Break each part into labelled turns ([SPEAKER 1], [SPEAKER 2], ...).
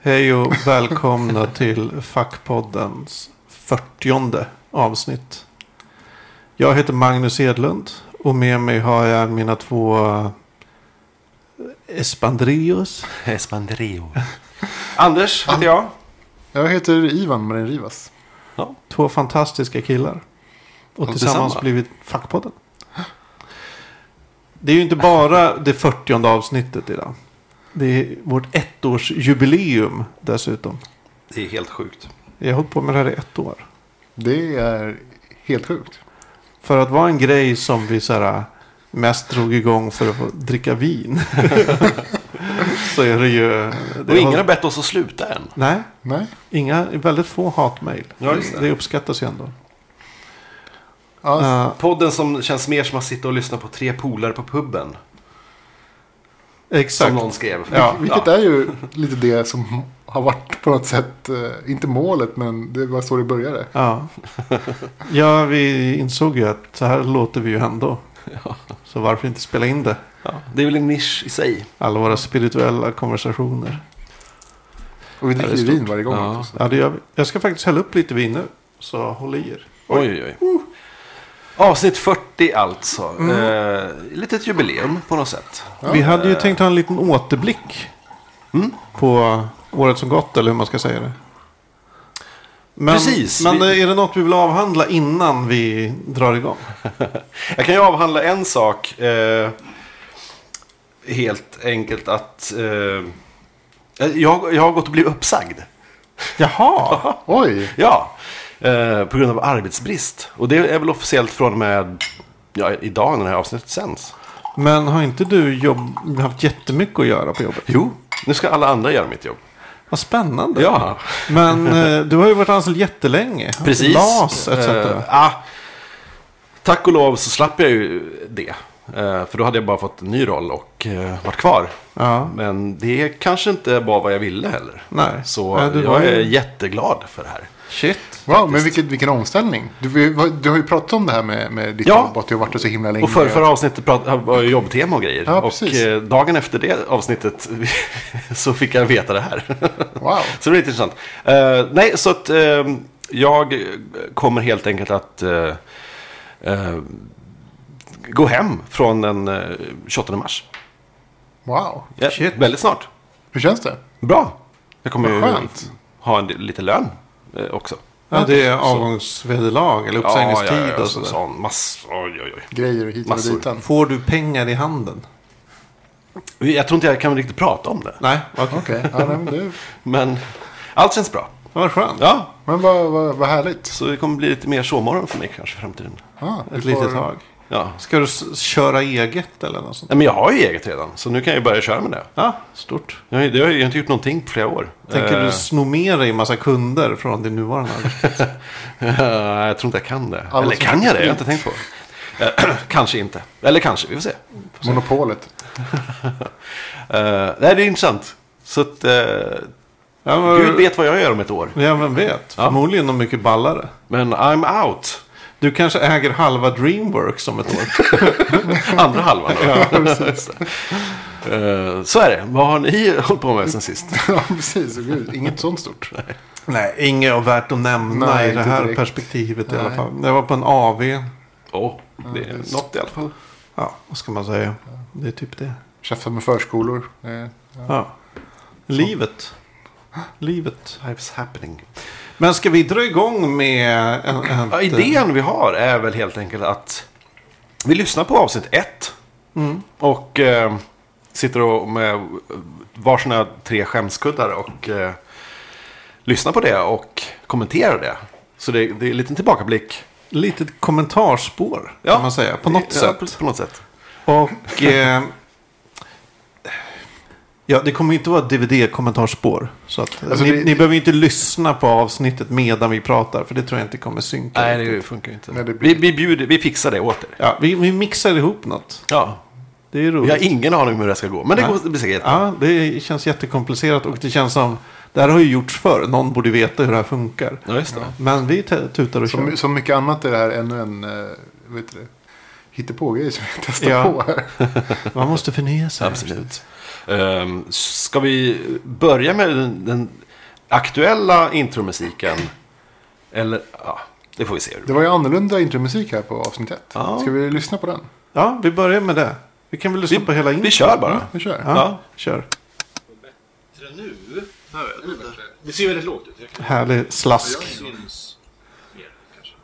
[SPEAKER 1] Hej och välkomna till Fackpoddens 40 avsnitt. Jag heter Magnus Edlund och med mig har jag mina två eh, Espandrios.
[SPEAKER 2] Espandrio.
[SPEAKER 3] Anders heter jag.
[SPEAKER 4] Jag heter Ivan Marin Rivas.
[SPEAKER 1] Två fantastiska killar. Och
[SPEAKER 2] Och
[SPEAKER 1] tillsammans
[SPEAKER 2] detsamma.
[SPEAKER 1] blivit Fackpodden. Det är ju inte bara det 40 avsnittet idag. Det är vårt ettårsjubileum dessutom.
[SPEAKER 2] Det är helt sjukt.
[SPEAKER 1] Jag har hållit på med det här i ett år.
[SPEAKER 4] Det är helt sjukt.
[SPEAKER 1] För att vara en grej som vi så här, mest drog igång för att få dricka vin. så är det ju... Det
[SPEAKER 2] Och ingen har bett oss att sluta än.
[SPEAKER 1] Nej,
[SPEAKER 4] Nej?
[SPEAKER 1] inga, väldigt få hatmejl.
[SPEAKER 2] Ja, just
[SPEAKER 1] det.
[SPEAKER 2] det.
[SPEAKER 1] uppskattas ju ändå.
[SPEAKER 4] Ja,
[SPEAKER 1] Eh,
[SPEAKER 2] Podden som känns mer som att sitta och lyssna på tre polare på puben.
[SPEAKER 1] exakt.
[SPEAKER 2] Som någon skrev.
[SPEAKER 1] Ja,
[SPEAKER 4] Vilket är ju lite det som har varit på något sätt, eh, inte målet, men det var så det började.
[SPEAKER 1] Ja. ja, vi insåg ju att så här låter vi ju ändå. Så varför inte spela in det?
[SPEAKER 2] Ja. Det är väl en nisch i sig.
[SPEAKER 1] Alla våra spirituella konversationer.
[SPEAKER 4] Och vi dricker
[SPEAKER 2] det är
[SPEAKER 4] ju vin varje gång.
[SPEAKER 2] Ja.
[SPEAKER 4] också.
[SPEAKER 1] Ja, det gör vi. Jag ska faktiskt hälla upp lite vin nu. Så håll i er.
[SPEAKER 2] Oj, oj, oj. Avsnitt 40 alltså. Mm. Eh, litet jubileum på något sätt.
[SPEAKER 1] Vi hade ju tänkt ha en liten återblick
[SPEAKER 2] Mm.
[SPEAKER 1] på året som gått, eller hur man ska säga det. Men,
[SPEAKER 2] Precis,
[SPEAKER 1] men
[SPEAKER 2] vi-
[SPEAKER 1] eh, är det något vi vill avhandla innan vi drar igång?
[SPEAKER 2] Jag kan ju avhandla en sak. Eh, helt enkelt att eh, jag, jag har gått och blivit uppsagd.
[SPEAKER 1] Jaha!
[SPEAKER 4] Oj!
[SPEAKER 2] Ja, eh, på grund av arbetsbrist. Och det är väl officiellt från och med ja, idag när det här avsnittet sänds.
[SPEAKER 1] Men har inte du jobb, haft jättemycket att göra på jobbet?
[SPEAKER 2] Jo, nu ska alla andra göra mitt jobb.
[SPEAKER 1] Vad spännande.
[SPEAKER 2] Ja,
[SPEAKER 1] Men eh, du har ju varit anställd jättelänge.
[SPEAKER 2] precis.
[SPEAKER 1] LAS etc.
[SPEAKER 2] Eh, ah, tack och lov så slapp jag ju det. Eh, för då hade jag bara fått en ny roll och eh, varit kvar.
[SPEAKER 1] ja,
[SPEAKER 2] Men det kanske inte var vad jag ville heller.
[SPEAKER 1] nej.
[SPEAKER 2] Så
[SPEAKER 1] nej, du var
[SPEAKER 2] jag är
[SPEAKER 1] ju...
[SPEAKER 2] jätteglad för det här.
[SPEAKER 1] Shit.
[SPEAKER 4] Wow, men vilket, vilken omställning. Du, vi- du har ju pratat om det här med, med ditt
[SPEAKER 2] Ja.
[SPEAKER 4] jobb, att du har varit där så himla länge.
[SPEAKER 2] Och för, förra avsnittet prat, var ju jobbtema och grejer.
[SPEAKER 4] Ja,
[SPEAKER 2] och
[SPEAKER 4] precis.
[SPEAKER 2] eh, dagen efter det avsnittet så fick jag veta det här.
[SPEAKER 4] Wow.
[SPEAKER 2] Så det blir lite intressant. Eh, nej, så att eh, jag kommer helt enkelt att eh, eh, gå hem från den eh, 28 mars.
[SPEAKER 4] wow.
[SPEAKER 2] Ja,
[SPEAKER 1] Shit.
[SPEAKER 2] Väldigt snart.
[SPEAKER 4] Hur känns det?
[SPEAKER 2] Bra. Jag kommer
[SPEAKER 4] Vad
[SPEAKER 2] ju
[SPEAKER 4] skönt.
[SPEAKER 2] ha en, del- lite lön eh, också.
[SPEAKER 1] Ja, det är avgångsvederlag eller uppsägningstid och
[SPEAKER 2] så,
[SPEAKER 1] sådär.
[SPEAKER 2] sån mass, oj, oj, oj.
[SPEAKER 4] Grejer hit och
[SPEAKER 2] Massor.
[SPEAKER 4] ditan.
[SPEAKER 1] Får du pengar i handen?
[SPEAKER 2] Jag tror inte jag kan riktigt prata om det.
[SPEAKER 1] Nej, okej.
[SPEAKER 4] Okej, ja, nej, men, det-
[SPEAKER 2] Men allt känns bra.
[SPEAKER 1] Vad skönt.
[SPEAKER 2] Ja,
[SPEAKER 4] men vad, vad, vad härligt.
[SPEAKER 2] så det kommer bli lite mer sovmorgon för mig kanske i framtiden.
[SPEAKER 4] Ah, du
[SPEAKER 1] Ett
[SPEAKER 4] får-
[SPEAKER 1] litet tag.
[SPEAKER 2] Ja.
[SPEAKER 1] Ska du s- köra eget eller något sånt?
[SPEAKER 2] Nej, men jag har ju eget redan, så nu kan jag ju börja köra med det.
[SPEAKER 1] Ja, stort.
[SPEAKER 2] Jag har ju- jag har ju inte gjort någonting på flera år.
[SPEAKER 1] Tänker
[SPEAKER 2] Eh,
[SPEAKER 1] du sno med dig en massa kunder från din nuvarande arbetsplats?
[SPEAKER 2] Eh, jag tror inte jag kan det.
[SPEAKER 4] Alla
[SPEAKER 2] Eller
[SPEAKER 4] som-
[SPEAKER 2] kan jag det? Jag har inte tänkt på. Eh, kanske inte. Eller kanske, vi får se.
[SPEAKER 4] Monopolet.
[SPEAKER 2] Eh, nej, det är intressant. Så att eh,
[SPEAKER 1] Ja, men,
[SPEAKER 2] Gud vet vad jag gör om ett år.
[SPEAKER 1] ja, vem vet. Förmodligen något mycket ballare.
[SPEAKER 2] Men I'm out.
[SPEAKER 1] Du kanske äger halva Dreamworks om ett år.
[SPEAKER 2] Andra halvan. ja, Eh, så är det. Vad har ni hållit på med sen sist?
[SPEAKER 4] ja, precis. Gud, inget sånt stort.
[SPEAKER 1] Nej, inget värt att nämna
[SPEAKER 4] Nej,
[SPEAKER 1] i det
[SPEAKER 4] inte
[SPEAKER 1] här
[SPEAKER 4] direkt.
[SPEAKER 1] perspektivet i alla
[SPEAKER 4] Nej.
[SPEAKER 1] fall. Jag var på en AV.
[SPEAKER 2] Åh, det är något i alla fall.
[SPEAKER 1] Ja, vad ska man säga? Det är typ det.
[SPEAKER 4] Käftar med förskolor. Eh,
[SPEAKER 1] Ja. Livet. Livet.
[SPEAKER 2] Life's happening.
[SPEAKER 1] Men ska vi dra igång med... En, en, eh,
[SPEAKER 2] Ja, idén vi har är väl helt enkelt att vi lyssnar på avsnitt ett. Mm. Och eh, sitter och med varsina tre skämskuddar och eh, lyssnar på det och kommenterar det. Så det, det är en liten tillbakablick.
[SPEAKER 1] litet kommentarspår
[SPEAKER 2] Ja.
[SPEAKER 1] kan man säga. På något
[SPEAKER 2] Ja,
[SPEAKER 1] sätt.
[SPEAKER 2] På, på något sätt.
[SPEAKER 1] Och... Eh, ja, det kommer ju inte vara DVD-kommentarspår. Så att, eh,
[SPEAKER 4] Alltså,
[SPEAKER 1] ni,
[SPEAKER 4] det-
[SPEAKER 1] ni behöver ju inte lyssna på avsnittet medan vi pratar. För det tror jag inte kommer synka.
[SPEAKER 2] Nej, det funkar ju inte.
[SPEAKER 4] Nej, det blir-
[SPEAKER 2] vi, vi, bjuder, vi fixar det åter.
[SPEAKER 1] Ja, vi, vi mixar ihop något.
[SPEAKER 2] Ja.
[SPEAKER 1] Det är roligt.
[SPEAKER 2] Jag har ingen aning om hur det ska gå, men det,
[SPEAKER 1] Nej.
[SPEAKER 2] går, det blir säkert jättebra.
[SPEAKER 1] Ja, det känns jättekomplicerat. Och det känns som... Det här har ju gjorts förr. Någon borde veta hur det här funkar.
[SPEAKER 2] Ja, just det.
[SPEAKER 1] Men vi te- tutar och kör.
[SPEAKER 4] Som, som mycket annat är det här ännu en eh, vet du, det, hittepågrej som vi testar
[SPEAKER 1] Ja.
[SPEAKER 4] på här.
[SPEAKER 1] Man måste förnya sig.
[SPEAKER 2] Absolut. Ehm, ska vi börja med den, den aktuella intromusiken? Eller, ja, det får vi se. hur det
[SPEAKER 4] Det var ju annorlunda intromusik här på avsnitt 1.
[SPEAKER 2] Ja.
[SPEAKER 4] Ska vi lyssna på den?
[SPEAKER 1] Ja, vi börjar med det. Vi kan väl lyssna på hela
[SPEAKER 2] blir.
[SPEAKER 1] intro.
[SPEAKER 2] Vi kör bara.
[SPEAKER 4] Vi kör.
[SPEAKER 1] Ja,
[SPEAKER 2] Ja.
[SPEAKER 1] kör.
[SPEAKER 5] bättre nu. Jag vet inte. Det ser väldigt lågt ut. Jag kan-
[SPEAKER 1] Härlig slask.
[SPEAKER 5] Jag syns mer kanske.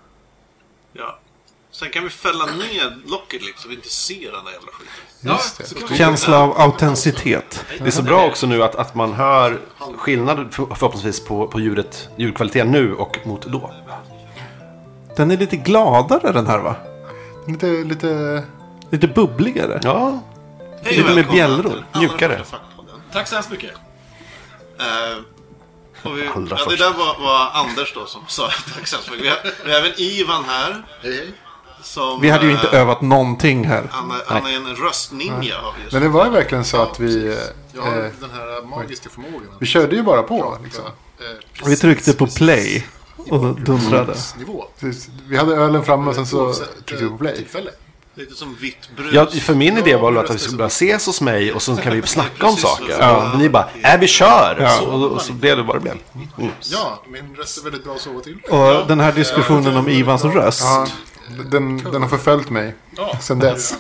[SPEAKER 5] Ja. Sen kan vi fälla ner locket lite så vi inte ser den där jävla skiten.
[SPEAKER 4] Just
[SPEAKER 5] Ja,
[SPEAKER 4] det.
[SPEAKER 5] så kan vi-
[SPEAKER 1] Känsla av autenticitet.
[SPEAKER 2] Det är så bra också nu att, att man hör skillnad för- förhoppningsvis på, på ljudet, ljudkvaliteten nu och mot då.
[SPEAKER 1] Den är lite gladare den här va?
[SPEAKER 4] Lite, lite...
[SPEAKER 1] Lite bubbligare.
[SPEAKER 2] Ja,
[SPEAKER 5] Hej och
[SPEAKER 1] Lite mer
[SPEAKER 5] välkomna
[SPEAKER 1] bjällror.
[SPEAKER 5] till allra
[SPEAKER 2] Mjukare.
[SPEAKER 5] första Fackpodden. Tack så hemskt mycket. Eh, och vi,
[SPEAKER 2] Allra
[SPEAKER 5] ja, det
[SPEAKER 2] första.
[SPEAKER 5] där var, var Anders då som sa tack så hemskt mycket. Vi har, vi har även Ivan här. Som,
[SPEAKER 1] Vi hade ju inte
[SPEAKER 5] eh,
[SPEAKER 1] övat någonting här.
[SPEAKER 5] han, är- han är en röstninja har vi just
[SPEAKER 4] Men det var ju verkligen så att vi...
[SPEAKER 6] Jag har
[SPEAKER 4] Eh,
[SPEAKER 6] den här magiska förmågan. att,
[SPEAKER 4] vi körde ju bara på. Liksom.
[SPEAKER 6] eh, precis-
[SPEAKER 1] Vi tryckte på play och dundrade.
[SPEAKER 6] Nivå.
[SPEAKER 4] Precis. Vi hade ölen framme och sen så
[SPEAKER 6] Oavsett, eh,
[SPEAKER 4] tryckte vi på play.
[SPEAKER 6] Tillfälle.
[SPEAKER 5] Lite som vitt brus.
[SPEAKER 2] Ja, för min idé var väl att vi skulle börja ses hos mig och så kan vi snacka om saker.
[SPEAKER 5] Ja.
[SPEAKER 2] Men ni bara, äh vi kör! Så, och, och så blev det vad det blev. Mm.
[SPEAKER 6] Ja, min röst är väldigt bra att sova till.
[SPEAKER 1] Och den här diskussionen om Ivans
[SPEAKER 4] Ja,
[SPEAKER 1] röst.
[SPEAKER 4] den, den har förföljt mig sen dess.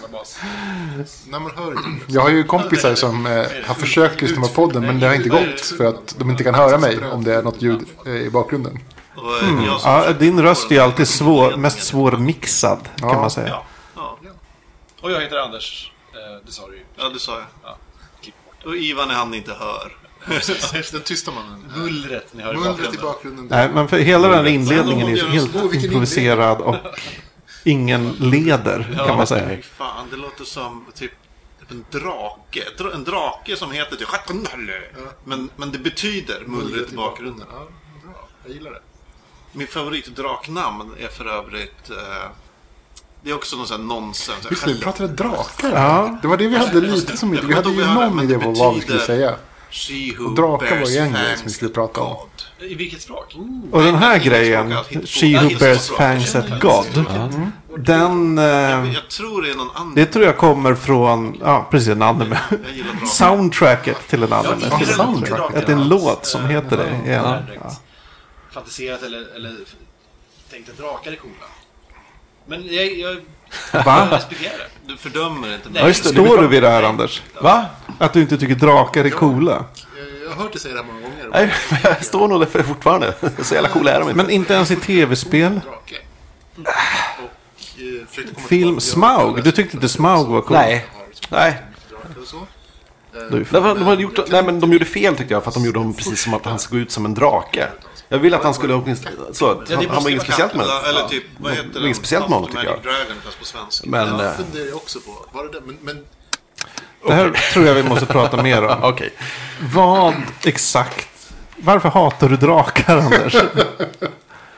[SPEAKER 6] När man hör ljudet.
[SPEAKER 4] Jag har ju kompisar som eh, har försökt lyssna på podden men det har inte gått för att de inte kan höra mig om det är något ljud eh, i bakgrunden.
[SPEAKER 5] Och, eh, jag som
[SPEAKER 1] Mm. Ja, din röst är alltid svår, mest svårmixad kan man säga.
[SPEAKER 5] Ja,
[SPEAKER 7] Och jag heter Anders. Eh, det sa du ju.
[SPEAKER 5] ja, det sa jag. Och Ivan är han inte hör.
[SPEAKER 6] Den tysta mannen.
[SPEAKER 7] Bullret ni hör i
[SPEAKER 6] Mullret i
[SPEAKER 7] bakgrunden.
[SPEAKER 6] bakgrunden. där.
[SPEAKER 1] Nej, men för hela den här inledningen är ju helt improviserad och ingen leder kan man säga.
[SPEAKER 5] Fy Fan, det låter som typ en drake. Ett dra- En drake som heter typ Schattenhalle. men, men det betyder mullret i bakgrunden.
[SPEAKER 6] Ja, bra. Jag gillar det.
[SPEAKER 5] Min favoritdraknamn är för övrigt... Eh, det är också någon sån här nonsens.
[SPEAKER 4] Just det, vi pratade drakar.
[SPEAKER 1] Ja.
[SPEAKER 4] Det var det vi hade lite som idé. Vi hade ju någon idé på vad vi skulle säga.
[SPEAKER 5] She who
[SPEAKER 4] Och drakar
[SPEAKER 5] bears
[SPEAKER 4] var ju en grej
[SPEAKER 5] fangs
[SPEAKER 4] som vi skulle prata om.
[SPEAKER 5] God.
[SPEAKER 7] I vilket språk?
[SPEAKER 1] Och den här
[SPEAKER 5] Nej, inte
[SPEAKER 1] grejen,
[SPEAKER 5] språk, allt.
[SPEAKER 1] She
[SPEAKER 5] Ja,
[SPEAKER 1] Who
[SPEAKER 5] inte
[SPEAKER 1] Bears
[SPEAKER 5] språk.
[SPEAKER 1] Fangs at God. Den, eh,
[SPEAKER 5] Jag tror det är någon annan.
[SPEAKER 1] det tror jag kommer från, ja precis, en anime.
[SPEAKER 5] Jag gillar drakar.
[SPEAKER 1] Soundtracket till en anime.
[SPEAKER 7] Ja,
[SPEAKER 1] till
[SPEAKER 4] soundtracket.
[SPEAKER 1] Att det är en låt som heter det. i en-
[SPEAKER 7] Ja.
[SPEAKER 1] Ja.
[SPEAKER 7] Fantiserat eller, eller f- tänkt att drakar är coola. Men jag, jag, jag
[SPEAKER 1] Va?
[SPEAKER 7] respekterar det.
[SPEAKER 5] Du fördömer inte
[SPEAKER 7] Nej.
[SPEAKER 1] Ja, just det. Står du vid det här Anders?
[SPEAKER 2] Va?
[SPEAKER 1] Att du inte tycker drakar är coola?
[SPEAKER 6] Jag- Jag har hört dig säga det här många gånger.
[SPEAKER 2] Nej, men jag står nog där för fortfarande. Så jävla coola är de inte.
[SPEAKER 1] Men inte ens i tv-spel?
[SPEAKER 6] Drake. Och eh, försökte komma
[SPEAKER 1] Film
[SPEAKER 6] tillbaka. Jag-
[SPEAKER 1] Smaug? Du tyckte inte Smaug var cool?
[SPEAKER 2] Nej. Nej.
[SPEAKER 6] Drake och så.
[SPEAKER 1] Du är
[SPEAKER 2] De,
[SPEAKER 1] fan-
[SPEAKER 2] de, hade gjort, nej, men de gjorde fel tyckte jag, för att de gjorde honom precis som att han såg ut som en drake. Jag ville att han skulle åtminstone... Så, att han, han var inget speciellt med
[SPEAKER 5] Eller, eller
[SPEAKER 2] det.
[SPEAKER 5] typ, vad heter
[SPEAKER 2] Inget speciellt med honom, tycker jag.
[SPEAKER 5] Magic Dragon fast på svenska.
[SPEAKER 2] Men... eh,
[SPEAKER 6] Jag funderar ju också på, var det det? Men, men
[SPEAKER 1] Det här tror jag vi måste prata mer om.
[SPEAKER 2] Okej.
[SPEAKER 1] Vad exakt? Varför hatar du drakar Anders?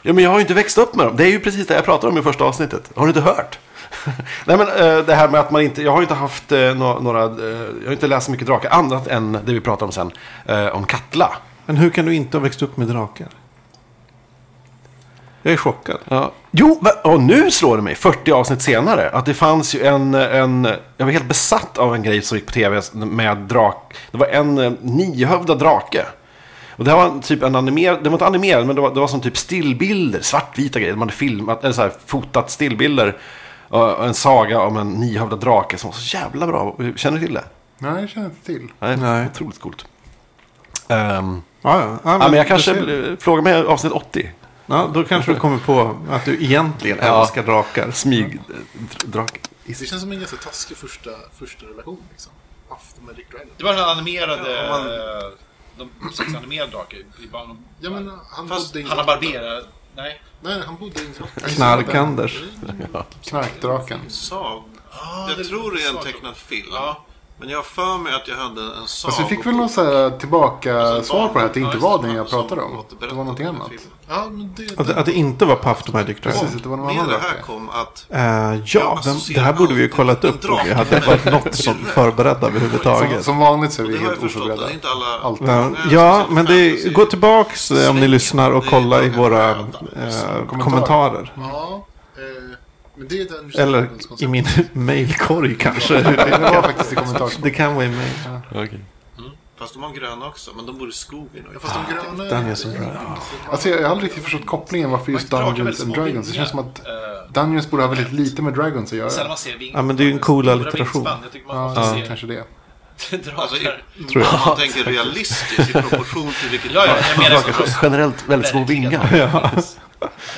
[SPEAKER 2] Ja, men jag har ju inte växt upp med dem. Det är ju precis det jag pratade om i första avsnittet. Har du inte hört? Nej, men eh, det här med att man inte... Jag har ju inte haft eh, nå- några... eh, Jag har inte läst så mycket drakar annat än det vi pratade om sen. eh, Om Katla.
[SPEAKER 1] Men hur kan du inte ha växt upp med drakar? Jag är chockad.
[SPEAKER 2] Ja. Jo, va- och nu slår det mig, 40 avsnitt senare, att det fanns ju en, en... Jag var helt besatt av en grej som gick på tv med drak... Det var en eh, niohövdad drake. Och det här var en typ en animerad, det var inte animerad, men det var, det var som typ stillbilder, svartvita grejer. Man hade filmat, eller så här, fotat stillbilder. Och och en saga om en niohövdad drake som var så jävla bra. Känner du till det?
[SPEAKER 4] Nej, jag känner inte till.
[SPEAKER 2] Nej.
[SPEAKER 1] Nej.
[SPEAKER 2] Otroligt coolt. Ehm,
[SPEAKER 1] Ja, ja. ja,
[SPEAKER 2] ja, men jag
[SPEAKER 1] du
[SPEAKER 2] kanske
[SPEAKER 1] ser.
[SPEAKER 2] bl- frågar mig avsnitt 80.
[SPEAKER 1] Ja, då kanske du kommer på att du egentligen
[SPEAKER 2] Ja.
[SPEAKER 1] älskar drakar.
[SPEAKER 2] Smyg... eh, dr- Drake.
[SPEAKER 6] det känns som en ganska taskig första, första relation. Liksom. Afton med Rick Dragon.
[SPEAKER 7] Det var den animerade... eh, De sex animerade drakar. i- i barn-
[SPEAKER 6] Ja, men eh, han
[SPEAKER 7] Fast
[SPEAKER 6] bodde i
[SPEAKER 7] Hanna Barbera... Nej.
[SPEAKER 6] Nej, han bodde i Ingolstadt.
[SPEAKER 1] Knark-Anders.
[SPEAKER 4] Knarkdraken.
[SPEAKER 5] Sag.
[SPEAKER 7] Ah,
[SPEAKER 5] jag tror det är en tecknad film. Men jag har för mig att jag hade en sag.
[SPEAKER 4] Alltså, vi fick väl någon så här tillbaka svar på det här att det inte var den jag pratade om. Det var någonting annat.
[SPEAKER 6] Ja, men det...
[SPEAKER 1] Att, att det inte var Puff the Magic Dragon.
[SPEAKER 4] Precis, att det var någon
[SPEAKER 5] Med
[SPEAKER 4] annan
[SPEAKER 5] det här
[SPEAKER 4] drake.
[SPEAKER 5] kom att...
[SPEAKER 1] Eh, ja, den, det här borde vi ju kollat upp om vi hade varit något som förberedda
[SPEAKER 4] Som,
[SPEAKER 1] överhuvudtaget.
[SPEAKER 4] som vanligt så är vi
[SPEAKER 5] Det har jag
[SPEAKER 4] helt
[SPEAKER 5] förstått.
[SPEAKER 4] oförberedda.
[SPEAKER 5] Det är inte alla... alltså,
[SPEAKER 4] Alltid.
[SPEAKER 1] Men, Ja, men det, gå tillbaks eh, om ni lyssnar och kolla i våra eh, kommentarer.
[SPEAKER 6] Ja, eh, men det är den...
[SPEAKER 1] Eller i min mailkorg kanske.
[SPEAKER 4] Det var faktiskt i kommentarsspåret.
[SPEAKER 1] Det kan vara i mail.
[SPEAKER 2] Okej.
[SPEAKER 5] Fast de har gröna också, men de bor i skogen. Och
[SPEAKER 6] Fast de gröna...
[SPEAKER 1] Dungeons and Dragons.
[SPEAKER 4] Alltså jag, jag har aldrig riktigt förstått kopplingen varför just Dungeons and Dragons. Det känns som att Dungeons borde ha väldigt lite med Dragons att
[SPEAKER 7] Sen
[SPEAKER 4] göra.
[SPEAKER 7] man ser ving-
[SPEAKER 1] Ja, men det är ju en cool
[SPEAKER 7] stora
[SPEAKER 1] alliteration.
[SPEAKER 7] vingspann. Jag tycker man
[SPEAKER 4] Ja,
[SPEAKER 7] måste
[SPEAKER 4] kanske det.
[SPEAKER 7] se drakar.
[SPEAKER 5] Alltså, i,
[SPEAKER 1] Tror jag.
[SPEAKER 5] om man tänker realistiskt i proportion till vilket...
[SPEAKER 7] Ja, ja, jag menar så.
[SPEAKER 2] Drakar generellt väldigt små
[SPEAKER 7] Verkligen.
[SPEAKER 2] vingar.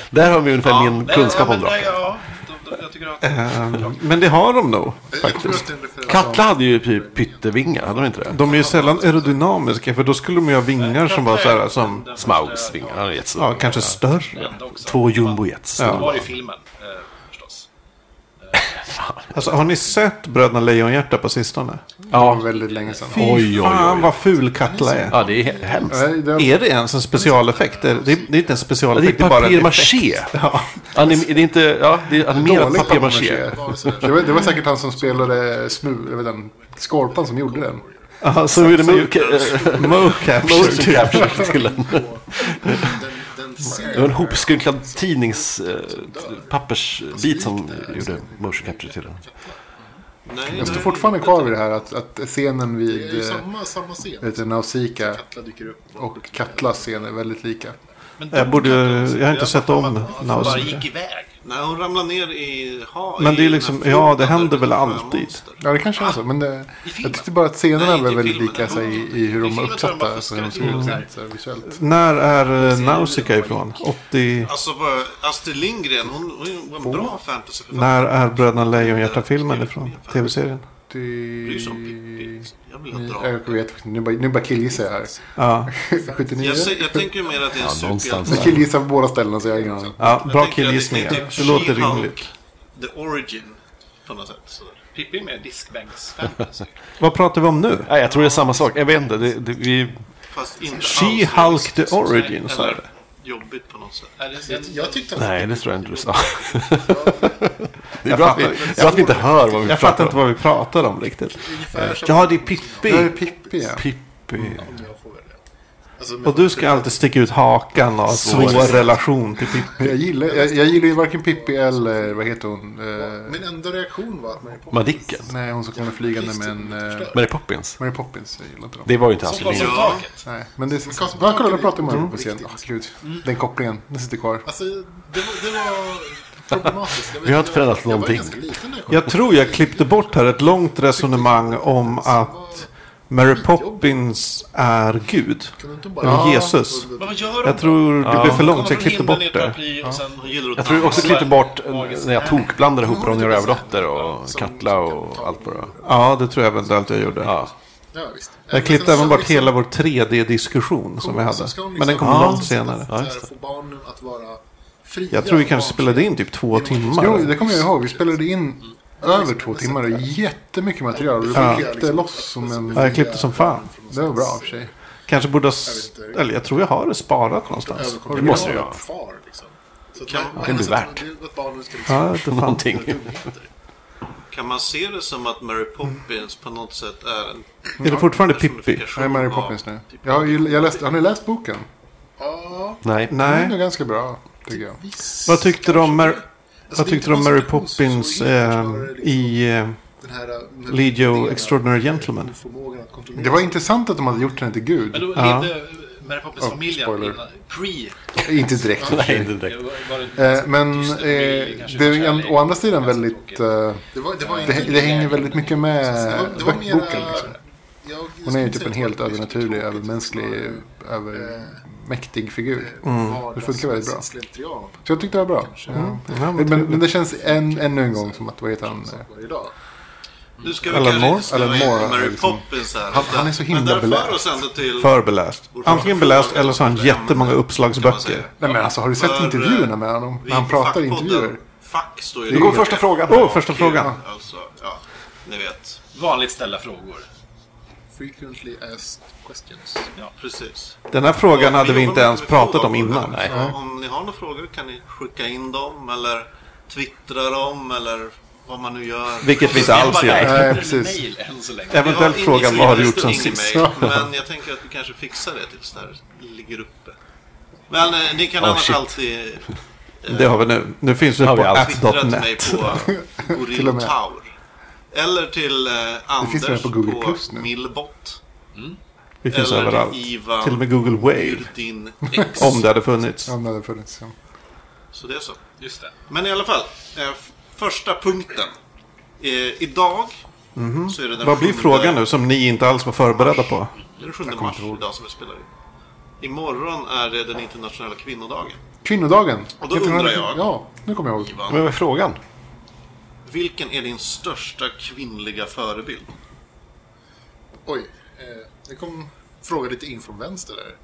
[SPEAKER 2] Där har vi ungefär min
[SPEAKER 7] Nej,
[SPEAKER 2] kunskap
[SPEAKER 7] ja,
[SPEAKER 2] om
[SPEAKER 7] men där-
[SPEAKER 2] drakar.
[SPEAKER 7] Ja, de, de, jag tycker att...
[SPEAKER 1] Ehm, Men det har de nog.
[SPEAKER 6] Jag tror att det är en referens.
[SPEAKER 2] Katla hade ju py- pyttevingar, hade de inte det?
[SPEAKER 1] De är ju sällan aerodynamiska för då skulle de ju ha vingar som var så här som...
[SPEAKER 2] Smaugs vingar, han är jättestor.
[SPEAKER 1] Ja, kanske större.
[SPEAKER 7] Ända också.
[SPEAKER 2] Två jumbojets.
[SPEAKER 7] Det
[SPEAKER 2] Ja.
[SPEAKER 7] var ju filmen, eh, förstås.
[SPEAKER 1] Alltså har ni sett Bröderna Lejonhjärta på sistone?
[SPEAKER 4] Ja, väldigt länge sedan.
[SPEAKER 1] Fy
[SPEAKER 2] oj, oj,
[SPEAKER 1] fan vad ful Katla är.
[SPEAKER 2] ja, det är he- hemskt.
[SPEAKER 4] Nej, det-
[SPEAKER 1] Är det ens en specialeffekt? Det är, det är inte en
[SPEAKER 2] Ja, Det är
[SPEAKER 1] specialeffekt, bara en effekt.
[SPEAKER 2] papier-maché.
[SPEAKER 1] Ja.
[SPEAKER 2] Anim- det är inte, ja, det är animerat
[SPEAKER 4] Dåligt
[SPEAKER 2] papier-maché.
[SPEAKER 4] papier-maché. Det var, det var säkert han som spelade smu, jag vet inte, Skorpan som gjorde den.
[SPEAKER 1] Ja, Alltså, så är det med mocapture.
[SPEAKER 2] Motion capture till en,
[SPEAKER 6] Den, den
[SPEAKER 2] det var en hopskrynklad tidningspappersbit som gjorde motion capture till den.
[SPEAKER 5] Nej,
[SPEAKER 4] Jag står
[SPEAKER 5] nej.
[SPEAKER 4] fortfarande kvar vid det här att, att scenen
[SPEAKER 6] Det är ju
[SPEAKER 4] vid eh,
[SPEAKER 6] samma, samma scen.
[SPEAKER 4] vet, Nausicaa
[SPEAKER 6] Katla dyker upp.
[SPEAKER 4] och Katlas scen är väldigt lika.
[SPEAKER 1] Jag, borde, jag har inte sett om
[SPEAKER 7] Bara
[SPEAKER 1] Nausicaa.
[SPEAKER 7] gick iväg.
[SPEAKER 5] Nej, hon ramlar ner i havet.
[SPEAKER 1] Men det är liksom- ja, det händer väl alltid.
[SPEAKER 4] Ja, det kanske är så. Men det, jag tyckte bara att scenerna var väldigt lika så, här i, i hur de var uppsatta. Alltså, hur de såg ut så här visuellt.
[SPEAKER 1] När är eh, Nausicaa ifrån? 80...
[SPEAKER 5] Alltså, bara Astrid Lindgren, hon, hon var en bra fantasyförfattare.
[SPEAKER 1] När är Bröderna Lejonhjärta-filmen ifrån? Tv-serien?
[SPEAKER 5] Det är ju som Pippi. Jag vill ha
[SPEAKER 4] Ni-
[SPEAKER 5] drakar.
[SPEAKER 4] Jag vet inte, nu bara, nu bara killgissar jag här.
[SPEAKER 1] Ja,
[SPEAKER 4] 79?
[SPEAKER 5] Jag, ser- jag tänker ju mer att det är en
[SPEAKER 2] någonstans
[SPEAKER 4] Jag
[SPEAKER 5] superhjälte.
[SPEAKER 4] killgissar på båda ställena så jag har ingen aning.
[SPEAKER 1] ja
[SPEAKER 5] Jag
[SPEAKER 1] bra
[SPEAKER 5] tänker att
[SPEAKER 1] killgissningar.
[SPEAKER 5] är typ
[SPEAKER 1] Det låter
[SPEAKER 5] She-Hulk,
[SPEAKER 1] rimligt.
[SPEAKER 5] The origin, på något sätt. Så.
[SPEAKER 7] Pippi är mer diskbänksfantasy.
[SPEAKER 1] Vad pratar vi om nu?
[SPEAKER 2] Nej, jag tror det är samma sak. Jag vet inte. Det, det, vi,
[SPEAKER 5] Fast inte alls
[SPEAKER 1] She-Hulk the Origin, sa jag det.
[SPEAKER 5] Eller jobbigt på något sätt.
[SPEAKER 7] Är det-
[SPEAKER 6] Jag, jag tyckte att
[SPEAKER 2] nej, det tror jag inte du sa. Det är
[SPEAKER 1] Jag
[SPEAKER 2] bra att vi,
[SPEAKER 1] fattar.
[SPEAKER 2] bra att vi inte hör vad vi
[SPEAKER 1] Jag fattar
[SPEAKER 2] pratar
[SPEAKER 1] inte
[SPEAKER 2] om.
[SPEAKER 1] vad vi pratar om riktigt.
[SPEAKER 6] ungefär som
[SPEAKER 1] Ja, det är
[SPEAKER 4] Det är
[SPEAKER 1] Pippi.
[SPEAKER 4] Pippi ja.
[SPEAKER 2] Pippi.
[SPEAKER 6] om jag får välja. Alltså, men-
[SPEAKER 1] Och du ska alltid sticka ut hakan och ha svår relation till Pippi.
[SPEAKER 4] Jag gillar, jag, jag gillar ju varken Pippi eller vad heter hon? Eh,
[SPEAKER 6] Min enda reaktion var att man är på.
[SPEAKER 2] Madicken.
[SPEAKER 4] nej, hon som kommer flygande med en... Eh,
[SPEAKER 2] Mary Poppins.
[SPEAKER 4] Mary Poppins, jag gillar inte dem.
[SPEAKER 2] Det var ju inte
[SPEAKER 7] Som var
[SPEAKER 2] Astrid
[SPEAKER 7] som
[SPEAKER 2] Lindgren.
[SPEAKER 7] taket.
[SPEAKER 4] Nej, men det...
[SPEAKER 6] Cosmo
[SPEAKER 4] Ja, kolla, nu pratar man
[SPEAKER 6] Mm.
[SPEAKER 4] om på scen. Åh, gud. Den kopplingen, den sitter kvar.
[SPEAKER 6] Alltså, det var, det var problematiskt. Jag vet
[SPEAKER 2] Vi har
[SPEAKER 6] inte,
[SPEAKER 2] inte förändrat
[SPEAKER 6] jag,
[SPEAKER 2] någonting.
[SPEAKER 6] Jag var ganska liten när jag kom.
[SPEAKER 1] Jag tror jag klippte bort här ett långt resonemang om att Mary Poppins är Gud.
[SPEAKER 6] Kunde inte bara...
[SPEAKER 1] Eller Jesus.
[SPEAKER 7] Men vad gör de
[SPEAKER 1] Jag tror det blev för långt så jag klippte bort
[SPEAKER 7] det.
[SPEAKER 1] det.
[SPEAKER 7] Paraply och sen hon gillar att
[SPEAKER 2] Jag tror jag också
[SPEAKER 7] dansa.
[SPEAKER 2] klippte bort eh, när jag tokblandade ihop Ronja Rövardotter och Katla och allt vad det var.
[SPEAKER 1] Ja, det tror jag eventuellt jag gjorde.
[SPEAKER 2] Ja.
[SPEAKER 6] Ja, visst.
[SPEAKER 1] Jag klippte även bort hela vår 3D-diskussion som vi hade. Men den kom långt senare.
[SPEAKER 6] liksom- Ja, just det. Få barnen att vara fria.
[SPEAKER 1] Jag tror vi kanske
[SPEAKER 6] barn.
[SPEAKER 1] spelade in typ två
[SPEAKER 4] Jo,
[SPEAKER 1] timmar.
[SPEAKER 4] det kommer jag ihåg. Vi spelade in över två timmar och jättemycket material. Du
[SPEAKER 6] Ja.
[SPEAKER 4] klippte loss som en...
[SPEAKER 1] Ja, jag klippte som fan.
[SPEAKER 4] Det var bra i och för sig.
[SPEAKER 1] Kanske borde ha... s- Eller jag tror jag har det sparat någonstans.
[SPEAKER 6] Överkommer
[SPEAKER 2] Det måste du
[SPEAKER 6] barnet
[SPEAKER 2] göra.
[SPEAKER 6] Kvar, liksom. Så att
[SPEAKER 5] Kan-
[SPEAKER 6] man-
[SPEAKER 2] kan bli
[SPEAKER 6] så
[SPEAKER 2] värt.
[SPEAKER 6] Att barnen ska liksom
[SPEAKER 1] Ja, det fan.
[SPEAKER 2] Någonting.
[SPEAKER 5] Kan man se det som att Mary Poppins på något sätt är en
[SPEAKER 1] Är det fortfarande Pippi?
[SPEAKER 4] Jag är Mary
[SPEAKER 5] av
[SPEAKER 4] Poppins nu. Jag har, ju, jag läst, har ni läst boken?
[SPEAKER 6] Ja,
[SPEAKER 2] Nej.
[SPEAKER 4] Den är
[SPEAKER 1] Nej.
[SPEAKER 4] nog ganska bra, tycker jag.
[SPEAKER 6] visst.
[SPEAKER 1] Vad tyckte du om, Mar-
[SPEAKER 6] Alltså,
[SPEAKER 1] vad
[SPEAKER 6] det är
[SPEAKER 1] tyckte du om
[SPEAKER 6] inte
[SPEAKER 1] Mary
[SPEAKER 6] konstitution,
[SPEAKER 1] Poppins
[SPEAKER 6] så det är
[SPEAKER 1] eh,
[SPEAKER 6] snarare liksom
[SPEAKER 1] i eh,
[SPEAKER 6] den här, eh,
[SPEAKER 1] Legio
[SPEAKER 6] den-
[SPEAKER 1] Extraordinary Gentleman?
[SPEAKER 6] förmågan att kontrollera
[SPEAKER 4] Det var intressant att de hade gjort den till
[SPEAKER 7] Men
[SPEAKER 4] Gud.
[SPEAKER 7] då
[SPEAKER 1] Ja.
[SPEAKER 7] levde Mary Poppins
[SPEAKER 4] Oh,
[SPEAKER 7] familjen
[SPEAKER 4] spoiler.
[SPEAKER 7] innan, pre.
[SPEAKER 4] Inte direkt.
[SPEAKER 2] Nej, inte direkt.
[SPEAKER 7] Var det,
[SPEAKER 4] Eh, Men eh,
[SPEAKER 7] Tyst familj, kanske
[SPEAKER 4] det är
[SPEAKER 7] kärlek.
[SPEAKER 4] en, å andra sidan väldigt... eh,
[SPEAKER 6] Det, var, det, var
[SPEAKER 4] Det,
[SPEAKER 6] inte-
[SPEAKER 4] det hänger väldigt mycket med
[SPEAKER 6] det var- det var mera-
[SPEAKER 4] boken. Liksom.
[SPEAKER 6] jag-
[SPEAKER 4] Hon är ju
[SPEAKER 6] skulle
[SPEAKER 4] typ
[SPEAKER 6] säga
[SPEAKER 4] en
[SPEAKER 6] att
[SPEAKER 4] helt
[SPEAKER 6] det var
[SPEAKER 4] övernaturlig,
[SPEAKER 6] tråkigt,
[SPEAKER 4] övermänsklig,
[SPEAKER 6] snarare
[SPEAKER 4] övermäktig figur.
[SPEAKER 6] eh,
[SPEAKER 4] Det funkar väldigt bra.
[SPEAKER 6] Slentrian
[SPEAKER 4] Så jag tyckte det var bra. Ja. Men, men det känns än, ännu en gång som att, vad heter han? eh,
[SPEAKER 6] varje dag.
[SPEAKER 5] Nu ska vi
[SPEAKER 1] Alan
[SPEAKER 5] kanske
[SPEAKER 1] Moore?
[SPEAKER 5] inte ställa
[SPEAKER 4] Alan
[SPEAKER 5] in
[SPEAKER 4] Moore,
[SPEAKER 5] Mary
[SPEAKER 4] liksom.
[SPEAKER 5] Poppins här.
[SPEAKER 4] Han- han är så himla
[SPEAKER 5] Men där
[SPEAKER 4] beläst.
[SPEAKER 5] för oss ändå till...
[SPEAKER 1] Förbeläst. Antingen beläst eller så har han jättemånga uppslagsböcker.
[SPEAKER 4] Nej men alltså har du sett
[SPEAKER 5] För,
[SPEAKER 4] intervjuerna med honom?
[SPEAKER 5] vi
[SPEAKER 4] När han pratar i
[SPEAKER 5] Fackpodden-
[SPEAKER 4] intervjuer.
[SPEAKER 5] Fack står ju...
[SPEAKER 4] Det går första frågan.
[SPEAKER 1] Åh, första frågan.
[SPEAKER 5] Alltså, ja. Ni vet.
[SPEAKER 7] vanligt ställa frågor.
[SPEAKER 6] Frequently asked questions.
[SPEAKER 7] Ja.
[SPEAKER 5] Precis.
[SPEAKER 1] Den här frågan
[SPEAKER 5] Ja,
[SPEAKER 1] hade vi inte
[SPEAKER 5] jobbar mycket
[SPEAKER 1] ens
[SPEAKER 5] med
[SPEAKER 1] pratat om
[SPEAKER 5] frågor.
[SPEAKER 1] innan.
[SPEAKER 5] Så Om ni har några frågor kan ni skicka in dem eller twittra dem eller vad man nu gör.
[SPEAKER 1] Vilket vi inte alls gör.
[SPEAKER 4] Nej,
[SPEAKER 7] Nej,
[SPEAKER 4] precis.
[SPEAKER 7] precis. Än så länge.
[SPEAKER 5] Vi har
[SPEAKER 1] Eventuellt
[SPEAKER 5] ingen
[SPEAKER 1] frågan vad har du gjort sen
[SPEAKER 5] skriven
[SPEAKER 1] sist?
[SPEAKER 5] e-mail, Men jag tänker att vi kanske fixar det tills det här ligger uppe. Men eh, ni
[SPEAKER 1] Oh,
[SPEAKER 5] kan annars
[SPEAKER 2] shit.
[SPEAKER 5] alltid
[SPEAKER 1] Det har vi nu. Nu finns det
[SPEAKER 2] Har vi
[SPEAKER 1] på
[SPEAKER 2] allt.
[SPEAKER 5] twittra till mig
[SPEAKER 1] app.net.
[SPEAKER 5] på
[SPEAKER 4] Till och med.
[SPEAKER 5] Orinotaur. Eller till eh,
[SPEAKER 4] finns
[SPEAKER 5] Anders
[SPEAKER 4] väl på Google Plus nu?
[SPEAKER 5] Millbot.
[SPEAKER 1] Vi finns överallt.
[SPEAKER 5] Ivan
[SPEAKER 1] Till och med Google Wave.
[SPEAKER 5] Din ex.
[SPEAKER 1] Om det hade funnits.
[SPEAKER 4] Om det hade funnits. Ja.
[SPEAKER 5] Så det är så.
[SPEAKER 7] Just det.
[SPEAKER 5] Men i alla fall, eh, f- första punkten. Eh, idag så är det den
[SPEAKER 1] Mhm. Vad blir
[SPEAKER 5] sjunde-
[SPEAKER 1] frågan nu som ni inte alls var förberedda på?
[SPEAKER 5] Det är den 7 mars idag som vi spelar in. Imorgon är det den internationella kvinnodagen.
[SPEAKER 4] Kvinnodagen.
[SPEAKER 5] Och då undrar jag-
[SPEAKER 4] Ja, nu kommer jag ihåg.
[SPEAKER 5] Ivan,
[SPEAKER 2] Men vad är frågan?
[SPEAKER 5] vilken är din största kvinnliga förebild?
[SPEAKER 6] Oj, eh, det kom fråga lite in från vänster där.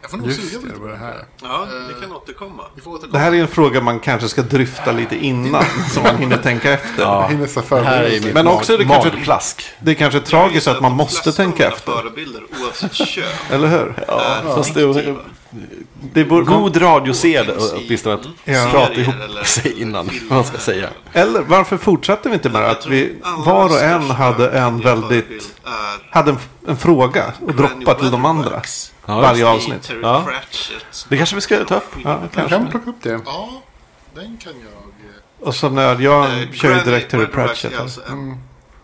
[SPEAKER 6] Jag får nog suga
[SPEAKER 4] Just det,
[SPEAKER 6] lite
[SPEAKER 4] det
[SPEAKER 6] på
[SPEAKER 4] var det här.
[SPEAKER 5] Ja, Eh, vi kan återkomma.
[SPEAKER 6] Vi får återkomma.
[SPEAKER 1] Det här är en fråga man kanske ska dryfta lite innan. så man hinner tänka efter.
[SPEAKER 4] Jag hinner så förbereda mig.
[SPEAKER 1] Men också är det kanske-
[SPEAKER 2] magplask.
[SPEAKER 1] Det är kanske tragiskt att man
[SPEAKER 5] de
[SPEAKER 1] måste
[SPEAKER 5] flesta av
[SPEAKER 1] tänka
[SPEAKER 5] mina
[SPEAKER 1] efter.
[SPEAKER 5] förebilder oavsett kön.
[SPEAKER 1] Eller hur?
[SPEAKER 5] är
[SPEAKER 2] fast det-
[SPEAKER 5] fiktiva.
[SPEAKER 1] Det borde,
[SPEAKER 2] God radiosed
[SPEAKER 5] i-
[SPEAKER 2] åtminstone att
[SPEAKER 1] Ja.
[SPEAKER 2] prata
[SPEAKER 5] Serier
[SPEAKER 2] ihop
[SPEAKER 5] eller-
[SPEAKER 2] sig innan vad man ska säga.
[SPEAKER 1] Eller varför fortsatte vi inte med det?
[SPEAKER 5] Jag
[SPEAKER 1] Att
[SPEAKER 5] tror
[SPEAKER 1] vi
[SPEAKER 5] allra
[SPEAKER 1] var och en
[SPEAKER 5] största
[SPEAKER 1] hade en
[SPEAKER 5] kvinnliga förebild
[SPEAKER 1] väldigt...
[SPEAKER 5] är
[SPEAKER 1] Hade en, en fråga och droppade till de andra.
[SPEAKER 5] Weatherwax.
[SPEAKER 1] Varje
[SPEAKER 5] i
[SPEAKER 1] avsnitt.
[SPEAKER 5] Terry
[SPEAKER 2] Ja.
[SPEAKER 5] Pratchett.
[SPEAKER 2] Det kanske vi ska ta upp.
[SPEAKER 1] Ja,
[SPEAKER 4] Jag
[SPEAKER 1] kanske.
[SPEAKER 4] kan plocka upp det.
[SPEAKER 6] Ja, den kan jag... eh,
[SPEAKER 1] Och som när jag
[SPEAKER 5] Eh,
[SPEAKER 1] kör ju
[SPEAKER 5] Granny
[SPEAKER 1] direkt Terry
[SPEAKER 5] Weatherwax
[SPEAKER 1] Pratchett. Mm.
[SPEAKER 5] är alltså en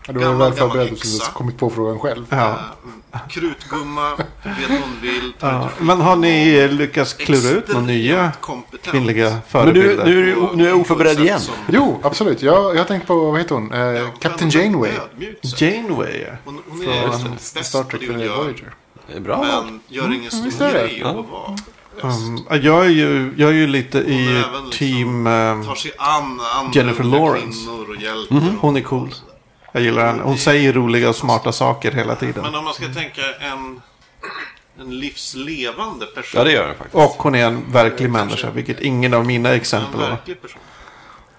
[SPEAKER 4] Ja, Du var ju
[SPEAKER 5] Gammal,
[SPEAKER 4] väl förberedd
[SPEAKER 5] gammal
[SPEAKER 4] eftersom du
[SPEAKER 5] yxa.
[SPEAKER 4] kommit på frågan själv.
[SPEAKER 1] Ja.
[SPEAKER 5] eh, Krutgumma, vet vad hon vill.
[SPEAKER 1] Ja. Men har ni eh, lyckats klura ut några nya
[SPEAKER 5] Extremt kompetent.
[SPEAKER 1] kvinnliga
[SPEAKER 2] Men nu,
[SPEAKER 1] förebilder?
[SPEAKER 2] nu, är, du- nu är jag
[SPEAKER 5] På ett
[SPEAKER 2] oförberedd
[SPEAKER 5] sätt
[SPEAKER 2] igen.
[SPEAKER 5] som-
[SPEAKER 4] Jo, absolut. Jag, jag har tänkt på, vad heter hon? Eh, Captain Janeway.
[SPEAKER 5] Ödmjuk sig.
[SPEAKER 1] Janeway. ja.
[SPEAKER 5] Hon, hon är
[SPEAKER 4] Från
[SPEAKER 5] bäst
[SPEAKER 4] Star
[SPEAKER 5] på
[SPEAKER 4] Trek
[SPEAKER 5] det hon
[SPEAKER 4] The
[SPEAKER 5] gör.
[SPEAKER 4] Voyager.
[SPEAKER 2] Det är Bra.
[SPEAKER 5] Men gör ingen
[SPEAKER 4] visst
[SPEAKER 5] stor
[SPEAKER 4] är det.
[SPEAKER 5] grej av att vara.
[SPEAKER 1] Mm, jag, är ju, jag är ju lite
[SPEAKER 5] Hon
[SPEAKER 1] i
[SPEAKER 5] är även liksom-
[SPEAKER 1] team... eh,
[SPEAKER 5] Tar sig an andra
[SPEAKER 1] Jennifer
[SPEAKER 5] unga
[SPEAKER 1] Lawrence. Mhm,
[SPEAKER 5] kvinnor och hjälper dem.
[SPEAKER 1] Hon är cool. Jag gillar henne. Hon säger roliga och smarta saker hela tiden.
[SPEAKER 5] Men om man ska tänka en, en livslevande person.
[SPEAKER 2] Ja, det gör den faktiskt.
[SPEAKER 1] Och hon är en verklig människa, vilket ingen av mina exempel
[SPEAKER 5] En
[SPEAKER 1] var.
[SPEAKER 5] verklig person.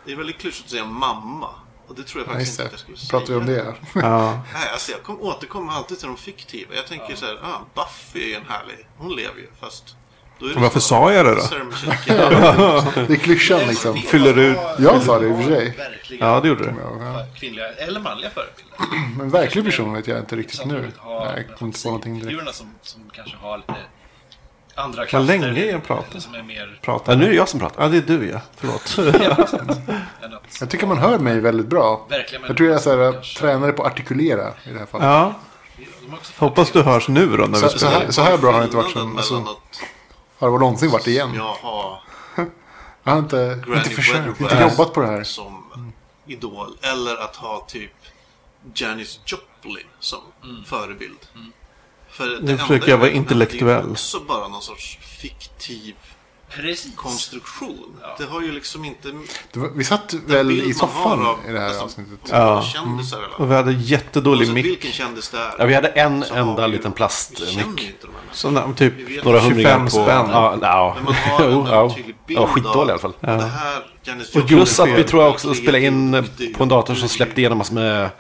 [SPEAKER 5] Det är väldigt klyschigt att säga mamma. Och det tror jag
[SPEAKER 4] Ja, just
[SPEAKER 5] faktiskt inte
[SPEAKER 4] det.
[SPEAKER 5] att jag skulle säga.
[SPEAKER 4] Pratar vi om det? här?
[SPEAKER 1] Ja.
[SPEAKER 5] Nej, alltså jag kom, återkommer alltid till de fiktiva. Jag tänker så här, ah, Buffy är en härlig. Hon lever ju, fast... Då är det
[SPEAKER 1] Varför sa jag det då?
[SPEAKER 5] Sarah Michelle Gellar.
[SPEAKER 4] Det är klyschan liksom.
[SPEAKER 1] Fyller ut.
[SPEAKER 4] Jag sa det i och för sig.
[SPEAKER 7] Verkligen
[SPEAKER 1] Ja, det gjorde du.
[SPEAKER 4] Ja, ja.
[SPEAKER 7] kvinnliga eller manliga förebilder.
[SPEAKER 4] Men verklig person vet jag inte riktigt nu.
[SPEAKER 7] Samtidigt har
[SPEAKER 4] Nej, jag kommer inte på någonting direkt.
[SPEAKER 7] Figurerna som, som kanske har lite andra krafter.
[SPEAKER 1] Vad länge jag pratar.
[SPEAKER 7] eller Som är mer
[SPEAKER 1] Pratar
[SPEAKER 2] Ja, nu är
[SPEAKER 1] nu.
[SPEAKER 2] det jag som pratar.
[SPEAKER 1] Ja, det är du ja. Förlåt.
[SPEAKER 7] än att...
[SPEAKER 4] Jag tycker man hör mig väldigt bra.
[SPEAKER 7] Verkligen, men-
[SPEAKER 4] Jag tror jag är så här, eh, tränare på att artikulera i det här fallet.
[SPEAKER 1] Ja,
[SPEAKER 7] De har också
[SPEAKER 1] hoppas du hörs nu då när vi
[SPEAKER 4] Så, så,
[SPEAKER 1] spelar in.
[SPEAKER 4] här, så här bra har det inte varit sen,
[SPEAKER 5] Skillnaden
[SPEAKER 4] alltså,
[SPEAKER 5] mellan att
[SPEAKER 4] Har det någonsin varit igen?
[SPEAKER 5] jag har
[SPEAKER 4] Jag har inte,
[SPEAKER 5] Granny
[SPEAKER 4] inte försökt, inte
[SPEAKER 5] Weatherwax.
[SPEAKER 4] jobbat på det här.
[SPEAKER 5] som
[SPEAKER 2] Mm.
[SPEAKER 5] idol eller att ha typ Janis Joplin som förebild. För det enda
[SPEAKER 1] försöker jag vara
[SPEAKER 5] vet, men Det
[SPEAKER 1] intellektuell.
[SPEAKER 5] är också bara någon sorts fiktiv
[SPEAKER 7] Precis.
[SPEAKER 5] konstruktion. Det har ju liksom inte...
[SPEAKER 4] Det var- Vi satt väl i
[SPEAKER 5] bild man har
[SPEAKER 4] soffan
[SPEAKER 5] av-
[SPEAKER 4] i det här
[SPEAKER 5] alltså,
[SPEAKER 4] avsnittet.
[SPEAKER 5] av Kändisar eller
[SPEAKER 1] Och vi hade jättedålig
[SPEAKER 5] Oavsett
[SPEAKER 1] mick.
[SPEAKER 5] vilken kändis det är.
[SPEAKER 2] Mm. Ja, vi hade en
[SPEAKER 5] så
[SPEAKER 2] enda
[SPEAKER 5] har vi-
[SPEAKER 2] liten
[SPEAKER 5] Vi känner ju
[SPEAKER 2] plastmick.
[SPEAKER 5] inte de här människorna.
[SPEAKER 1] Sån där, typ
[SPEAKER 2] Några hundringar
[SPEAKER 1] 25
[SPEAKER 2] på...
[SPEAKER 1] spänn.
[SPEAKER 2] Ja, ja.
[SPEAKER 5] Men man har
[SPEAKER 2] Jo,
[SPEAKER 5] en
[SPEAKER 2] ja.
[SPEAKER 5] väldigt tydlig bild
[SPEAKER 2] ja skitdålig i alla fall.
[SPEAKER 5] av Det här Janis
[SPEAKER 1] Och
[SPEAKER 5] Joplin.
[SPEAKER 2] Plus att vi
[SPEAKER 1] Jordfel.
[SPEAKER 2] tror jag också spelade in på en dator som släppte igenom massor med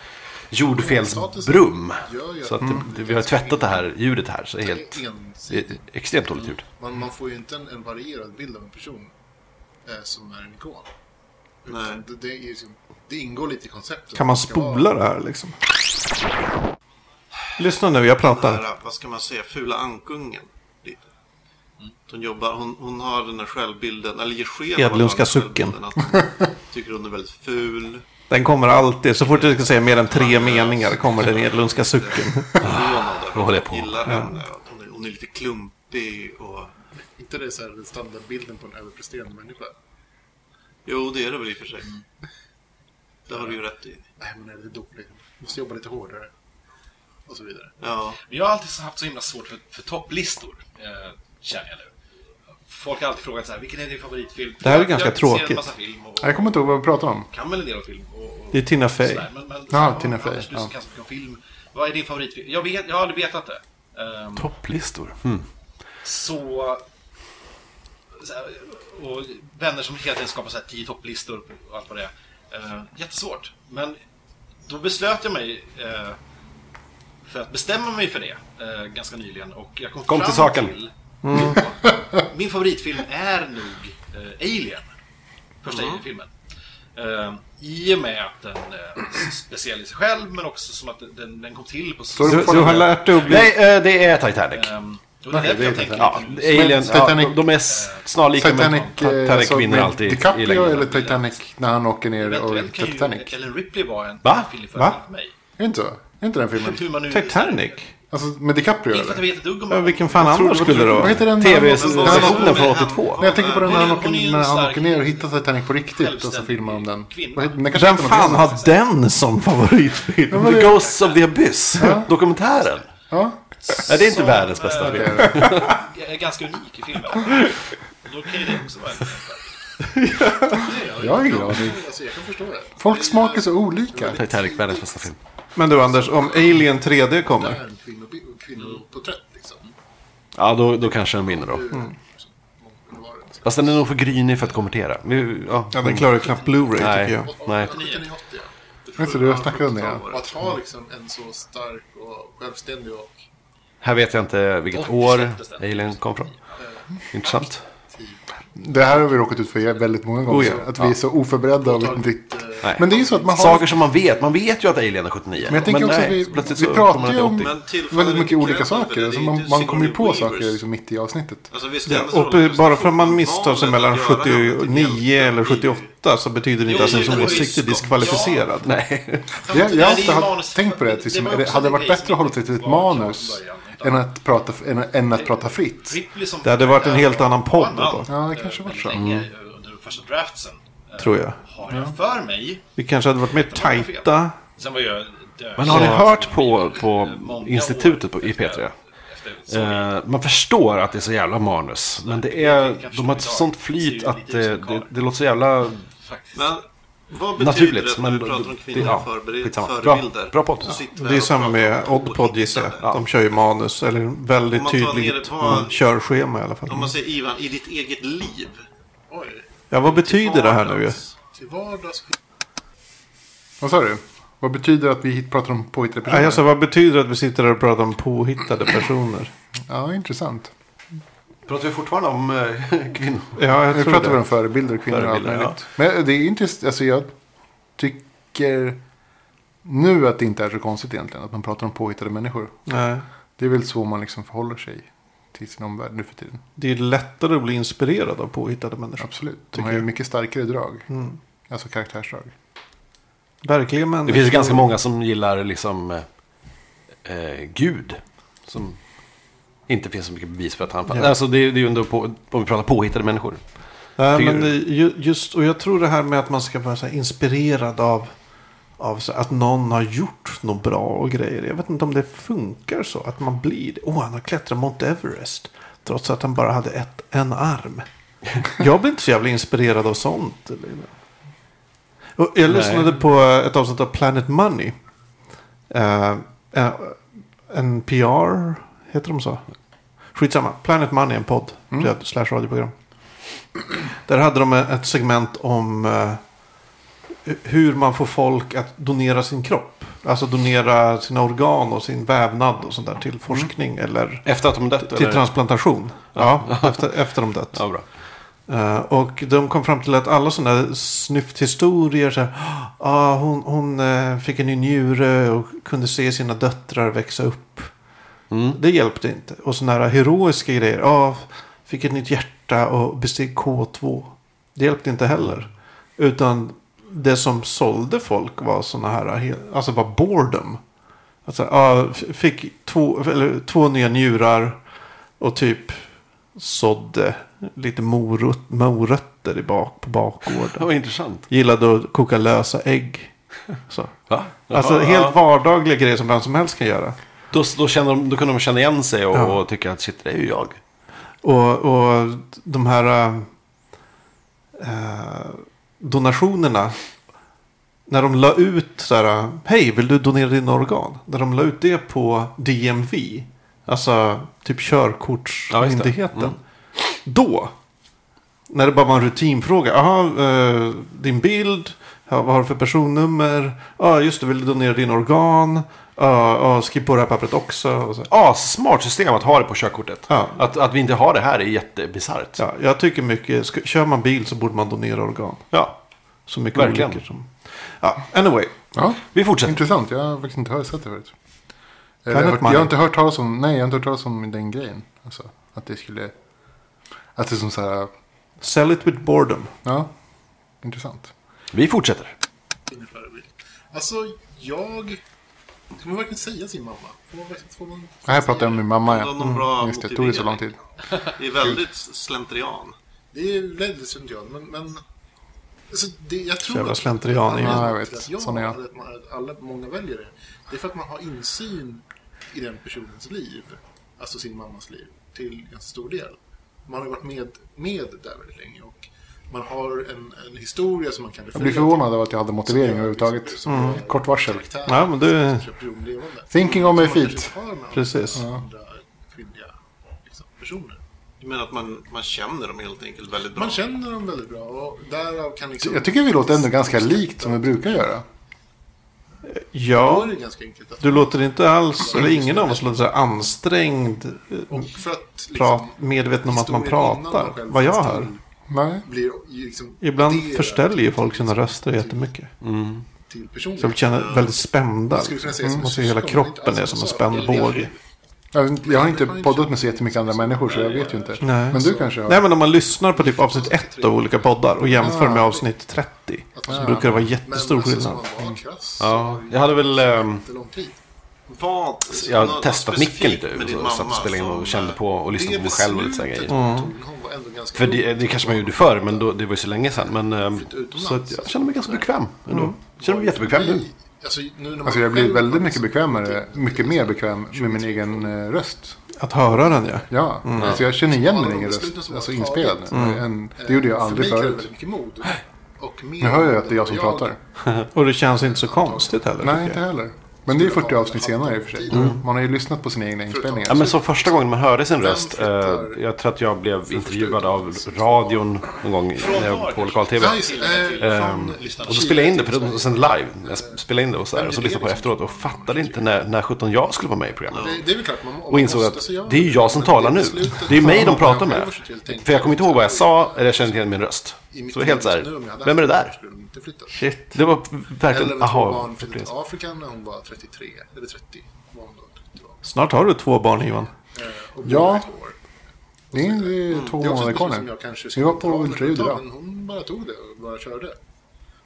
[SPEAKER 2] jordfelsbrum.
[SPEAKER 6] Gör ju
[SPEAKER 2] Så
[SPEAKER 6] att
[SPEAKER 2] att det, vi har tvättat det här ljudet här. Så det är helt...
[SPEAKER 6] en,
[SPEAKER 2] det är Extremt dåligt ljud.
[SPEAKER 6] man, man får ju inte en, en varierad bild av en person eh, som är en ikon. Utan
[SPEAKER 5] Nej.
[SPEAKER 6] Det, det, är, ju som- det ingår lite i konceptet.
[SPEAKER 1] Kan man
[SPEAKER 6] Det ska vara-
[SPEAKER 1] spola det här liksom? Lyssna nu, jag
[SPEAKER 5] den
[SPEAKER 1] pratar.
[SPEAKER 5] här, vad ska man säga, fula ankungen. Lite.
[SPEAKER 7] Mm.
[SPEAKER 5] Hon, jobbar, hon, hon har den här självbilden, eller ger sken av att ha den
[SPEAKER 1] Edlundska
[SPEAKER 5] här
[SPEAKER 1] sucken.
[SPEAKER 5] självbilden, att hon Tycker hon är väldigt ful.
[SPEAKER 1] Den kommer alltid. Så fort jag ska säga mer än tre meningar kommer den edlundska sucken.
[SPEAKER 5] Förvånad över
[SPEAKER 2] håller
[SPEAKER 5] att
[SPEAKER 2] på.
[SPEAKER 5] hon gillar
[SPEAKER 1] Mm.
[SPEAKER 5] henne. och att Hon är, hon är lite klumpig och...
[SPEAKER 6] Inte det så här, den standardbilden på en överpresterande människa.
[SPEAKER 5] Jo, det är det väl i och för
[SPEAKER 7] Mm.
[SPEAKER 5] sig. Det har du ju rätt i.
[SPEAKER 6] Nej, men är det dålig? Måste jobba lite hårdare. Och så vidare.
[SPEAKER 5] Ja,
[SPEAKER 7] Jag har alltid haft så himla svårt för, för topplistor, eh, känner jag nu. Folk har alltid frågat så här, vilken är din favoritfilm?
[SPEAKER 1] Det här är
[SPEAKER 7] Jag-
[SPEAKER 1] ganska
[SPEAKER 7] jag ser
[SPEAKER 1] tråkigt.
[SPEAKER 7] en massa film och,
[SPEAKER 4] Jag kommer inte ihåg vad vi pratade om.
[SPEAKER 7] kan väl en del om film. Och, och,
[SPEAKER 1] Det är Tina Fey.
[SPEAKER 7] sådär, Men, men,
[SPEAKER 4] Ja,
[SPEAKER 7] så-
[SPEAKER 4] Tina Fey,
[SPEAKER 7] Anders, du
[SPEAKER 4] ja.
[SPEAKER 7] som kan så mycket om film. Vad är din favoritfilm? Jag, vet, jag har aldrig vetat det. Ehm,
[SPEAKER 2] Topplistor. Mm.
[SPEAKER 7] så... Så här, och vänner som hela tiden skapar så här tio topplistor och allt vad det är. Eh, jättesvårt. Men då beslöt jag mig eh, för att bestämma mig för det eh, ganska nyligen. Och jag kom,
[SPEAKER 2] Kom
[SPEAKER 7] fram
[SPEAKER 2] till saken.
[SPEAKER 7] till- min favoritfilm är nog eh, Alien. Första Alien-filmen. Eh, I och med att den eh, är speciell i sig själv men också som att den, den kom till på så...
[SPEAKER 1] Du, du har lärt dig att bli...
[SPEAKER 2] Nej, eh, det är Titanic.
[SPEAKER 7] Ehm, och det är därför
[SPEAKER 4] det är
[SPEAKER 7] jag tänker
[SPEAKER 2] Ja,
[SPEAKER 7] lite nu.
[SPEAKER 2] Alien, ja,
[SPEAKER 4] Titanic-
[SPEAKER 2] de- de är s- snarlika
[SPEAKER 4] Titanic,
[SPEAKER 2] men
[SPEAKER 4] eh, alltså,
[SPEAKER 2] Titanic vinner
[SPEAKER 4] med
[SPEAKER 2] alltid i
[SPEAKER 4] DiCaprio
[SPEAKER 2] längden.
[SPEAKER 4] eller Titanic när han åker ner och
[SPEAKER 7] Eventuellt kan
[SPEAKER 4] Titanic?
[SPEAKER 7] ju Ellen Ripley vara en
[SPEAKER 2] Va?
[SPEAKER 7] kvinnlig
[SPEAKER 1] Va?
[SPEAKER 7] förebild för mig.
[SPEAKER 4] Är det inte så? Är inte den filmen?
[SPEAKER 7] Hur man nu...
[SPEAKER 1] Titanic?
[SPEAKER 4] Alltså med DiCaprio
[SPEAKER 7] Inte för att jag
[SPEAKER 4] eller?
[SPEAKER 7] vet ett dugg om
[SPEAKER 1] Ja,
[SPEAKER 7] henne.
[SPEAKER 1] vilken fan
[SPEAKER 2] trodde
[SPEAKER 1] annars
[SPEAKER 2] det var
[SPEAKER 1] skulle det
[SPEAKER 4] Vad
[SPEAKER 1] vara?
[SPEAKER 4] heter den?
[SPEAKER 2] Tv-sessionen
[SPEAKER 7] Men
[SPEAKER 2] från
[SPEAKER 7] han-
[SPEAKER 2] 82.
[SPEAKER 4] Nej, jag tänker på den när han
[SPEAKER 7] Hon är-
[SPEAKER 4] åker,
[SPEAKER 7] hon är ju en
[SPEAKER 4] när han
[SPEAKER 7] stark
[SPEAKER 4] åker ner och hittar Titanic på riktigt och så
[SPEAKER 7] självständig
[SPEAKER 4] filmar de den.
[SPEAKER 7] kvinna.
[SPEAKER 4] Vad heter- den kanske
[SPEAKER 1] Vem
[SPEAKER 4] heter något
[SPEAKER 1] fan
[SPEAKER 4] annat.
[SPEAKER 1] har den som favoritfilm?
[SPEAKER 2] The Ghosts of the Abyss, dokumentären.
[SPEAKER 4] Ja,
[SPEAKER 2] Nej, det är inte
[SPEAKER 7] Som,
[SPEAKER 2] världens bästa
[SPEAKER 7] eh,
[SPEAKER 2] film.
[SPEAKER 4] det är det.
[SPEAKER 7] Är ganska unik i filmen. Och Då kan ju det också vara en
[SPEAKER 4] Jag är glad.
[SPEAKER 6] Alltså, jag kan förstå det.
[SPEAKER 4] Folk smakar så olika.
[SPEAKER 2] Titanic, världens bästa film.
[SPEAKER 1] Men du Anders, om Alien 3D kommer.
[SPEAKER 6] En kvinno- kvinnoporträtt liksom.
[SPEAKER 2] Ja, då, då kanske den vinner då.
[SPEAKER 4] Mm.
[SPEAKER 6] Eller var det?
[SPEAKER 2] Fast den är nog för grynig för att kommentera. Vi- Ja,
[SPEAKER 1] Ja, den klarar ju knappt Blu-ray tycker
[SPEAKER 2] nej,
[SPEAKER 1] jag.
[SPEAKER 2] nej.
[SPEAKER 6] 1980 ja.
[SPEAKER 4] Just det, du snackade om det. ja.
[SPEAKER 6] Och att ha liksom en så stark och självständig och
[SPEAKER 2] Här vet jag inte vilket år Alien kom från. Intressant.
[SPEAKER 4] Det här har vi råkat ut för väldigt många gånger.
[SPEAKER 1] Oh ja.
[SPEAKER 4] Att vi är så oförberedda och vet inte riktigt.
[SPEAKER 2] Nej.
[SPEAKER 4] Men det är ju så att man har...
[SPEAKER 2] Saker som man vet. Man vet ju att Alien är 79.
[SPEAKER 4] Men jag tänker också
[SPEAKER 2] nej,
[SPEAKER 4] att vi,
[SPEAKER 2] plötsligt
[SPEAKER 4] vi
[SPEAKER 2] så kommer
[SPEAKER 4] pratar
[SPEAKER 2] den
[SPEAKER 4] ju
[SPEAKER 2] till
[SPEAKER 4] om
[SPEAKER 2] 80.
[SPEAKER 5] Men tillfaller
[SPEAKER 4] väldigt mycket
[SPEAKER 5] inte
[SPEAKER 4] olika
[SPEAKER 5] kläderna för
[SPEAKER 4] saker.
[SPEAKER 5] det,
[SPEAKER 4] Alltså
[SPEAKER 5] det är
[SPEAKER 4] man,
[SPEAKER 5] inte
[SPEAKER 4] man kommer ju på
[SPEAKER 5] Sigourney
[SPEAKER 4] saker
[SPEAKER 5] Weavers.
[SPEAKER 4] liksom mitt i avsnittet.
[SPEAKER 5] Alltså, visst,
[SPEAKER 1] Ja,
[SPEAKER 5] det är
[SPEAKER 1] och
[SPEAKER 5] en
[SPEAKER 1] bara för att man
[SPEAKER 5] prestation.
[SPEAKER 1] misstar sig mellan
[SPEAKER 5] Valet att göra den
[SPEAKER 1] 79 eller
[SPEAKER 5] till en-
[SPEAKER 1] 78 så betyder det inte
[SPEAKER 7] Jo,
[SPEAKER 1] att ens
[SPEAKER 7] det är
[SPEAKER 1] åsikt är
[SPEAKER 7] skott.
[SPEAKER 1] diskvalificerad.
[SPEAKER 2] Nej.
[SPEAKER 4] Jag, jag
[SPEAKER 7] Det är
[SPEAKER 4] har ofta
[SPEAKER 7] ju
[SPEAKER 4] haft-
[SPEAKER 7] manus-
[SPEAKER 4] tänkt på det. att Liksom,
[SPEAKER 7] var
[SPEAKER 4] är det
[SPEAKER 7] också
[SPEAKER 4] hade det
[SPEAKER 7] en
[SPEAKER 4] varit
[SPEAKER 7] grej
[SPEAKER 4] bättre
[SPEAKER 7] som
[SPEAKER 4] att hålla sig till ett
[SPEAKER 7] var klar från
[SPEAKER 4] manus
[SPEAKER 7] början, utan-
[SPEAKER 4] än att prata, än, än att prata fritt?
[SPEAKER 7] Ripley som...
[SPEAKER 1] Det hade varit en helt annan podd då,
[SPEAKER 4] Ja, det kanske var så. Mm.
[SPEAKER 7] Länge, under första draftsen. eh,
[SPEAKER 1] tror jag.
[SPEAKER 7] Har jag för mig.
[SPEAKER 1] Vi kanske hade varit mer tajta.
[SPEAKER 7] Sen var jag död.
[SPEAKER 2] Men har ni
[SPEAKER 7] Så-
[SPEAKER 2] hört på, på
[SPEAKER 7] Många år
[SPEAKER 2] institutet på, i P3?
[SPEAKER 7] efter- så-
[SPEAKER 2] Eh, man förstår att det är så jävla manus. Men det är, de har ett sånt flyt att det, det, det låter så jävla...
[SPEAKER 7] faktiskt.
[SPEAKER 5] Men vad betyder
[SPEAKER 2] Naturligt,
[SPEAKER 5] det
[SPEAKER 2] men
[SPEAKER 5] när vi pratar om
[SPEAKER 2] det-
[SPEAKER 5] kvinnliga
[SPEAKER 2] ja, skitsamma.
[SPEAKER 5] förbered-
[SPEAKER 2] Bra-
[SPEAKER 5] förebilder?
[SPEAKER 2] bra podd.
[SPEAKER 5] Så sitter vi
[SPEAKER 1] Det är
[SPEAKER 5] här och Mm.
[SPEAKER 1] samma med
[SPEAKER 5] pratar om
[SPEAKER 1] Oddpod gissar jag.
[SPEAKER 5] liknande.
[SPEAKER 1] De kör ju manus, eller en
[SPEAKER 5] Om
[SPEAKER 1] väldigt
[SPEAKER 5] man tar ner
[SPEAKER 1] tydligt
[SPEAKER 5] det på-
[SPEAKER 1] mm, körschema i alla fall.
[SPEAKER 5] Om man säger Ivan, i ditt eget liv. Oj.
[SPEAKER 1] Ja, vad betyder det här nu? ju?
[SPEAKER 6] till vardags
[SPEAKER 4] Vad sa du? Vad betyder att vi hit- pratar om påhittade
[SPEAKER 1] Nej,
[SPEAKER 4] personer?
[SPEAKER 1] alltså, vad betyder det att vi sitter där och pratar om påhittade personer?
[SPEAKER 4] Ja, intressant.
[SPEAKER 2] Pratar vi fortfarande om eh, kvinnor?
[SPEAKER 1] Ja, jag
[SPEAKER 4] Nu
[SPEAKER 1] tror
[SPEAKER 4] pratar vi om
[SPEAKER 1] det.
[SPEAKER 4] förebilder och kvinnor och allt
[SPEAKER 1] Förebilder,
[SPEAKER 4] möjligt. Men det är intressant. Alltså jag tycker nu att det inte är så konstigt egentligen. Att man pratar om påhittade människor.
[SPEAKER 1] Nej.
[SPEAKER 4] Det är väl så man liksom förhåller sig till sin omvärld nu för tiden.
[SPEAKER 1] Det är lättare att bli inspirerad av påhittade människor.
[SPEAKER 4] Absolut. De har ju mycket starkare drag.
[SPEAKER 1] Mm.
[SPEAKER 4] Alltså karaktärsdrag.
[SPEAKER 1] Verkligen människor.
[SPEAKER 2] Det finns ju ganska många som gillar liksom eh, eh, Gud. Som inte finns så mycket bevis för att han... Alltså det, är- det är ju ändå på, om vi pratar påhittade människor.
[SPEAKER 1] Nej,
[SPEAKER 2] Tycker
[SPEAKER 1] men
[SPEAKER 2] du?
[SPEAKER 1] det- ju- just, och jag tror det här med att man ska vara så här inspirerad av, av så att någon har gjort något bra och grejer. Jag vet inte om det funkar så. Att man blir det. Åh, han har klättrat Mount Everest. Trots att han bara hade ett, en arm. Jag blir inte så jävla inspirerad av sånt. Och jag lyssnade på ett avsnitt av Planet Money. Eh, eh, en PR, heter de så? Skitsamma, Planet Money är en podd. Mm. Slash radioprogram. Där hade de ett segment om eh, hur man får folk att donera sin kropp. Alltså donera sina organ och sin vävnad och sånt där till forskning eller
[SPEAKER 2] Efter att de dött?
[SPEAKER 1] Mm. till
[SPEAKER 2] eller?
[SPEAKER 1] transplantation. Ja, efter, efter de dött.
[SPEAKER 2] Ja, bra.
[SPEAKER 1] Eh, och de kom fram till att alla sådana där snyfthistorier, så här, ah, hon, hon eh, fick en ny njure och kunde se sina döttrar växa upp. Det hjälpte inte. Och sådana här heroiska grejer, ah, fick ett nytt hjärta och besteg K2. Det hjälpte inte heller. Utan det som sålde folk var sådana här, he- alltså var boredom. Alltså, ah, f- fick två, eller, två nya njurar och typ sådde lite morot, morötter i bak, på
[SPEAKER 2] Det
[SPEAKER 1] bakgården.
[SPEAKER 2] var intressant.
[SPEAKER 1] Gillade att koka lösa ägg. Så.
[SPEAKER 2] Va?
[SPEAKER 1] Alltså
[SPEAKER 2] Ja,
[SPEAKER 1] helt
[SPEAKER 2] ja.
[SPEAKER 1] vardagliga grejer som vem som helst kan göra.
[SPEAKER 2] Då, då, kände de, då kunde de känna igen sig och,
[SPEAKER 1] Ja.
[SPEAKER 2] och tycka att shit, det är ju jag.
[SPEAKER 1] Och, och de här eh, donationerna. När de la ut så här, hej vill du donera dina organ? När de la ut det på DMV, alltså typ körkortsmyndigheten.
[SPEAKER 2] Ja, just det. Mm.
[SPEAKER 1] Då, när det bara var en rutinfråga, jaha, eh, din bild, ja, vad har du för personnummer? Ja, just det, vill du donera dina organ? Ja, ja, skriv på det här pappret också. Och så.
[SPEAKER 2] Assmart system att ha det på körkortet.
[SPEAKER 1] Ja.
[SPEAKER 2] Att, att vi inte har det här är jättebisarrt.
[SPEAKER 1] Ja, jag tycker mycket, sk- kör man bil så borde man donera organ.
[SPEAKER 2] Ja.
[SPEAKER 1] Så mycket
[SPEAKER 2] Verkligen.
[SPEAKER 1] olyckor som... Ja, anyway.
[SPEAKER 4] Ja,
[SPEAKER 2] Vi fortsätter.
[SPEAKER 4] intressant. Jag har faktiskt inte hört sett det förut. Eller,
[SPEAKER 1] Planet
[SPEAKER 4] jag, har hört, jag
[SPEAKER 1] Money.
[SPEAKER 4] har inte hört talas om, nej, jag har inte hört talas om den grejen. Alltså, att det skulle... Att det är som så här...
[SPEAKER 1] Sell it with boredom.
[SPEAKER 4] Ja, intressant.
[SPEAKER 2] Vi fortsätter.
[SPEAKER 6] kvinnlig förebild. Alltså, jag Kan man verkligen säga sin mamma? Får man, verkligen- får man...
[SPEAKER 4] Det här pratar jag om min mamma.
[SPEAKER 5] Det var
[SPEAKER 4] Ja.
[SPEAKER 5] någon bra
[SPEAKER 4] Mm, just det, det tog ju så lång tid.
[SPEAKER 5] Det är väldigt slentrian.
[SPEAKER 6] Det är väldigt slentrian, men... men... Alltså, det, jag tror
[SPEAKER 1] Jävla
[SPEAKER 6] att-
[SPEAKER 1] slentrian igen.
[SPEAKER 6] anledningen
[SPEAKER 4] Ja, jag vet.
[SPEAKER 6] till att jag
[SPEAKER 4] Sån är jag.
[SPEAKER 6] eller att man- att Alla, många väljer det. Det är för att man har insyn i den personens liv. Alltså sin mammas liv. Till ganska stor del. Man har varit med, med där väldigt länge. Och man har en, en historia som man kan
[SPEAKER 4] Jag blir förvånad över att jag hade
[SPEAKER 5] Mm.
[SPEAKER 4] motivering överhuvudtaget.
[SPEAKER 1] Mm.
[SPEAKER 4] Kort varsel.
[SPEAKER 1] Ja, men du-
[SPEAKER 4] Thinking on my feet.
[SPEAKER 1] Precis.
[SPEAKER 6] Andra kvinnliga liksom, personer.
[SPEAKER 5] Du menar att man, man känner dem helt enkelt väldigt bra?
[SPEAKER 6] Man känner dem väldigt bra och därav kan liksom...
[SPEAKER 4] Jag tycker vi låter ändå ganska likt som vi brukar göra.
[SPEAKER 6] Då är
[SPEAKER 1] Ja,
[SPEAKER 6] det ganska enkelt. Att,
[SPEAKER 1] du låter inte alls, eller ingen av oss låter så här ansträngd, eh,
[SPEAKER 6] och för att
[SPEAKER 1] prat,
[SPEAKER 6] liksom...
[SPEAKER 1] medveten om att man
[SPEAKER 6] historien innan man
[SPEAKER 1] pratar.
[SPEAKER 6] själv
[SPEAKER 1] Vad jag
[SPEAKER 6] finns
[SPEAKER 1] hör.
[SPEAKER 6] till
[SPEAKER 4] Nej.
[SPEAKER 6] Blir ju liksom
[SPEAKER 1] Ibland
[SPEAKER 6] del
[SPEAKER 1] förställer ju folk sina röster jättemycket.
[SPEAKER 6] Till personen.
[SPEAKER 1] Så de känner väldigt spända.
[SPEAKER 6] Mm. Jag skulle kunna säga som
[SPEAKER 1] Man ser
[SPEAKER 6] ett
[SPEAKER 1] hela
[SPEAKER 6] syskon, Alltså,
[SPEAKER 1] kroppen
[SPEAKER 6] inte
[SPEAKER 1] är
[SPEAKER 6] alls
[SPEAKER 1] som
[SPEAKER 6] som
[SPEAKER 1] en
[SPEAKER 6] sak.
[SPEAKER 1] spänd
[SPEAKER 6] Eller-
[SPEAKER 1] båge.
[SPEAKER 4] Jag jag har inte poddat med så jättemycket andra människor så jag vet ju inte.
[SPEAKER 1] Nej.
[SPEAKER 4] Men du kanske har?
[SPEAKER 1] Nej men om man lyssnar på typ avsnitt 1 av olika poddar och jämför med avsnitt 30. Så brukar det vara
[SPEAKER 6] Men
[SPEAKER 1] jättestor
[SPEAKER 6] alltså,
[SPEAKER 1] skillnad. Mm.
[SPEAKER 6] som man var krass.
[SPEAKER 2] Ja, jag hade väl... ehm,
[SPEAKER 6] Inte lång tid.
[SPEAKER 5] Vad?
[SPEAKER 2] jag
[SPEAKER 5] något-
[SPEAKER 2] har
[SPEAKER 5] något
[SPEAKER 2] testat micken
[SPEAKER 5] specifikt
[SPEAKER 2] lite
[SPEAKER 5] med din
[SPEAKER 2] så, så att
[SPEAKER 5] mamma
[SPEAKER 2] spela in
[SPEAKER 5] som- eh,
[SPEAKER 2] och kände på och lyssnade på mig själv och lite sådana grejer.
[SPEAKER 1] Mm.
[SPEAKER 6] beslutet hon var ändå ganska
[SPEAKER 2] För det, det kanske man gjorde förr, men då, det var ju så länge sedan. Men, ehm,
[SPEAKER 6] utomlands.
[SPEAKER 2] så att jag känner mig ganska bekväm ändå. Jag känner mig jättebekväm nu.
[SPEAKER 6] Alltså, nu när man
[SPEAKER 4] Alltså jag blir
[SPEAKER 6] själv-
[SPEAKER 4] väldigt mycket bekvämare, mycket mer bekväm med min egen eh, röst.
[SPEAKER 1] Att höra den ja.
[SPEAKER 4] Ja,
[SPEAKER 6] Mm.
[SPEAKER 4] alltså jag känner igen min egen
[SPEAKER 6] Besluten
[SPEAKER 4] röst.
[SPEAKER 6] som
[SPEAKER 4] Alltså
[SPEAKER 6] har
[SPEAKER 4] inspelad nu.
[SPEAKER 6] Mm.
[SPEAKER 1] Mm.
[SPEAKER 4] En- Det gjorde jag aldrig
[SPEAKER 6] eh, för mig kräver
[SPEAKER 4] förut.
[SPEAKER 6] väldigt mycket mod. Och mer
[SPEAKER 4] Nu hör jag
[SPEAKER 6] mod
[SPEAKER 4] att det är jag som
[SPEAKER 6] än vad
[SPEAKER 4] pratar.
[SPEAKER 1] Och det känns inte så konstigt heller.
[SPEAKER 4] Nej,
[SPEAKER 1] tycker
[SPEAKER 4] inte
[SPEAKER 1] jag.
[SPEAKER 4] heller. Men det är 40 avsnitt senare i och för sig. Man har ju lyssnat på sina egna inspelningar.
[SPEAKER 2] Ja, men som första gången man hörde sin röst. Eh,
[SPEAKER 6] flyttar-
[SPEAKER 2] jag tror att jag blev intervjuad av radion någon gång när jag var på lokal-tv.
[SPEAKER 6] Nice, eh,
[SPEAKER 2] Ehm, och då spelade jag in det, för de sände live. Jag spelade in det och så, här, och så lyssnade jag på det efteråt och fattade inte när, när 17 jag skulle vara med i programmet.
[SPEAKER 6] liksom- det- det är väl klart, man,
[SPEAKER 2] Och insåg att det är ju jag som talar nu. Det är ju mig de pratar med. För jag kommer inte ihåg vad jag sa, eller jag kände inte igen min röst. Så det var helt så här, vem är det där?
[SPEAKER 1] Shit.
[SPEAKER 2] Det var
[SPEAKER 6] Eller
[SPEAKER 2] verkligen,
[SPEAKER 6] med två
[SPEAKER 2] aha.
[SPEAKER 6] barn flyttade till Afrika när hon var 33, eller 30. Var hon då, 30 var.
[SPEAKER 1] Snart har du två barn Ivan.
[SPEAKER 6] Och
[SPEAKER 4] Ja.
[SPEAKER 6] båda två år.
[SPEAKER 4] Det är det är två
[SPEAKER 6] Mm. Det är också
[SPEAKER 4] månader
[SPEAKER 6] ett
[SPEAKER 4] kvar
[SPEAKER 6] beslut som
[SPEAKER 4] nu.
[SPEAKER 6] jag kanske
[SPEAKER 4] Vi
[SPEAKER 6] skulle
[SPEAKER 4] var på
[SPEAKER 6] ta när jag
[SPEAKER 4] Ultraljudet
[SPEAKER 6] var
[SPEAKER 4] idag.
[SPEAKER 6] Men hon bara tog det och bara körde.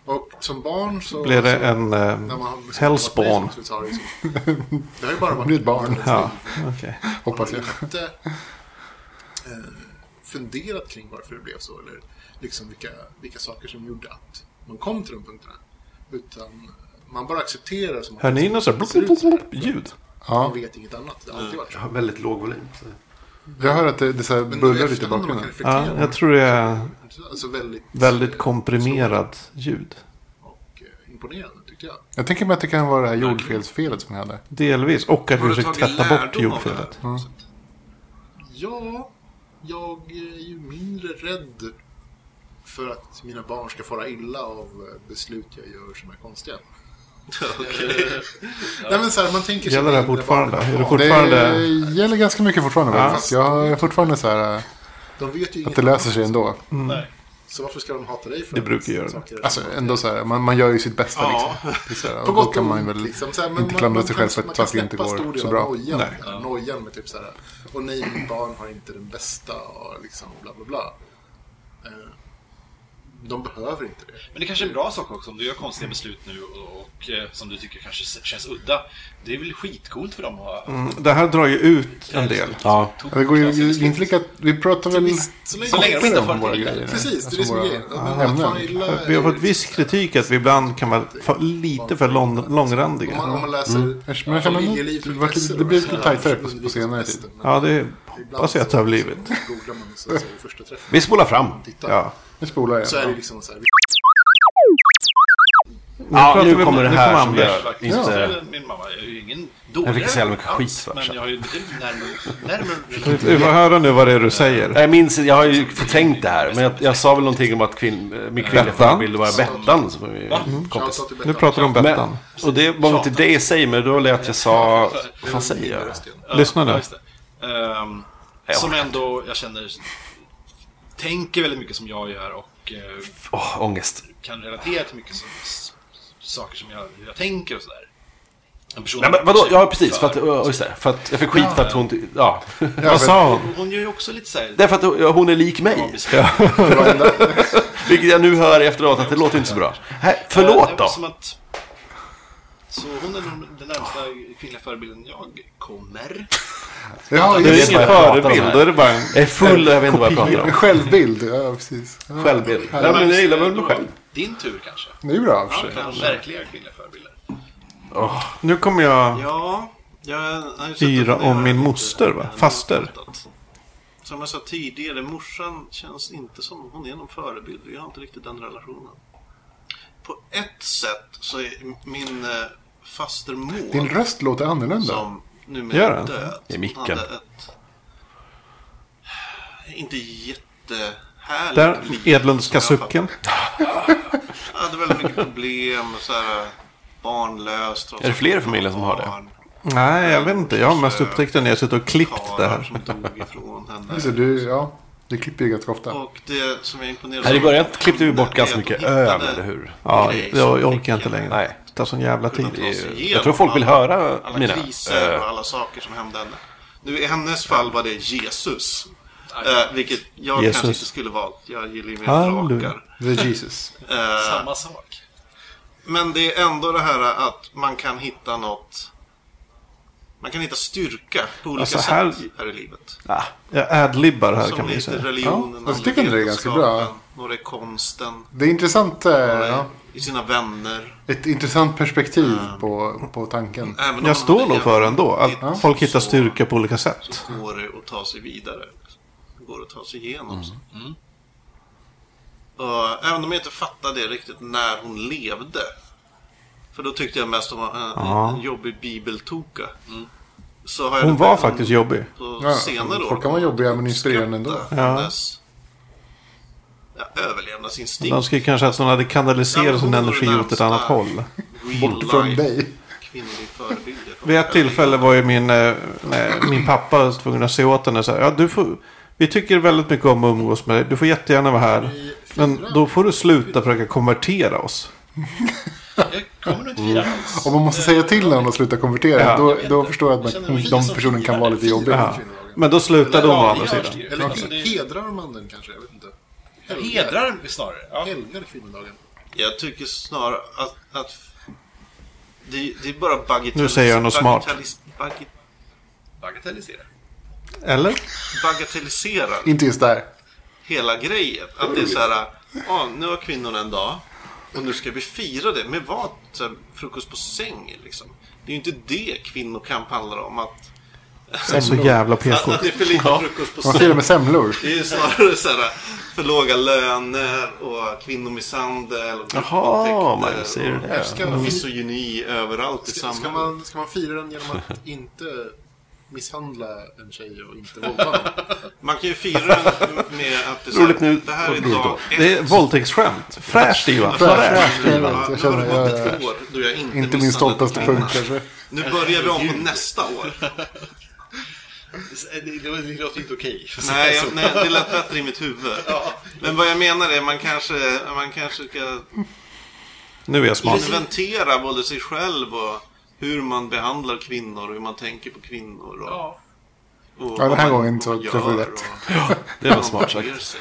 [SPEAKER 6] Och som barn så...
[SPEAKER 1] Blir det
[SPEAKER 6] så-
[SPEAKER 1] en
[SPEAKER 6] Alltså, när man har-
[SPEAKER 1] eh, hellspawn?
[SPEAKER 6] Så har det liksom- Det har ju bara varit...
[SPEAKER 4] blir ett barn.
[SPEAKER 1] Ja, okej.
[SPEAKER 4] Hoppas jag.
[SPEAKER 6] inte eh, funderat kring varför det blev så eller liksom vilka, vilka saker som gjorde att man kom till de punkterna. Utan man bara accepterar som att
[SPEAKER 1] Hör ni något så här blop, blop, blop, ljud?
[SPEAKER 4] Ja.
[SPEAKER 6] man vet inget annat. Det har alltid varit så.
[SPEAKER 2] Väldigt låg volym.
[SPEAKER 4] Jag hör att det, det så här
[SPEAKER 6] Men
[SPEAKER 4] bullrar lite i
[SPEAKER 6] efterhand när man
[SPEAKER 4] bakgrunden.
[SPEAKER 6] kan
[SPEAKER 1] Ja,
[SPEAKER 6] reflektera.
[SPEAKER 1] jag tror det är
[SPEAKER 6] Alltså väldigt,
[SPEAKER 1] väldigt komprimerat ljud.
[SPEAKER 6] och, eh, imponerande tyckte jag.
[SPEAKER 4] Jag tänker mig att det kan vara det
[SPEAKER 6] Mm.
[SPEAKER 4] här jordfelsfelet som jag hade.
[SPEAKER 1] Delvis. Och att vi
[SPEAKER 5] Har du
[SPEAKER 1] försöker
[SPEAKER 5] tagit
[SPEAKER 1] tvätta bort
[SPEAKER 5] lärdom av det
[SPEAKER 1] jordfelet.
[SPEAKER 5] här? på något sätt?
[SPEAKER 6] Ja, jag är ju mindre rädd för att mina barn ska fara illa av eh, beslut jag gör som är konstiga. Nej men så här, man tänker sig...
[SPEAKER 1] Gäller det här
[SPEAKER 6] mindre
[SPEAKER 1] fortfarande?
[SPEAKER 6] barn.
[SPEAKER 1] Är det
[SPEAKER 4] Det
[SPEAKER 1] fortfarande...
[SPEAKER 4] gäller ganska mycket fortfarande
[SPEAKER 1] Ja.
[SPEAKER 4] faktiskt. Jag är fortfarande så här äh,
[SPEAKER 6] De vet ju
[SPEAKER 4] att
[SPEAKER 6] inget
[SPEAKER 4] det löser
[SPEAKER 6] annat.
[SPEAKER 4] sig ändå.
[SPEAKER 6] Mm.
[SPEAKER 7] Nej.
[SPEAKER 6] Så varför ska de hata dig för
[SPEAKER 1] Det
[SPEAKER 6] att
[SPEAKER 1] brukar göra
[SPEAKER 6] saker är
[SPEAKER 4] Alltså
[SPEAKER 6] så?
[SPEAKER 4] ändå så här, man, man gör ju sitt bästa
[SPEAKER 5] Ja.
[SPEAKER 4] liksom. Det är så här,
[SPEAKER 6] På
[SPEAKER 4] och
[SPEAKER 6] gott
[SPEAKER 4] då
[SPEAKER 6] och
[SPEAKER 4] kan man
[SPEAKER 6] ont,
[SPEAKER 4] väl
[SPEAKER 6] liksom, så här, men
[SPEAKER 4] inte klandra
[SPEAKER 6] man-
[SPEAKER 4] sig
[SPEAKER 6] man
[SPEAKER 4] själv för
[SPEAKER 6] kan-
[SPEAKER 4] att saken inte
[SPEAKER 6] Man kan släppa
[SPEAKER 4] går så
[SPEAKER 6] stor del av
[SPEAKER 4] bra.
[SPEAKER 6] nojan, eller nojan med typ så här, och nej, mitt barn har inte den bästa och liksom bla bla bla. Eh, De behöver inte det.
[SPEAKER 7] Men det kanske är en bra sak också om du gör konstiga beslut nu och, och eh, som du tycker kanske s- känns udda. Det är väl skitcoolt för dem att ha
[SPEAKER 1] Mm, Det här drar ju ut en del.
[SPEAKER 2] Ja,
[SPEAKER 4] Ja, Det går ju det är inte lika... Vi pratar väl
[SPEAKER 6] Visst, så länge- så länge de
[SPEAKER 4] kortare
[SPEAKER 6] inte
[SPEAKER 4] om
[SPEAKER 6] har
[SPEAKER 4] våra
[SPEAKER 6] varit illa.
[SPEAKER 4] grejer. nu.
[SPEAKER 6] Precis, det
[SPEAKER 4] Alltså
[SPEAKER 6] är det som är
[SPEAKER 4] våra
[SPEAKER 6] grejen. Att- att
[SPEAKER 4] ämnen.
[SPEAKER 6] fara illa är-
[SPEAKER 1] Vi har fått viss kritik att vi ibland kan vara för lite för lång,
[SPEAKER 6] Om man, om
[SPEAKER 1] långrandiga.
[SPEAKER 6] man läser
[SPEAKER 4] Mm. Äsch, men jag känner nog-
[SPEAKER 6] familjeliv för
[SPEAKER 4] det vart lite-
[SPEAKER 6] intressen
[SPEAKER 4] det blev
[SPEAKER 6] och
[SPEAKER 4] lite
[SPEAKER 6] så här,
[SPEAKER 4] tajtare på- på
[SPEAKER 6] undviker
[SPEAKER 4] senare
[SPEAKER 6] semester,
[SPEAKER 4] tid.
[SPEAKER 6] men
[SPEAKER 1] Ja, det
[SPEAKER 6] ibland
[SPEAKER 1] hoppas jag att det har
[SPEAKER 6] så- liksom
[SPEAKER 1] blivit.
[SPEAKER 6] så Googlar man så säger första träffen.
[SPEAKER 2] vi spolar fram.
[SPEAKER 6] Titta.
[SPEAKER 1] Ja.
[SPEAKER 4] Nu spolar jag.
[SPEAKER 6] Så är det liksom så här.
[SPEAKER 2] Ja,
[SPEAKER 1] pratar vi-
[SPEAKER 2] nu kommer det
[SPEAKER 1] nu
[SPEAKER 2] här
[SPEAKER 1] kommer
[SPEAKER 2] som
[SPEAKER 1] Anders.
[SPEAKER 2] jag
[SPEAKER 7] Eller
[SPEAKER 2] inte...
[SPEAKER 7] Min mamma jag är ju ingen dålig.
[SPEAKER 2] Jag fick så jävla mycket
[SPEAKER 7] alls,
[SPEAKER 2] skit för
[SPEAKER 7] Men
[SPEAKER 2] sig.
[SPEAKER 7] jag har ju betydligt närmare... närmare
[SPEAKER 1] Vi får höra nu vad det är du säger.
[SPEAKER 2] Jag minns, jag har ju förträngt det här, men jag, jag sa väl någonting om att kvinn, eh, min kvinnliga
[SPEAKER 1] Bettan.
[SPEAKER 2] förebild var Bettan, som var min kompis.
[SPEAKER 6] Shoutout
[SPEAKER 1] Nu
[SPEAKER 6] till Bettan.
[SPEAKER 1] pratar du om Bettan.
[SPEAKER 2] Men, och det var väl inte det i sig, men det var väl det att jag sa... Vad fan säger jag?
[SPEAKER 1] Lyssna nu.
[SPEAKER 7] Ja, just det. Ehm, som ändå, jag känner, tänker väldigt mycket som jag gör och eh,
[SPEAKER 2] Åh, ångest.
[SPEAKER 7] kan relatera till mycket som, s- saker som jag, hur jag tänker och sådär. En person
[SPEAKER 2] Nej, men vadå? Ja, precis. För att, ja, just det, för att jag fick skit för att hon... inte- Ja.
[SPEAKER 1] Vad sa hon?
[SPEAKER 7] Hon gör ju också lite såhär...
[SPEAKER 2] Därför att hon är lik mig. Vilket jag nu hör efteråt att det låter inte så bra. Här, förlåt då.
[SPEAKER 7] Som att, Så hon är nog den närmsta kvinnliga
[SPEAKER 2] Mm.
[SPEAKER 7] förebilden jag kommer.
[SPEAKER 4] Ja,
[SPEAKER 2] Det är
[SPEAKER 4] just
[SPEAKER 2] ingen
[SPEAKER 4] det.
[SPEAKER 2] förebild, då är det bara en... Jag är full, jag vet inte vad jag pratar om.
[SPEAKER 4] Självbild, ja precis. Ja.
[SPEAKER 2] Självbild. Nej, men jag gillar väl mig själv.
[SPEAKER 7] Din tur kanske?
[SPEAKER 4] Det är ju bra i och för
[SPEAKER 7] Ja,
[SPEAKER 4] sig.
[SPEAKER 7] kanske. Verkliga kvinnliga förebilder.
[SPEAKER 1] Nu kommer jag...
[SPEAKER 5] Ja, jag har ju suttit och
[SPEAKER 1] Yra
[SPEAKER 5] funderat
[SPEAKER 1] om min
[SPEAKER 5] lite.
[SPEAKER 1] moster, va? Faster.
[SPEAKER 5] Som jag sa tidigare, morsan känns inte som hon är någon förebild. Vi har inte riktigt den relationen. På ett sätt så är min eh, fastermor
[SPEAKER 4] Din röst låter annorlunda.
[SPEAKER 5] som
[SPEAKER 1] Gör
[SPEAKER 5] numera är
[SPEAKER 1] den?
[SPEAKER 5] död.
[SPEAKER 2] I micken.
[SPEAKER 5] Hon hade ett... Inte jättehärligt
[SPEAKER 1] Där,
[SPEAKER 5] liv,
[SPEAKER 1] Edlundska
[SPEAKER 5] som jag fattar.
[SPEAKER 1] sucken.
[SPEAKER 5] Jag hade väldigt mycket problem. Så här, barnlöst.
[SPEAKER 2] Är det fler i familjen som har det?
[SPEAKER 1] Nej, jag vet inte. Jag har mest upptäckt det när jag suttit och klippt det
[SPEAKER 5] Karlar
[SPEAKER 1] här.
[SPEAKER 5] som dog ifrån henne.
[SPEAKER 4] Alltså, du, ja, du klipper ju ganska ofta.
[SPEAKER 5] Och det som jag imponerade
[SPEAKER 2] Här i
[SPEAKER 5] av
[SPEAKER 2] början klippte vi
[SPEAKER 5] henne
[SPEAKER 2] bort ganska
[SPEAKER 5] är att hon
[SPEAKER 2] mycket
[SPEAKER 5] hittade
[SPEAKER 2] öl, eller hur?
[SPEAKER 1] Ja,
[SPEAKER 5] grejer som
[SPEAKER 1] jag, jag
[SPEAKER 5] fick
[SPEAKER 1] orkar inte
[SPEAKER 5] henne
[SPEAKER 1] längre.
[SPEAKER 2] Nej.
[SPEAKER 1] Det tar sån jävla tid.
[SPEAKER 5] att ta sig
[SPEAKER 2] Jag
[SPEAKER 5] igenom
[SPEAKER 2] tror folk vill
[SPEAKER 5] alla-
[SPEAKER 2] höra
[SPEAKER 5] alla
[SPEAKER 2] mina,
[SPEAKER 5] kriser
[SPEAKER 2] eh,
[SPEAKER 5] och alla saker som hände henne. Nu i hennes fall var det Jesus. Eh, vilket jag
[SPEAKER 1] Jesus.
[SPEAKER 5] kanske inte skulle valt. Jag gillar ju mer
[SPEAKER 1] Halleluja.
[SPEAKER 5] drakar.
[SPEAKER 4] The Jesus.
[SPEAKER 5] Eh,
[SPEAKER 7] Samma sak.
[SPEAKER 5] Men det är ändå det här att man kan hitta något. Man kan hitta styrka på olika
[SPEAKER 1] Alltså, här-
[SPEAKER 5] sätt här i livet.
[SPEAKER 1] Ah, jag adlibbar här
[SPEAKER 5] Som
[SPEAKER 1] kan man ju
[SPEAKER 5] lite
[SPEAKER 1] säga.
[SPEAKER 5] religionen,
[SPEAKER 4] Ja, Alltså, jag tycker ändå det är ganska bra.
[SPEAKER 5] vetenskapen, Några är konsten,
[SPEAKER 4] Det är intressant, eh,
[SPEAKER 5] några är
[SPEAKER 4] ja,
[SPEAKER 5] i sina vänner.
[SPEAKER 4] ett intressant perspektiv på, på tanken.
[SPEAKER 5] Även om
[SPEAKER 1] Jag står
[SPEAKER 5] man
[SPEAKER 1] nog för ändå att
[SPEAKER 5] Ja.
[SPEAKER 1] folk hittar
[SPEAKER 5] Så-
[SPEAKER 1] styrka på olika sätt.
[SPEAKER 5] Så går det att ta sig vidare. Det går att ta sig
[SPEAKER 1] Mm.
[SPEAKER 5] igenom. så.
[SPEAKER 4] Mm.
[SPEAKER 5] Och även om jag inte fattade det riktigt när hon levde. För då tyckte jag mest om eh, en,
[SPEAKER 1] Ja.
[SPEAKER 5] en jobbig bibeltoka. Så har jag
[SPEAKER 1] Hon
[SPEAKER 5] nog-
[SPEAKER 1] var faktiskt jobbig.
[SPEAKER 5] på
[SPEAKER 4] Mm. Ja,
[SPEAKER 5] senare år.
[SPEAKER 4] folk kan vara jobbiga men inspirerande ändå.
[SPEAKER 5] Uppskatta
[SPEAKER 1] Ja.
[SPEAKER 5] hennes, Ja, överlevnadsinstinkt.
[SPEAKER 1] De skulle kanske att hon hade kanaliserat sin
[SPEAKER 5] Ja, hon
[SPEAKER 1] energi
[SPEAKER 5] är
[SPEAKER 1] åt ett
[SPEAKER 5] närmsta
[SPEAKER 1] annat håll.
[SPEAKER 5] Real
[SPEAKER 4] Bort från
[SPEAKER 5] life
[SPEAKER 4] dig.
[SPEAKER 5] Kvinnlig förebild. Jag tror
[SPEAKER 1] Vid
[SPEAKER 5] jag
[SPEAKER 1] ett tillfälle var ju min, eh, när min pappa tvungen att se åt henne så här, ja du får, vi tycker väldigt mycket om att umgås med dig, du får jättegärna vara här. Men då får du sluta försöka konvertera oss.
[SPEAKER 7] Jag kommer nog inte fira alls.
[SPEAKER 4] Om man måste säga till när de slutar konvertera,
[SPEAKER 1] Ja.
[SPEAKER 4] då, då förstår jag att
[SPEAKER 7] Jag
[SPEAKER 4] man,
[SPEAKER 7] känner mig
[SPEAKER 4] de
[SPEAKER 7] som
[SPEAKER 4] personerna kan
[SPEAKER 7] firare.
[SPEAKER 4] vara lite jobbiga.
[SPEAKER 1] Ja. Men då slutade hon å andra
[SPEAKER 7] Ja, det
[SPEAKER 1] sidan.
[SPEAKER 7] görs det ju.
[SPEAKER 6] Eller liksom
[SPEAKER 7] Alltså, det är-
[SPEAKER 6] hedrar man den kanske? Jag vet inte.
[SPEAKER 7] Hedrar vi snarare. Ja.
[SPEAKER 6] Helgar kvinnodagen.
[SPEAKER 5] Jag tycker snarare att, att det, det är bara bagatellis...
[SPEAKER 1] Nu säger jag något smart.
[SPEAKER 5] bagatellis- bagatellis-
[SPEAKER 7] Bagatellisera.
[SPEAKER 1] Eller?
[SPEAKER 5] bagatelliserar
[SPEAKER 4] Inte just där.
[SPEAKER 5] hela grejen. Att det är så här, ja nu har kvinnorna en dag och nu ska vi fira det med vad? Så här, Frukost på säng liksom. Det är ju inte det kvinnokamp handlar om. Att,
[SPEAKER 1] Så jävla PK.
[SPEAKER 5] att det är för lite frukost på
[SPEAKER 4] Man
[SPEAKER 5] säng.
[SPEAKER 4] firar med semlor.
[SPEAKER 5] Det är ju snarare så här, för låga löner och kvinnomisshandel. Och
[SPEAKER 2] Jaha,
[SPEAKER 5] gruppvåldtäkter
[SPEAKER 2] man ser det.
[SPEAKER 5] och
[SPEAKER 6] Ska,
[SPEAKER 5] Misogyni överallt i
[SPEAKER 6] Mm. ska, ska,
[SPEAKER 5] samhället.
[SPEAKER 6] man, ska man fira den genom att inte misshandla en tjej och inte våldta dem?
[SPEAKER 5] Man kan ju fira den med att det, är så här,
[SPEAKER 2] Roligt nu.
[SPEAKER 5] det här är dag ett.
[SPEAKER 1] Det är våldtäktsskämt. Fräscht Ivan.
[SPEAKER 4] Fräscht.
[SPEAKER 5] Nu
[SPEAKER 4] Jag
[SPEAKER 5] har
[SPEAKER 4] känner,
[SPEAKER 5] det gått
[SPEAKER 4] jag,
[SPEAKER 5] ett år då jag inte,
[SPEAKER 4] inte min
[SPEAKER 5] misshandlat
[SPEAKER 4] stoltaste
[SPEAKER 5] kvinnorna.
[SPEAKER 4] punkt kanske.
[SPEAKER 5] Nu börjar vi om på nästa år.
[SPEAKER 7] Det, Eh, det, det låter inte okej.
[SPEAKER 6] Alltså,
[SPEAKER 5] Nej, jag, nej det lät bättre i mitt huvud. Men vad jag menar är man kanske, man kanske ska
[SPEAKER 1] Nu är jag smart.
[SPEAKER 5] inventera både sig själv och hur man behandlar kvinnor och hur man tänker på kvinnor. Och,
[SPEAKER 7] Ja.
[SPEAKER 5] och
[SPEAKER 4] Ja, den här
[SPEAKER 5] vad man-
[SPEAKER 4] gången så
[SPEAKER 5] vad man
[SPEAKER 4] träffar vi
[SPEAKER 5] gör
[SPEAKER 4] rätt.
[SPEAKER 5] och
[SPEAKER 2] Det var
[SPEAKER 5] hur man
[SPEAKER 2] smart sagt.
[SPEAKER 5] beter sig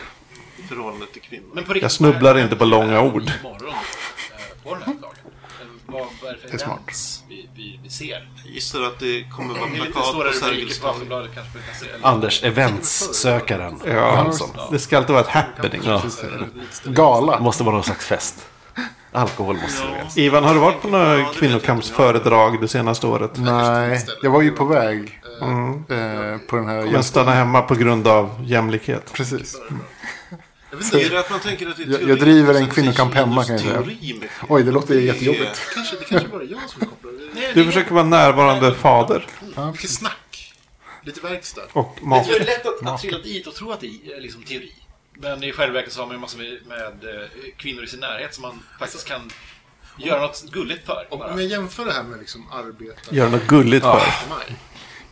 [SPEAKER 5] I förhållande till kvinnor.
[SPEAKER 7] Men på riktigt,
[SPEAKER 1] Jag snubblar
[SPEAKER 7] vad är-
[SPEAKER 1] inte på långa ord.
[SPEAKER 7] Imorgon, eh, på den här dagen. Eh, Vad, vad är det för
[SPEAKER 4] är smart.
[SPEAKER 7] events vi, vi, vi ser?
[SPEAKER 5] Jag gissar att det kommer vara
[SPEAKER 7] Det är lite
[SPEAKER 5] plakat
[SPEAKER 7] stora
[SPEAKER 5] på
[SPEAKER 7] rubriker
[SPEAKER 5] Sergels
[SPEAKER 7] på
[SPEAKER 5] torg.
[SPEAKER 7] Aftonbladet kanske vi kan se. Eller,
[SPEAKER 2] Anders, eventssökaren.
[SPEAKER 1] Ja, alltså.
[SPEAKER 2] Hansson.
[SPEAKER 1] det ska alltid vara ett happening.
[SPEAKER 2] Det
[SPEAKER 4] Gala.
[SPEAKER 2] måste vara någon slags fest. Alkohol måste det vara.
[SPEAKER 1] Ivan, har du varit på
[SPEAKER 5] Ja, det
[SPEAKER 1] några
[SPEAKER 5] vet jag
[SPEAKER 1] kvinnokampsföredrag det senaste året?
[SPEAKER 4] Nej, jag var ju på väg eh, på den här...
[SPEAKER 1] Men stanna hemma på grund av jämlikhet.
[SPEAKER 4] Precis.
[SPEAKER 6] Jag vet
[SPEAKER 5] Det är
[SPEAKER 6] inte,
[SPEAKER 5] det att man tänker att det är
[SPEAKER 4] Jag- jag
[SPEAKER 5] teori,
[SPEAKER 4] driver en
[SPEAKER 5] sen
[SPEAKER 4] kvinnokamp
[SPEAKER 5] finns det
[SPEAKER 4] hemma, kan jag säga.
[SPEAKER 5] teori med kvinnor.
[SPEAKER 4] Oj, det låter ju jättejobbigt.
[SPEAKER 5] Det är-
[SPEAKER 6] kanske, det kanske bara är jag som kopplar. Det är
[SPEAKER 1] Du försöker vara närvarande fader
[SPEAKER 6] mycket snack. Lite verkstad.
[SPEAKER 1] och
[SPEAKER 7] det är
[SPEAKER 1] make.
[SPEAKER 7] ju lätt att, att trilla dit och tro att det är liksom teori. Men i själva verket så har man ju massor med, med eh, kvinnor i sin närhet som man faktiskt kan göra något gulligt för.
[SPEAKER 6] Om
[SPEAKER 7] Bara.
[SPEAKER 6] jag jämför det här med liksom arbetare
[SPEAKER 1] Gör något gulligt för.
[SPEAKER 6] i maj.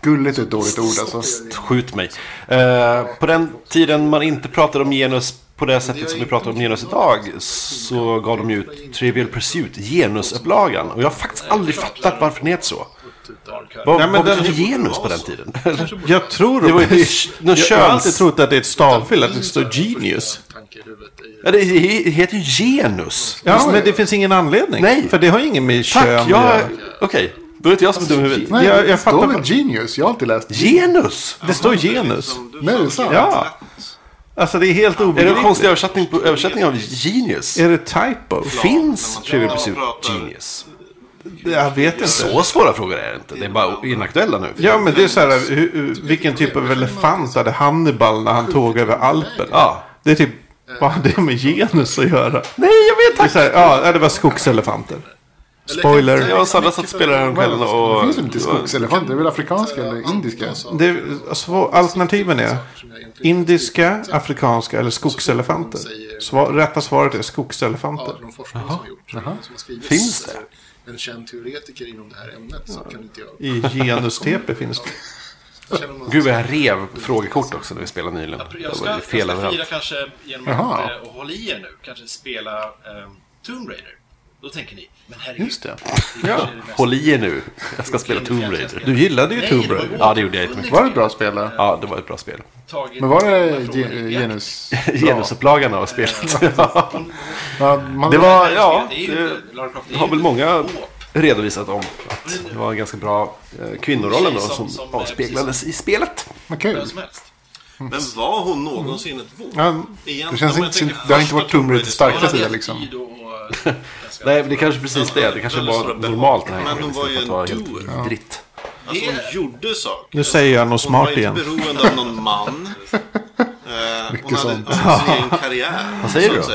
[SPEAKER 4] Gulligt är ett dåligt ord alltså.
[SPEAKER 2] Skjut mig. Eh, på den tiden man inte pratade om genus på det sättet som vi pratar om genus idag så gav de ju ut Trivial Pursuit, genusupplagan. Och jag har faktiskt aldrig fattat varför den heter så.
[SPEAKER 6] slutar.
[SPEAKER 2] Vad
[SPEAKER 1] Nej,
[SPEAKER 2] var
[SPEAKER 1] men
[SPEAKER 2] det
[SPEAKER 1] den-
[SPEAKER 2] för genus på den tiden?
[SPEAKER 6] Kanske borde
[SPEAKER 1] Jag tror...
[SPEAKER 2] Det var ju någon
[SPEAKER 1] jag, jag har alltid
[SPEAKER 2] köns-
[SPEAKER 1] trott att det är ett stavfel, att det
[SPEAKER 6] Min
[SPEAKER 1] står
[SPEAKER 6] första
[SPEAKER 1] genius.
[SPEAKER 6] Tanke i huvudet i
[SPEAKER 2] Ja, det he- heter ju genus.
[SPEAKER 1] Ja, men det finns ingen anledning.
[SPEAKER 2] Nej.
[SPEAKER 1] För det har ingen med
[SPEAKER 2] Tack,
[SPEAKER 1] kön att
[SPEAKER 2] jag...
[SPEAKER 1] göra.
[SPEAKER 2] Okej, då är inte jag som är dum i huvudet.
[SPEAKER 4] Nej,
[SPEAKER 1] Jag-
[SPEAKER 4] jag,
[SPEAKER 1] jag
[SPEAKER 4] står
[SPEAKER 1] fattar
[SPEAKER 4] väl
[SPEAKER 1] fa-
[SPEAKER 4] genius? Jag har alltid läst
[SPEAKER 2] Genus?
[SPEAKER 1] Det står genus.
[SPEAKER 5] Som du
[SPEAKER 4] Nej, det är sant.
[SPEAKER 1] Ja. Alltså det är helt
[SPEAKER 2] Är det
[SPEAKER 1] obegripligt.
[SPEAKER 2] en konstig översättning, på, översättning av genius?
[SPEAKER 1] Är det typo?
[SPEAKER 2] Finns
[SPEAKER 5] man-
[SPEAKER 2] Trivial
[SPEAKER 5] ja,
[SPEAKER 2] Pursuit
[SPEAKER 5] man pratar-
[SPEAKER 2] Genius?
[SPEAKER 1] Jag vet inte.
[SPEAKER 2] Så svåra frågor är det inte. Det är bara inaktuella nu.
[SPEAKER 1] Ja, men det är så här, hur- hur- vilken typ av elefant hade Hannibal när han tåg över Alperna?
[SPEAKER 2] Ja.
[SPEAKER 1] Det är typ, vad har det med genus att göra?
[SPEAKER 2] Nej, jag
[SPEAKER 1] Det, är
[SPEAKER 2] vet tack!
[SPEAKER 1] så här, ja, det var skogselefanter.
[SPEAKER 2] Jag
[SPEAKER 1] Spoiler.
[SPEAKER 2] och Sandra satt och spelade häromkvällen och...
[SPEAKER 4] Det finns väl inte skogselefant? Det är väl
[SPEAKER 6] Eh,
[SPEAKER 4] afrikanska eller indiska?
[SPEAKER 1] Det, är- svå- alternativen är
[SPEAKER 6] som jag egentligen
[SPEAKER 1] indiska, afrikanska eller skogselefanter. Svar, rätta svaret är skogselefanter.
[SPEAKER 6] av de forskare som har gjort. Som har skrivit,
[SPEAKER 2] Finns det?
[SPEAKER 6] eh, En känd teoretiker inom det här ämnet så kan inte jag.
[SPEAKER 1] I genus-TP finns det.
[SPEAKER 6] Känner man
[SPEAKER 2] Gud vad jag rev frågekort också när vi spelade nyligen. Det
[SPEAKER 7] Jag
[SPEAKER 2] var
[SPEAKER 7] ska,
[SPEAKER 2] ju
[SPEAKER 7] jag
[SPEAKER 2] fel
[SPEAKER 7] ska fira
[SPEAKER 2] överallt.
[SPEAKER 7] kanske genom
[SPEAKER 4] Jaha.
[SPEAKER 7] att eh, hålla i er nu. Kanske spela eh, Tomb Raider. Då tänker ni, men herregud.
[SPEAKER 2] Just det. Ja.
[SPEAKER 7] det kanske är det mest-
[SPEAKER 2] Håll i er nu. Jag ska spela Tomb Raider.
[SPEAKER 1] Du gillade ju
[SPEAKER 7] Nej,
[SPEAKER 1] Tomb
[SPEAKER 7] det var
[SPEAKER 1] Raider.
[SPEAKER 7] ju
[SPEAKER 2] Ja, det gjorde jag jättemycket.
[SPEAKER 4] Var det ett bra spel? där?
[SPEAKER 2] Ja, det var ett bra spel.
[SPEAKER 7] Tagit
[SPEAKER 4] Men var
[SPEAKER 7] de
[SPEAKER 4] det
[SPEAKER 7] här frågorna
[SPEAKER 4] ge- eh,
[SPEAKER 7] i akt.
[SPEAKER 4] genus?
[SPEAKER 2] Genusupplagan av spelet.
[SPEAKER 4] Ja, man,
[SPEAKER 2] Det var, ja,
[SPEAKER 7] Det är ju inte- Lara Croft är
[SPEAKER 2] det har
[SPEAKER 7] ju
[SPEAKER 2] väl
[SPEAKER 7] inte
[SPEAKER 2] många
[SPEAKER 7] ett skåp.
[SPEAKER 2] redovisat om. Att det var en ganska bra eh, kvinnorollen då som avspeglades i spelet.
[SPEAKER 4] men
[SPEAKER 7] Vem
[SPEAKER 4] kul.
[SPEAKER 7] som helst.
[SPEAKER 5] Men var hon någonsin ett våp?
[SPEAKER 1] Ja,
[SPEAKER 5] Egentligen,
[SPEAKER 4] Det känns
[SPEAKER 5] om jag
[SPEAKER 4] inte
[SPEAKER 5] tänker
[SPEAKER 4] som- det har inte varit
[SPEAKER 5] första
[SPEAKER 4] Tomb Raiders starka
[SPEAKER 5] Tomb Raiders-
[SPEAKER 4] sida.
[SPEAKER 7] Hade
[SPEAKER 4] liksom.
[SPEAKER 7] tid och, och, ganska-
[SPEAKER 2] Nej, det kanske precis det. Det kanske
[SPEAKER 5] Väldigt
[SPEAKER 2] var
[SPEAKER 5] stora behov.
[SPEAKER 2] normalt den här
[SPEAKER 5] Men hon var ju
[SPEAKER 2] istället
[SPEAKER 5] en
[SPEAKER 2] för att vara helt
[SPEAKER 5] doer.
[SPEAKER 2] dritt.
[SPEAKER 5] Alltså hon gjorde saker.
[SPEAKER 1] Nu säger jag något
[SPEAKER 5] Hon var
[SPEAKER 1] smart
[SPEAKER 5] inte
[SPEAKER 1] igen.
[SPEAKER 5] beroende av någon man. Eh, hon hade
[SPEAKER 4] sånt.
[SPEAKER 5] alltså, sin egen karriär. Vad
[SPEAKER 2] säger du då?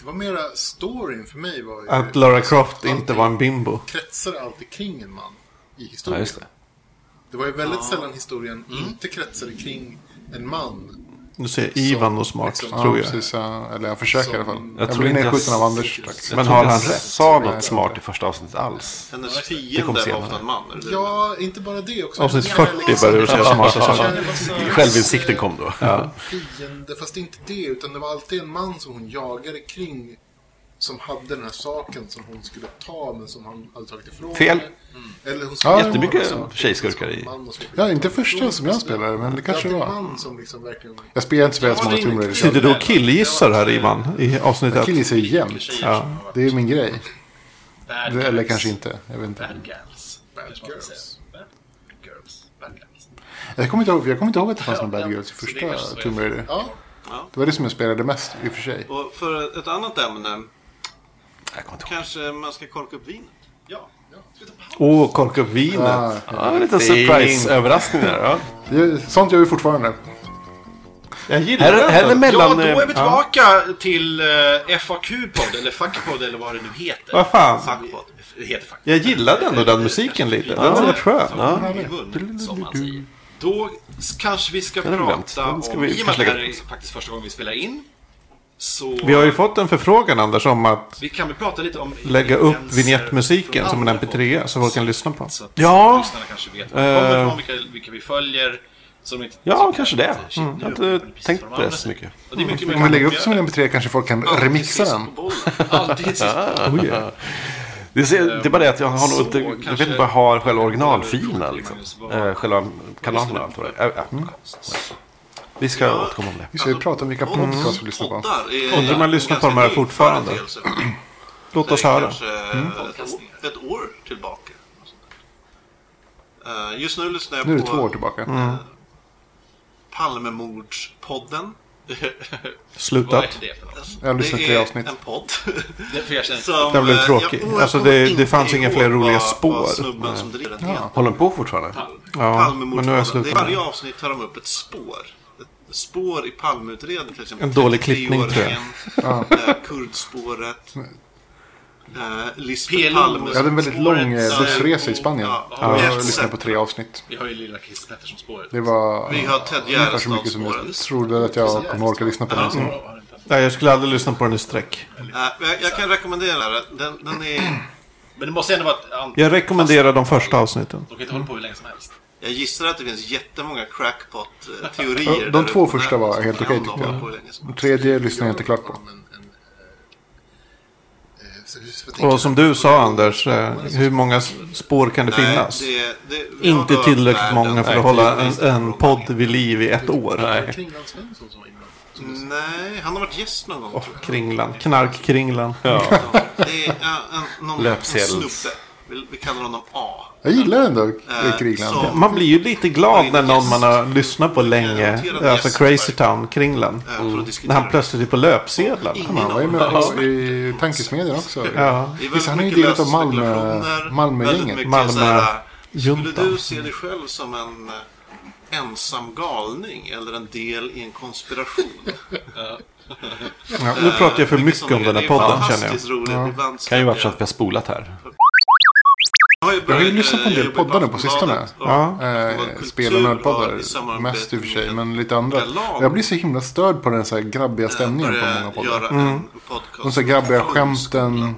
[SPEAKER 6] Det var mera storyn för mig var ju
[SPEAKER 1] Att Lara Croft inte var en bimbo.
[SPEAKER 6] kretsar alltid kring en man i
[SPEAKER 2] Ja,
[SPEAKER 6] historien.
[SPEAKER 2] just det.
[SPEAKER 6] det var ju väldigt sällan historien inte kretsade kring en man
[SPEAKER 1] Nu säger Ivan något smart,
[SPEAKER 6] Som-
[SPEAKER 1] tror
[SPEAKER 4] Ja,
[SPEAKER 1] jag.
[SPEAKER 4] precis, ja. eller jag försöker i alla fall.
[SPEAKER 2] Jag
[SPEAKER 4] Jag,
[SPEAKER 2] tror
[SPEAKER 4] blir
[SPEAKER 2] inte jag-
[SPEAKER 4] nedskjuten av Anders. strax.
[SPEAKER 2] Jag
[SPEAKER 1] Men
[SPEAKER 2] tror
[SPEAKER 1] har
[SPEAKER 2] inte
[SPEAKER 1] han
[SPEAKER 2] jag
[SPEAKER 1] rätt?
[SPEAKER 2] sa något smart i första avsnittet alls.
[SPEAKER 5] Hennes
[SPEAKER 2] kom
[SPEAKER 5] fiende var
[SPEAKER 2] senare.
[SPEAKER 5] ofta en man. eller hur?
[SPEAKER 6] Ja, inte bara det också.
[SPEAKER 1] Avsnitt
[SPEAKER 6] Hela
[SPEAKER 1] 40 började du säga
[SPEAKER 6] liksom-
[SPEAKER 1] smarta saker.
[SPEAKER 2] Självinsikten kom då.
[SPEAKER 6] Fiende, fast inte det, utan det var alltid en man som hon jagade kring. Som hade den här saken som hon skulle ta, men som han hade tagit ifrån
[SPEAKER 2] Fel.
[SPEAKER 6] henne. Eller hon
[SPEAKER 4] Ja,
[SPEAKER 6] göra
[SPEAKER 2] jättemycket
[SPEAKER 6] saker
[SPEAKER 2] tjejskurkar i.
[SPEAKER 6] som man och så vidare.
[SPEAKER 4] Mm. Ja, inte första som jag spelade, men det kanske det
[SPEAKER 6] alltid
[SPEAKER 4] var.
[SPEAKER 6] man som liksom verkligen...
[SPEAKER 4] Jag spelar inte spelat så många Tomb
[SPEAKER 1] Sitter
[SPEAKER 4] Raider.
[SPEAKER 1] du och killgissar här, Ivan, i avsnitt
[SPEAKER 4] liksom. Jag
[SPEAKER 1] ett?
[SPEAKER 4] killisar ju jämt.
[SPEAKER 7] Tjejer
[SPEAKER 1] Ja.
[SPEAKER 7] som har varit
[SPEAKER 4] Det är min grej.
[SPEAKER 7] bad
[SPEAKER 4] Det, eller
[SPEAKER 7] guys.
[SPEAKER 4] kanske inte. Jag vet inte.
[SPEAKER 7] Bad girls. Bad
[SPEAKER 6] girls.
[SPEAKER 7] Bad girls. Bad girls.
[SPEAKER 4] Jag kommer inte ihåg, jag kommer inte ihåg att det fanns någon
[SPEAKER 7] Ja,
[SPEAKER 4] Bad
[SPEAKER 7] ja.
[SPEAKER 4] Girls i
[SPEAKER 7] Så det
[SPEAKER 4] första
[SPEAKER 7] kanske så är
[SPEAKER 4] Tomb
[SPEAKER 7] det.
[SPEAKER 4] Raider.
[SPEAKER 6] Ja,
[SPEAKER 4] Det var det som jag spelade mest i och för sig.
[SPEAKER 5] Och för ett annat ämne,
[SPEAKER 2] Jag kommer inte ihåg.
[SPEAKER 5] kanske man ska korka upp vinet.
[SPEAKER 7] Ja. ja. Ska vi ta paus?
[SPEAKER 1] Åh, korka upp vinet.
[SPEAKER 4] Ah,
[SPEAKER 2] Ja, en liten surprise-överraskning där. Ja.
[SPEAKER 4] det är- sånt gör vi fortfarande.
[SPEAKER 1] Jag gillar
[SPEAKER 2] Här, här är
[SPEAKER 1] det.
[SPEAKER 7] Ja,
[SPEAKER 2] mellan...
[SPEAKER 7] då är vi
[SPEAKER 2] eh,
[SPEAKER 7] tillbaka till eh, FAQ-podd, eller Fackpodd, eller vad det nu heter.
[SPEAKER 1] Vad fan.
[SPEAKER 7] Fackpodd. Det heter Fackpodd.
[SPEAKER 1] Jag gillade ändå den musiken lite. Den var rätt skön.
[SPEAKER 7] Ja. I mun, som man säger. Då s- kanske vi ska
[SPEAKER 2] Den har vi glömt.
[SPEAKER 7] prata
[SPEAKER 2] Den ska
[SPEAKER 7] om...
[SPEAKER 2] vi
[SPEAKER 7] I och med att
[SPEAKER 2] kanske
[SPEAKER 7] det här
[SPEAKER 2] lägga
[SPEAKER 7] är faktiskt första gången vi spelar in. Så
[SPEAKER 1] Vi har ju fått en förfrågan, Anders, om att
[SPEAKER 7] vi kan väl prata lite om...
[SPEAKER 1] lägga upp
[SPEAKER 7] influenser
[SPEAKER 1] vignettmusiken
[SPEAKER 5] eh,
[SPEAKER 7] från
[SPEAKER 1] som en
[SPEAKER 7] andra poddar.
[SPEAKER 1] mp3 så folk kan lyssna på.
[SPEAKER 7] Så att
[SPEAKER 2] Ja.
[SPEAKER 7] lyssnarna kanske vet var de kommer
[SPEAKER 2] Eh.
[SPEAKER 7] ifrån, vilka, vilka vi följer. Så de inte
[SPEAKER 2] Ja,
[SPEAKER 7] tycker
[SPEAKER 2] kanske
[SPEAKER 7] att,
[SPEAKER 2] det. Mm.
[SPEAKER 7] eh, shit, nu
[SPEAKER 2] Jag har
[SPEAKER 7] kommer det
[SPEAKER 2] inte
[SPEAKER 7] precis
[SPEAKER 2] tänkt
[SPEAKER 7] från
[SPEAKER 2] på det
[SPEAKER 7] andra
[SPEAKER 2] så mycket.
[SPEAKER 7] sidan. Och det är
[SPEAKER 5] Mm.
[SPEAKER 7] mycket
[SPEAKER 4] Om vi lägger upp som en mp3 kanske folk kan remixa den.
[SPEAKER 7] Alltid sist på bollen.
[SPEAKER 1] Oh, yeah.
[SPEAKER 2] Det, ser, det är bara det att jag har nog
[SPEAKER 7] Så
[SPEAKER 2] inte... Jag
[SPEAKER 7] kanske-
[SPEAKER 2] vet inte vad jag har själva originalfilerna liksom.
[SPEAKER 7] Magnus, vad-
[SPEAKER 2] Eh, Själva kanalerna och allt vad det är. Eh, ja. Vi ska återkomma om det.
[SPEAKER 4] Vi ska ju prata om vilka podcasts vi lyssnar på.
[SPEAKER 5] Poddar är
[SPEAKER 1] Undrar om man lyssnar på de här
[SPEAKER 5] ganska ny
[SPEAKER 1] fortfarande.
[SPEAKER 5] företeelse.
[SPEAKER 1] Låt oss
[SPEAKER 5] Det är
[SPEAKER 1] höra. Mm.
[SPEAKER 5] kanske ett, år- ett år tillbaka. och sånt där. Eh, Just nu lyssnar jag
[SPEAKER 4] Nu är det två år
[SPEAKER 5] på
[SPEAKER 4] tillbaka.
[SPEAKER 5] Palmemordspodden. Alltså,
[SPEAKER 7] Vad är
[SPEAKER 1] Slutat.
[SPEAKER 7] det för något?
[SPEAKER 4] Jag har lyssnat
[SPEAKER 5] Det
[SPEAKER 4] till
[SPEAKER 5] är
[SPEAKER 4] avsnitt.
[SPEAKER 5] en podd.
[SPEAKER 7] Det är för jag känner-
[SPEAKER 5] Som,
[SPEAKER 1] Den blev
[SPEAKER 5] eh,
[SPEAKER 1] tråkig.
[SPEAKER 5] jag- och jag
[SPEAKER 1] Alltså,
[SPEAKER 5] kommer
[SPEAKER 1] det- det
[SPEAKER 5] inte
[SPEAKER 1] fanns inga
[SPEAKER 5] ihåg
[SPEAKER 1] fler roliga
[SPEAKER 5] vad-
[SPEAKER 1] spår.
[SPEAKER 5] Vad snubben som driver den heter.
[SPEAKER 2] Håller den på fortfarande?
[SPEAKER 1] Ja, men nu har jag
[SPEAKER 5] Palmemordspodden. Det är
[SPEAKER 1] slutat. med
[SPEAKER 5] Varje
[SPEAKER 1] det.
[SPEAKER 5] avsnitt tar de upp ett spår. Ett spår i Palmeutredningen. till exempel.
[SPEAKER 1] En dålig klippning,
[SPEAKER 5] 33-åringen, eh, Kurdspåret. eh, Lisbeth
[SPEAKER 7] PLO.
[SPEAKER 5] Palme.
[SPEAKER 4] Jag hade en väldigt lång eh, bussresa i Spanien.
[SPEAKER 5] Ja,
[SPEAKER 4] Jag
[SPEAKER 5] ja.
[SPEAKER 4] lyssnade på tre avsnitt.
[SPEAKER 7] Vi har ju lilla Chris Pettersson-spåret.
[SPEAKER 4] Det var
[SPEAKER 5] Vi har Ted
[SPEAKER 4] ungefär så mycket som jag
[SPEAKER 5] Gärdestad-spåret.
[SPEAKER 4] trodde att jag kommer orka lyssna på någonsin.
[SPEAKER 1] Nej, jag skulle aldrig lyssna på den i sträck.
[SPEAKER 5] Eh, men jag, jag kan rekommendera den. Den, den är...
[SPEAKER 7] Men det måste ändå vara ett antal.
[SPEAKER 1] Jag rekommenderar de första avsnitten.
[SPEAKER 7] De kan inte hålla på hur länge som helst.
[SPEAKER 5] Jag gissar att det finns jättemånga crackpot-teorier.
[SPEAKER 4] De
[SPEAKER 5] där
[SPEAKER 4] två
[SPEAKER 5] ute.
[SPEAKER 4] första var helt
[SPEAKER 5] Kan
[SPEAKER 4] okej,
[SPEAKER 5] de
[SPEAKER 4] tyckte jag.
[SPEAKER 5] hålla på hur länge som helst.
[SPEAKER 4] Tredje lyssnade jag inte klart på.
[SPEAKER 6] En, en, eh, eh,
[SPEAKER 1] Och som du sa Anders, eh, hur många s- spår kan det finnas?
[SPEAKER 5] Nej, det, det, vi har
[SPEAKER 1] Inte
[SPEAKER 5] då
[SPEAKER 1] tillräckligt
[SPEAKER 5] världen-
[SPEAKER 1] många för
[SPEAKER 5] Nej,
[SPEAKER 1] att hålla
[SPEAKER 5] precis.
[SPEAKER 1] en, en podd vid liv i ett år.
[SPEAKER 6] Det var Kringland Svensson som var inblandad. Som du sa.
[SPEAKER 5] Nej, han har varit gäst någon gång.
[SPEAKER 1] Åh,
[SPEAKER 5] tror jag.
[SPEAKER 1] kringlan. Knarkkringlan.
[SPEAKER 2] Ja.
[SPEAKER 5] Det är eh, en, någon, en
[SPEAKER 2] Löpsedeln.
[SPEAKER 5] snubbe. Vi, vi kallar honom A.
[SPEAKER 4] Jag gillar den där
[SPEAKER 5] Eh,
[SPEAKER 4] Kringland.
[SPEAKER 5] så-
[SPEAKER 1] Man blir ju lite glad när någon man har lyssnat på länge, alltså Crazy Town, kringlan.
[SPEAKER 5] eh, För att diskutera.
[SPEAKER 1] Mm. När han plötsligt är på löpsedlarna.
[SPEAKER 5] Ingen
[SPEAKER 4] Han var ju med på, i tankesmedjan också.
[SPEAKER 1] Ja.
[SPEAKER 5] Det är
[SPEAKER 4] Visst, han är ju
[SPEAKER 5] mycket
[SPEAKER 4] del av Malmö-
[SPEAKER 5] lösspekulationer,
[SPEAKER 4] Malmögänget.
[SPEAKER 5] väldigt mycket
[SPEAKER 1] Malmö-
[SPEAKER 5] så här, Skulle
[SPEAKER 1] juntan.
[SPEAKER 5] du se dig själv som en eh, ensam galning eller en del i en konspiration?
[SPEAKER 1] Ja, nu pratar jag för mycket om den här podden känner jag.
[SPEAKER 5] Det är fantastiskt roligt. Ibland
[SPEAKER 2] kan ju
[SPEAKER 5] jag-
[SPEAKER 2] vara så att vi har spolat här.
[SPEAKER 5] Jag har ju,
[SPEAKER 4] Jag har ju
[SPEAKER 5] börjat,
[SPEAKER 4] lyssnat på en
[SPEAKER 5] eh,
[SPEAKER 4] del
[SPEAKER 5] jobba i
[SPEAKER 4] poddar nu på
[SPEAKER 5] Aftonbladet
[SPEAKER 4] sistone.
[SPEAKER 5] och-
[SPEAKER 1] Ja.
[SPEAKER 5] och
[SPEAKER 4] Eh,
[SPEAKER 5] kultur
[SPEAKER 4] spel och
[SPEAKER 5] har i
[SPEAKER 4] nördpoddar.
[SPEAKER 5] samarbete
[SPEAKER 4] Mest i och för sig,
[SPEAKER 5] med
[SPEAKER 4] men lite andra.
[SPEAKER 5] Galan.
[SPEAKER 4] Jag blir så himla störd på den så här grabbiga stämningen på
[SPEAKER 5] börjat
[SPEAKER 4] många
[SPEAKER 5] eh, göra
[SPEAKER 4] poddar.
[SPEAKER 1] Mm.
[SPEAKER 5] en podcast.
[SPEAKER 4] De så här grabbiga skämten.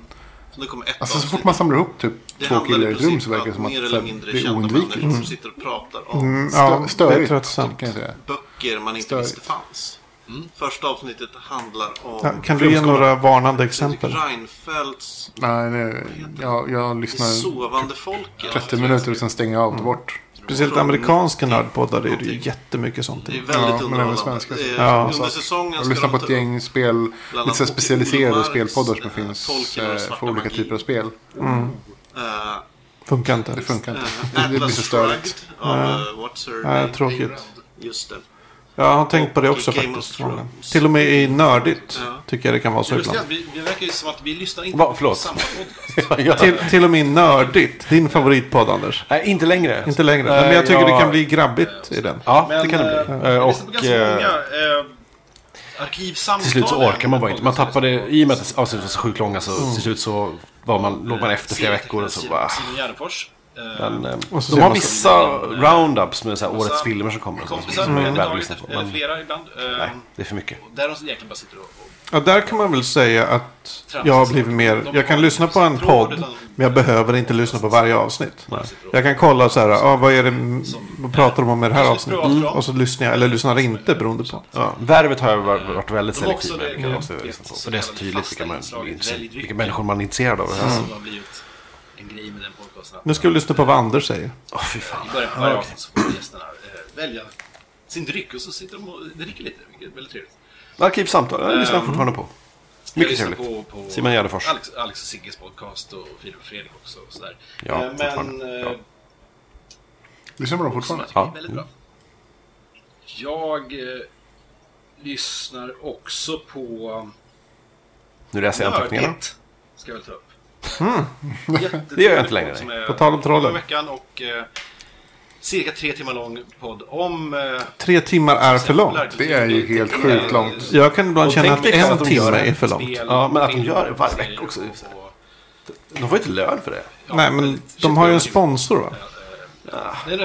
[SPEAKER 5] Så det kommer ett
[SPEAKER 4] Alltså så
[SPEAKER 5] avsnitt.
[SPEAKER 4] fort man samlar ihop typ
[SPEAKER 5] Det
[SPEAKER 4] två
[SPEAKER 5] handlar i
[SPEAKER 4] killar i ett rum
[SPEAKER 5] princip
[SPEAKER 4] så verkar det som att
[SPEAKER 5] mer
[SPEAKER 4] så
[SPEAKER 5] eller
[SPEAKER 4] här,
[SPEAKER 5] mindre
[SPEAKER 4] det är
[SPEAKER 5] kända människor
[SPEAKER 4] oundvikligt. Mm.
[SPEAKER 5] som sitter och pratar om
[SPEAKER 1] Ja,
[SPEAKER 4] Stö-
[SPEAKER 1] det är
[SPEAKER 4] Störigt kan
[SPEAKER 1] tröttsamt.
[SPEAKER 4] jag säga.
[SPEAKER 5] böcker man inte
[SPEAKER 4] Störigt.
[SPEAKER 5] visste fanns. Mm. Första avsnittet handlar om
[SPEAKER 1] Ja, kan du ge några varnande exempel?
[SPEAKER 5] Reinfeldts
[SPEAKER 4] Nej, nej. Jag, jag
[SPEAKER 5] Det
[SPEAKER 4] lyssnar
[SPEAKER 5] sovande folket.
[SPEAKER 4] 30 minuter och sen stänger jag av
[SPEAKER 1] Mm.
[SPEAKER 4] och bort.
[SPEAKER 1] Speciellt amerikanska nördpoddar är det ju jättemycket sånt
[SPEAKER 5] Det är
[SPEAKER 1] i.
[SPEAKER 5] väldigt
[SPEAKER 4] Ja, men även
[SPEAKER 5] underhållande.
[SPEAKER 4] svenska.
[SPEAKER 5] Eh,
[SPEAKER 1] Ja.
[SPEAKER 5] Under säsongen
[SPEAKER 4] Alltså, Jag
[SPEAKER 5] ska
[SPEAKER 4] lyssnar
[SPEAKER 5] de
[SPEAKER 4] på
[SPEAKER 5] ta
[SPEAKER 4] ett
[SPEAKER 5] upp
[SPEAKER 4] gäng spel, lite så här
[SPEAKER 5] annat Olle
[SPEAKER 4] specialiserade
[SPEAKER 5] Marx,
[SPEAKER 4] spelpoddar
[SPEAKER 5] eh,
[SPEAKER 4] som finns
[SPEAKER 5] Tolkien och
[SPEAKER 4] eh,
[SPEAKER 5] den svarta
[SPEAKER 4] för olika
[SPEAKER 5] magin.
[SPEAKER 4] typer av spel.
[SPEAKER 5] eh,
[SPEAKER 1] Funkar inte.
[SPEAKER 4] Det funkar inte.
[SPEAKER 5] eh,
[SPEAKER 4] Det blir så
[SPEAKER 5] Atlas Shrugged
[SPEAKER 4] störigt.
[SPEAKER 5] av eh, What's Her
[SPEAKER 1] Ja,
[SPEAKER 5] Name.
[SPEAKER 1] tråkigt.
[SPEAKER 5] Just det.
[SPEAKER 1] Jag har tänkt på det också
[SPEAKER 5] Och Game of
[SPEAKER 1] faktiskt.
[SPEAKER 5] Thrones.
[SPEAKER 1] Till och med i nördigt
[SPEAKER 5] Ja.
[SPEAKER 1] tycker jag det kan vara så
[SPEAKER 7] Just
[SPEAKER 1] ibland.
[SPEAKER 7] det, vi, det verkar ju som att vi lyssnar inte
[SPEAKER 2] Va,
[SPEAKER 7] på
[SPEAKER 2] förlåt?
[SPEAKER 7] samma podcast.
[SPEAKER 1] Till, till och med i nördigt. Din favoritpodd Anders.
[SPEAKER 2] Nej, inte längre.
[SPEAKER 1] Inte längre.
[SPEAKER 2] Eh,
[SPEAKER 1] Men jag tycker det
[SPEAKER 2] jag-
[SPEAKER 1] kan bli grabbigt i den.
[SPEAKER 2] Ja,
[SPEAKER 7] Men,
[SPEAKER 2] det kan det bli.
[SPEAKER 7] eh,
[SPEAKER 2] Eh,
[SPEAKER 7] Jag lyssnar på
[SPEAKER 2] Och
[SPEAKER 7] ganska
[SPEAKER 2] eh,
[SPEAKER 7] många eh, arkivsamtal.
[SPEAKER 2] till slut så orkar man bara inte. Man
[SPEAKER 7] Podcast.
[SPEAKER 2] tappade, i och med att avsnittet var så sjukt långa så till slut så var man, låg man efter flera veckor och så bara...
[SPEAKER 7] Simon Gärdenfors. eh,
[SPEAKER 2] Men, eh,
[SPEAKER 1] Och så
[SPEAKER 2] de
[SPEAKER 1] ser
[SPEAKER 2] har
[SPEAKER 1] man så-
[SPEAKER 2] vissa roundups med så här, årets
[SPEAKER 7] Massa
[SPEAKER 2] filmer som kommer och sånt
[SPEAKER 7] Kompisar,
[SPEAKER 2] som jag
[SPEAKER 7] mm.
[SPEAKER 2] väl
[SPEAKER 7] dagar,
[SPEAKER 2] lyssnar på.
[SPEAKER 7] eller
[SPEAKER 2] Men,
[SPEAKER 7] flera ibland. eh,
[SPEAKER 2] nej, det är för mycket.
[SPEAKER 7] Där de egentligen bara sitter och... och
[SPEAKER 1] Ja, där kan man väl säga att jag har blivit mer... Jag kan lyssna på en podd, men jag behöver inte lyssna på varje avsnitt. Jag kan kolla så här, ah, vad är det, vad pratar de om i det här avsnittet? Mm. Och så lyssnar jag, eller lyssnar inte beroende på.
[SPEAKER 2] Ja, värvet har jag var- varit väldigt
[SPEAKER 7] De har också
[SPEAKER 2] selektiv med.
[SPEAKER 7] det-
[SPEAKER 2] vilka
[SPEAKER 7] det-
[SPEAKER 2] jag har lyssnat på. För det är så tydligt vilka, man,
[SPEAKER 7] fasta inslaget,
[SPEAKER 2] vilka människor man är intresserad av.
[SPEAKER 5] Mm.
[SPEAKER 7] som har blivit en grej med den podcasten.
[SPEAKER 1] Nu ska vi lyssna på vad Anders säger.
[SPEAKER 2] Åh, fy fan.
[SPEAKER 7] I början på varje avsnitt så får gästerna eh, välja sin dryck och så sitter de och dricker lite, vilket är väldigt trevligt.
[SPEAKER 2] Arkivsamtal, jag lyssnar
[SPEAKER 7] Ehm,
[SPEAKER 2] fortfarande på.
[SPEAKER 7] Jag
[SPEAKER 2] Mycket
[SPEAKER 7] lyssnar
[SPEAKER 2] trevligt.
[SPEAKER 7] på, på
[SPEAKER 2] Simon Gärdenfors.
[SPEAKER 7] Alex, Alex och Sigges podcast och Filip och Fredrik också. Och sådär.
[SPEAKER 2] Ja,
[SPEAKER 7] Eh, men
[SPEAKER 2] fortfarande.
[SPEAKER 7] eh,
[SPEAKER 2] Ja.
[SPEAKER 4] Lyssnar på dem
[SPEAKER 7] som
[SPEAKER 4] fortfarande?
[SPEAKER 7] jag tycker
[SPEAKER 2] Ja.
[SPEAKER 7] är väldigt bra. Jag eh, lyssnar också på um,
[SPEAKER 2] Nu läser jag anteckningarna. Hmm.
[SPEAKER 7] Nördigt. Ska jag väl ta upp.
[SPEAKER 2] Det gör jag inte längre,
[SPEAKER 1] På tal om trollen.
[SPEAKER 7] veckan och eh, cirka tre timmar lång podd om... Eh,
[SPEAKER 1] Tre timmar är för långt.
[SPEAKER 4] Det är ju helt
[SPEAKER 5] Eh,
[SPEAKER 4] sjukt långt.
[SPEAKER 1] Jag kan ibland
[SPEAKER 2] Och
[SPEAKER 1] känna
[SPEAKER 2] tänk
[SPEAKER 1] att
[SPEAKER 2] dig själv
[SPEAKER 1] en
[SPEAKER 2] att de gör
[SPEAKER 1] timme
[SPEAKER 2] det.
[SPEAKER 1] är för långt.
[SPEAKER 2] Ja, men att de gör det varje vecka också.
[SPEAKER 5] eh,
[SPEAKER 2] De får ju inte lön för det.
[SPEAKER 1] Nej, men de har ju en sponsor va?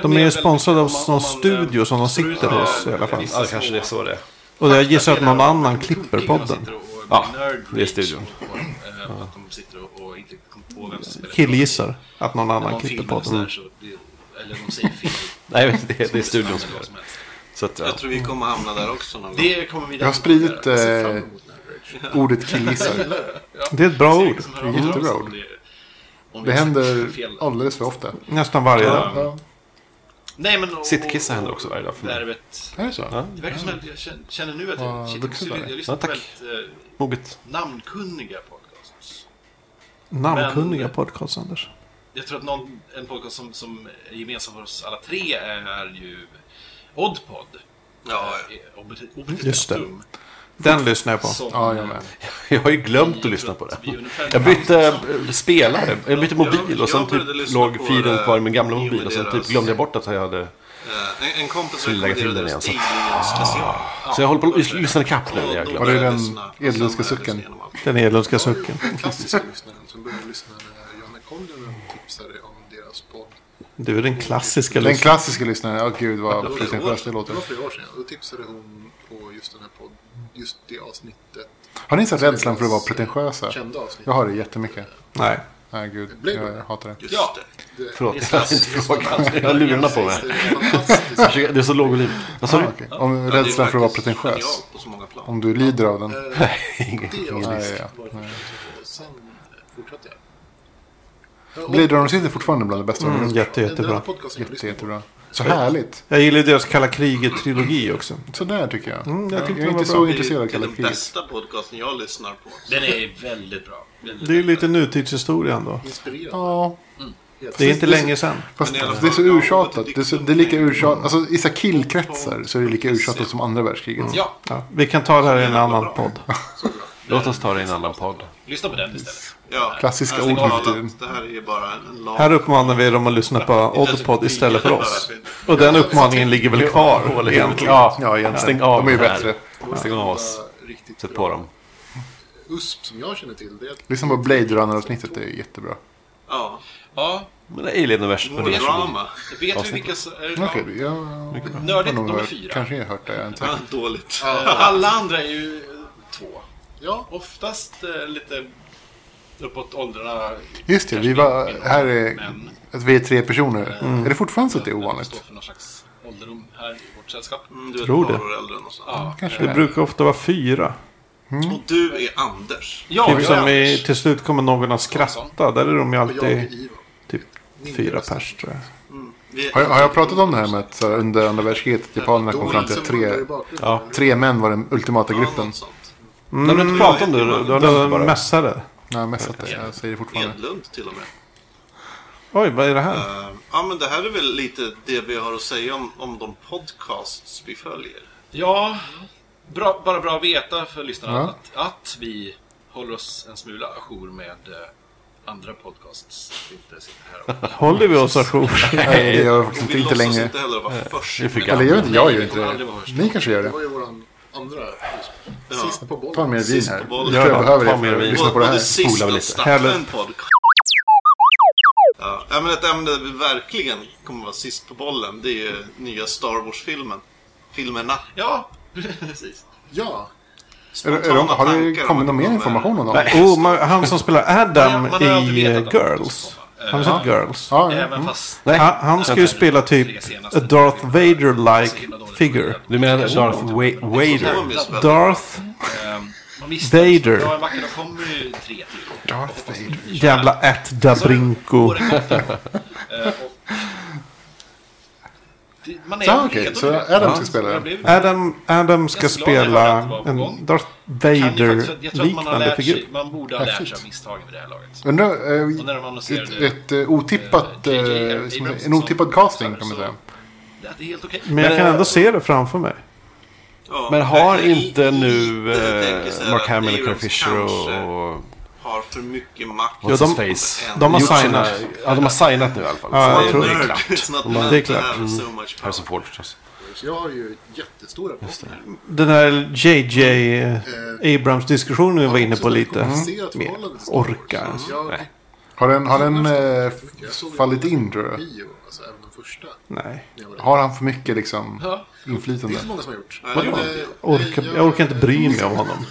[SPEAKER 1] De är ju sponsrade av någon
[SPEAKER 5] eh,
[SPEAKER 1] studio som de sitter hos i alla fall.
[SPEAKER 2] Ja, kanske det är så det är.
[SPEAKER 1] Och jag gissar att någon annan klipper podden.
[SPEAKER 2] Ja, det är studion.
[SPEAKER 5] eh,
[SPEAKER 1] Killgissar att någon
[SPEAKER 7] Man
[SPEAKER 1] annan klipper podden.
[SPEAKER 7] Eller de säger fel.
[SPEAKER 2] Nej, det, det är studion som gör det. Så att, ja.
[SPEAKER 5] Jag tror vi kommer hamna där också någon gång.
[SPEAKER 7] Det kommer vi
[SPEAKER 4] Jag har spridit eh, ordet killgissar.
[SPEAKER 1] Det är ett bra ord.
[SPEAKER 7] Det
[SPEAKER 4] är jättebra ord. Det händer alldeles för ofta.
[SPEAKER 1] Nästan varje dag.
[SPEAKER 4] Ja,
[SPEAKER 7] Nej, men... och-
[SPEAKER 2] Sittkissa händer också varje dag för mig.
[SPEAKER 7] Värvet.
[SPEAKER 4] är det så?
[SPEAKER 7] Det verkar som att jag känner- känner nu att
[SPEAKER 4] Ja,
[SPEAKER 7] jag... shit, jag
[SPEAKER 4] vuxen
[SPEAKER 7] måste-
[SPEAKER 4] där.
[SPEAKER 7] Jag lyssnar
[SPEAKER 2] Ja,
[SPEAKER 7] på
[SPEAKER 2] tack.
[SPEAKER 7] väldigt eh,
[SPEAKER 2] Moget.
[SPEAKER 7] namnkunniga podcasts.
[SPEAKER 1] Namnkunniga
[SPEAKER 7] Men-
[SPEAKER 1] podcast, Anders.
[SPEAKER 7] Jag tror att någon, en podcast som, som är gemensam för oss alla tre är ju Oddpod.
[SPEAKER 5] Ja,
[SPEAKER 7] Eh, Obet- Obetet
[SPEAKER 1] Just det.
[SPEAKER 7] Datum,
[SPEAKER 1] Den lyssnar jag på.
[SPEAKER 7] som-
[SPEAKER 4] Ja, jag med.
[SPEAKER 2] Jag har ju glömt att lyssna på det. Jag bytte eh, spelare, jag bytte mobil och sen
[SPEAKER 5] Jag började
[SPEAKER 2] typ
[SPEAKER 5] lyssna på
[SPEAKER 2] låg
[SPEAKER 5] det
[SPEAKER 2] feeden kvar i min gamla
[SPEAKER 5] i och med
[SPEAKER 2] mobil och sen typ
[SPEAKER 5] deras-
[SPEAKER 2] glömde jag bort att jag hade...
[SPEAKER 5] eh, en, en kompis
[SPEAKER 2] Skulle lägga till
[SPEAKER 5] rekommenderade
[SPEAKER 2] den
[SPEAKER 5] oss
[SPEAKER 2] igen,
[SPEAKER 5] Alien special.
[SPEAKER 2] Så jag håller på att lyssna ikapp nu. när Jag
[SPEAKER 5] Och då
[SPEAKER 2] glömmer.
[SPEAKER 4] Var det
[SPEAKER 5] började jag
[SPEAKER 4] den
[SPEAKER 5] lyssna, och sen
[SPEAKER 4] Edlundska
[SPEAKER 5] började jag
[SPEAKER 4] sucken?
[SPEAKER 5] lyssna igenom allt.
[SPEAKER 1] Den Edlundska sucken.
[SPEAKER 6] Den klassiska lyssnaren som började lyssna när Janne Koljonen tipsade om deras podd.
[SPEAKER 1] Du är den klassiska
[SPEAKER 4] Den
[SPEAKER 1] lyssnaren.
[SPEAKER 4] klassiska lyssnaren. Ja, gud vad pretentiöst det
[SPEAKER 6] det
[SPEAKER 4] låter.
[SPEAKER 6] var flera år sedan. Då tipsade hon på just den här podden, just det avsnittet.
[SPEAKER 4] Har ni sett rädslan för att vara pretentiösa?
[SPEAKER 6] Kända avsnitt.
[SPEAKER 4] Jag har det jättemycket.
[SPEAKER 1] Nej.
[SPEAKER 4] Nej, gud.
[SPEAKER 6] Blev det?
[SPEAKER 4] Jag hatar det.
[SPEAKER 5] Just det.
[SPEAKER 2] Förlåt, jag har inte frågat. Jag har lurarna på mig.
[SPEAKER 6] Det är
[SPEAKER 1] Alltså,
[SPEAKER 6] fantastiskt.
[SPEAKER 2] Det är så låg volym. Vad sa
[SPEAKER 4] Ah,
[SPEAKER 2] du?
[SPEAKER 4] okej. Om
[SPEAKER 5] Ja, det är
[SPEAKER 4] rädslan för att vara
[SPEAKER 5] faktiskt- känner
[SPEAKER 4] pretentiös.
[SPEAKER 5] jag på så många plan.
[SPEAKER 4] Om du lider av den.
[SPEAKER 6] Eh,
[SPEAKER 2] Ingen-
[SPEAKER 6] Det
[SPEAKER 4] Nej, ja.
[SPEAKER 6] avsnittet var först. Och sen fortsatte jag. Ja, och-
[SPEAKER 4] Blade Runner City är fortfarande bland det bästa
[SPEAKER 1] Mm,
[SPEAKER 4] mm,
[SPEAKER 1] jätte,
[SPEAKER 6] Den
[SPEAKER 1] jättebra.
[SPEAKER 6] här podcasten jag
[SPEAKER 4] Jätte,
[SPEAKER 6] lyssnar på.
[SPEAKER 4] jättebra. Så härligt.
[SPEAKER 1] Jag gillar ju deras kalla kriget-trilogi också.
[SPEAKER 4] Sådär tycker jag.
[SPEAKER 1] Mm, jag
[SPEAKER 4] jag,
[SPEAKER 1] tyckte
[SPEAKER 4] är
[SPEAKER 1] den var
[SPEAKER 4] inte
[SPEAKER 1] bra.
[SPEAKER 4] så intresserad av
[SPEAKER 5] det är
[SPEAKER 4] kalla
[SPEAKER 5] den
[SPEAKER 4] kriget.
[SPEAKER 5] bästa podcasten jag lyssnar på.
[SPEAKER 7] Den är väldigt bra. Väldigt
[SPEAKER 1] Det är ju
[SPEAKER 7] bra.
[SPEAKER 1] lite nutidshistoria ändå.
[SPEAKER 6] Inspirerad.
[SPEAKER 4] Ja,
[SPEAKER 1] Det är inte länge sedan.
[SPEAKER 4] fast
[SPEAKER 5] Men i alla
[SPEAKER 4] det är så
[SPEAKER 5] fall-
[SPEAKER 4] urtjatat. Det är, så, det är lika urtjatat. Alltså i så här killkretsar så är det lika urtjatat som andra världskriget.
[SPEAKER 5] Mm.
[SPEAKER 7] Ja,
[SPEAKER 1] Ja, vi kan ta det här i en annan podd.
[SPEAKER 2] Låt oss ta det i en annan podd.
[SPEAKER 7] lyssna på den istället.
[SPEAKER 5] Ja,
[SPEAKER 4] Klassiska
[SPEAKER 5] alltså,
[SPEAKER 4] ord nu för
[SPEAKER 5] galet.
[SPEAKER 4] tiden.
[SPEAKER 5] Det här är ju bara en lag.
[SPEAKER 1] Här uppmanar vi dem att lyssna på Oddpod istället för oss. Och den uppmaningen ligger väl kvar egentligen.
[SPEAKER 2] Ja,
[SPEAKER 4] Ja, egentligen.
[SPEAKER 2] stäng av
[SPEAKER 4] De är ju
[SPEAKER 2] det här.
[SPEAKER 4] bättre.
[SPEAKER 2] Stäng av oss.
[SPEAKER 6] Var Riktigt
[SPEAKER 2] Sätt på
[SPEAKER 6] bra.
[SPEAKER 2] dem.
[SPEAKER 6] USP som jag känner till. Det är
[SPEAKER 4] Lyssna på Liksom Blade Runner-avsnittet, det är jättebra.
[SPEAKER 5] Ja,
[SPEAKER 7] Ja,
[SPEAKER 2] Men Alien-universum.
[SPEAKER 5] more drama.
[SPEAKER 7] vet vi vilka som... är-
[SPEAKER 4] Okej, jag har
[SPEAKER 7] Nördigt
[SPEAKER 4] nog
[SPEAKER 7] nummer
[SPEAKER 4] hört,
[SPEAKER 7] fyra.
[SPEAKER 4] kanske jag har hört det. Jag har inte
[SPEAKER 5] Ja,
[SPEAKER 4] sagt.
[SPEAKER 5] dåligt.
[SPEAKER 7] Alla andra är ju eh, två.
[SPEAKER 6] Ja.
[SPEAKER 7] Oftast eh, lite uppåt åldrarna.
[SPEAKER 4] Just det, vi var, här är,
[SPEAKER 7] Men
[SPEAKER 4] att vi är tre personer.
[SPEAKER 5] Mm.
[SPEAKER 4] Är det fortfarande så att det är ovanligt?
[SPEAKER 7] står för någon slags ålderdom här i vårt sällskap.
[SPEAKER 5] Mm, Du är
[SPEAKER 1] Tror
[SPEAKER 5] ett par
[SPEAKER 1] det.
[SPEAKER 5] år äldre än oss.
[SPEAKER 7] Ja,
[SPEAKER 4] Kanske
[SPEAKER 1] Det
[SPEAKER 4] det är.
[SPEAKER 1] brukar ofta vara fyra.
[SPEAKER 5] Och du är Anders.
[SPEAKER 7] ja
[SPEAKER 1] Typ Mm. som
[SPEAKER 7] jag är
[SPEAKER 1] i,
[SPEAKER 7] Anders.
[SPEAKER 1] till slut kommer någon att skratta. Där är de ju
[SPEAKER 6] jag och
[SPEAKER 1] alltid
[SPEAKER 6] Ivan.
[SPEAKER 1] typ fyra pers tror jag.
[SPEAKER 5] Vi är
[SPEAKER 4] Har jag, har jag pratat om det här med att så här, under andra världskriget att japanerna kom fram till att tre,
[SPEAKER 6] Ja.
[SPEAKER 4] tre män var den ultimata
[SPEAKER 5] liksom Ja,
[SPEAKER 4] gruppen?
[SPEAKER 5] något sånt.
[SPEAKER 1] Mm,
[SPEAKER 2] När du inte pratat om det, du du har nämnt det
[SPEAKER 1] de
[SPEAKER 2] bara.
[SPEAKER 1] mässade.
[SPEAKER 4] Nej, jag har messat det. Jag säger det fortfarande.
[SPEAKER 5] Edlund till och med.
[SPEAKER 1] Oj, vad är det här?
[SPEAKER 5] Eh, ja, men det här är väl lite det vi har att säga om, om de podcasts vi följer.
[SPEAKER 7] Ja, bra, bara bra att veta för lyssnarna
[SPEAKER 4] Ja.
[SPEAKER 7] att, att vi håller oss en smula ajour med eh, andra podcasts. Vi inte sitter här och...
[SPEAKER 1] Håller vi oss ajour?
[SPEAKER 4] Nej, det gör jag
[SPEAKER 5] Och
[SPEAKER 4] faktiskt
[SPEAKER 5] vi
[SPEAKER 4] inte
[SPEAKER 5] låtsas
[SPEAKER 4] längre.
[SPEAKER 5] inte heller vara först.
[SPEAKER 2] Vi är för gamla.
[SPEAKER 4] Eller jag vet inte, jag gör inte
[SPEAKER 7] Nej, det
[SPEAKER 4] det.
[SPEAKER 7] var först.
[SPEAKER 4] Ni kanske gör
[SPEAKER 6] Det
[SPEAKER 4] det.
[SPEAKER 6] var ju våran andra USP.
[SPEAKER 5] Ja.
[SPEAKER 6] Sist på bollen.
[SPEAKER 4] Ta mer vin
[SPEAKER 5] Sist
[SPEAKER 4] här.
[SPEAKER 5] på bollen.
[SPEAKER 4] Jag tror
[SPEAKER 1] Ja,
[SPEAKER 4] jag behöver
[SPEAKER 2] ta
[SPEAKER 4] det
[SPEAKER 2] mer
[SPEAKER 4] för att
[SPEAKER 2] vin.
[SPEAKER 4] lyssna på det
[SPEAKER 5] Både
[SPEAKER 4] här.
[SPEAKER 5] sist
[SPEAKER 2] Spolar vi
[SPEAKER 5] att
[SPEAKER 2] lite.
[SPEAKER 5] starta
[SPEAKER 1] Härligt.
[SPEAKER 5] en podcast. Ja, ja, men ett ämne där vi verkligen kommer vara sist på bollen, det är ju nya Star Wars-filmen. Filmerna.
[SPEAKER 7] Ja, precis.
[SPEAKER 6] Ja,
[SPEAKER 4] Är det- är det- Har det kommit någon mer information om dem?
[SPEAKER 1] Oh, man, han som spelar Adam
[SPEAKER 7] Man- man har aldrig
[SPEAKER 1] i
[SPEAKER 7] vetat
[SPEAKER 1] eh,
[SPEAKER 7] att de
[SPEAKER 1] Girls.
[SPEAKER 7] skulle komma.
[SPEAKER 1] Har ni sett Girls?
[SPEAKER 4] Ja, Mm. ja.
[SPEAKER 7] Även fast...
[SPEAKER 2] Nej.
[SPEAKER 1] Han, han ska ju spela typ a Darth Vader-like figure.
[SPEAKER 2] Du menar Darth Wa- Vader?
[SPEAKER 1] Darth
[SPEAKER 7] Ehm, man visste-
[SPEAKER 1] Vader.
[SPEAKER 7] Ja, en vacker dag kommer ju tre till.
[SPEAKER 4] Darth Vader.
[SPEAKER 1] jävla At
[SPEAKER 7] Alltså,
[SPEAKER 1] Dabrinko.
[SPEAKER 7] Året efter. Ehm, och- Det- Man är
[SPEAKER 4] Så, okej,
[SPEAKER 7] redo
[SPEAKER 4] så
[SPEAKER 7] direkt.
[SPEAKER 4] Adam ska
[SPEAKER 7] Ja,
[SPEAKER 4] spela
[SPEAKER 7] jag
[SPEAKER 4] den.
[SPEAKER 7] blev-
[SPEAKER 1] Adam, Adam ska
[SPEAKER 7] Jag är så glad
[SPEAKER 1] spela
[SPEAKER 7] att det var på
[SPEAKER 1] en
[SPEAKER 7] gång.
[SPEAKER 1] Darth
[SPEAKER 7] kan ju faktiskt- Jag tror att man har
[SPEAKER 1] Vader-liknande
[SPEAKER 7] lärt
[SPEAKER 1] figur.
[SPEAKER 7] sig, man borde ha lärt sig av
[SPEAKER 4] Häftigt.
[SPEAKER 7] misstagen vid det här laget.
[SPEAKER 4] Undrar, eh,
[SPEAKER 7] Och när de annonserade
[SPEAKER 4] ett, ett eh, otippat,
[SPEAKER 7] Eh,
[SPEAKER 4] eh,
[SPEAKER 7] J.J. Abrams
[SPEAKER 4] som- en
[SPEAKER 7] som-
[SPEAKER 4] otippad casting kan man
[SPEAKER 7] så-
[SPEAKER 4] säga.
[SPEAKER 7] det det är helt okej.
[SPEAKER 1] Men jag kan
[SPEAKER 7] eh,
[SPEAKER 1] ändå se det framför mig.
[SPEAKER 2] Men har inte nu eh, Mark Hamill, Carrie Fisher och... och
[SPEAKER 5] Har för mycket makt.
[SPEAKER 1] Ja, de-
[SPEAKER 2] Face.
[SPEAKER 1] de har
[SPEAKER 2] Gjort
[SPEAKER 1] signat.
[SPEAKER 2] sina- Ja, de har signat nu i alla fall.
[SPEAKER 1] Ja,
[SPEAKER 2] Så
[SPEAKER 1] jag
[SPEAKER 2] det-
[SPEAKER 1] tror
[SPEAKER 2] det
[SPEAKER 1] det.
[SPEAKER 2] är
[SPEAKER 5] Nerd,
[SPEAKER 2] klart.
[SPEAKER 5] it's not
[SPEAKER 1] Det är
[SPEAKER 5] meant to
[SPEAKER 1] klart.
[SPEAKER 5] have so much power.
[SPEAKER 2] Harrison Ford förstås.
[SPEAKER 6] så jag har ju jättestora förhoppningar.
[SPEAKER 1] Den här JJ Abrams-diskussionen vi var inne på lite.
[SPEAKER 6] Komplicerat förhållande till Star Wars.
[SPEAKER 1] orkar.
[SPEAKER 6] Jag
[SPEAKER 4] Har den, har den eh, f-
[SPEAKER 6] Jag såg ju
[SPEAKER 4] fallit
[SPEAKER 6] den
[SPEAKER 4] in
[SPEAKER 6] på
[SPEAKER 4] tror du?
[SPEAKER 6] Bio, alltså även den första.
[SPEAKER 1] Nej.
[SPEAKER 6] när jag var liten.
[SPEAKER 4] Har han för mycket liksom
[SPEAKER 7] Ja.
[SPEAKER 6] Det är
[SPEAKER 4] inflytande?
[SPEAKER 6] inte många som har gjort.
[SPEAKER 5] Nej, det
[SPEAKER 6] Men,
[SPEAKER 5] var-
[SPEAKER 6] eh,
[SPEAKER 1] Orkar, jag orkar inte bry mig om honom.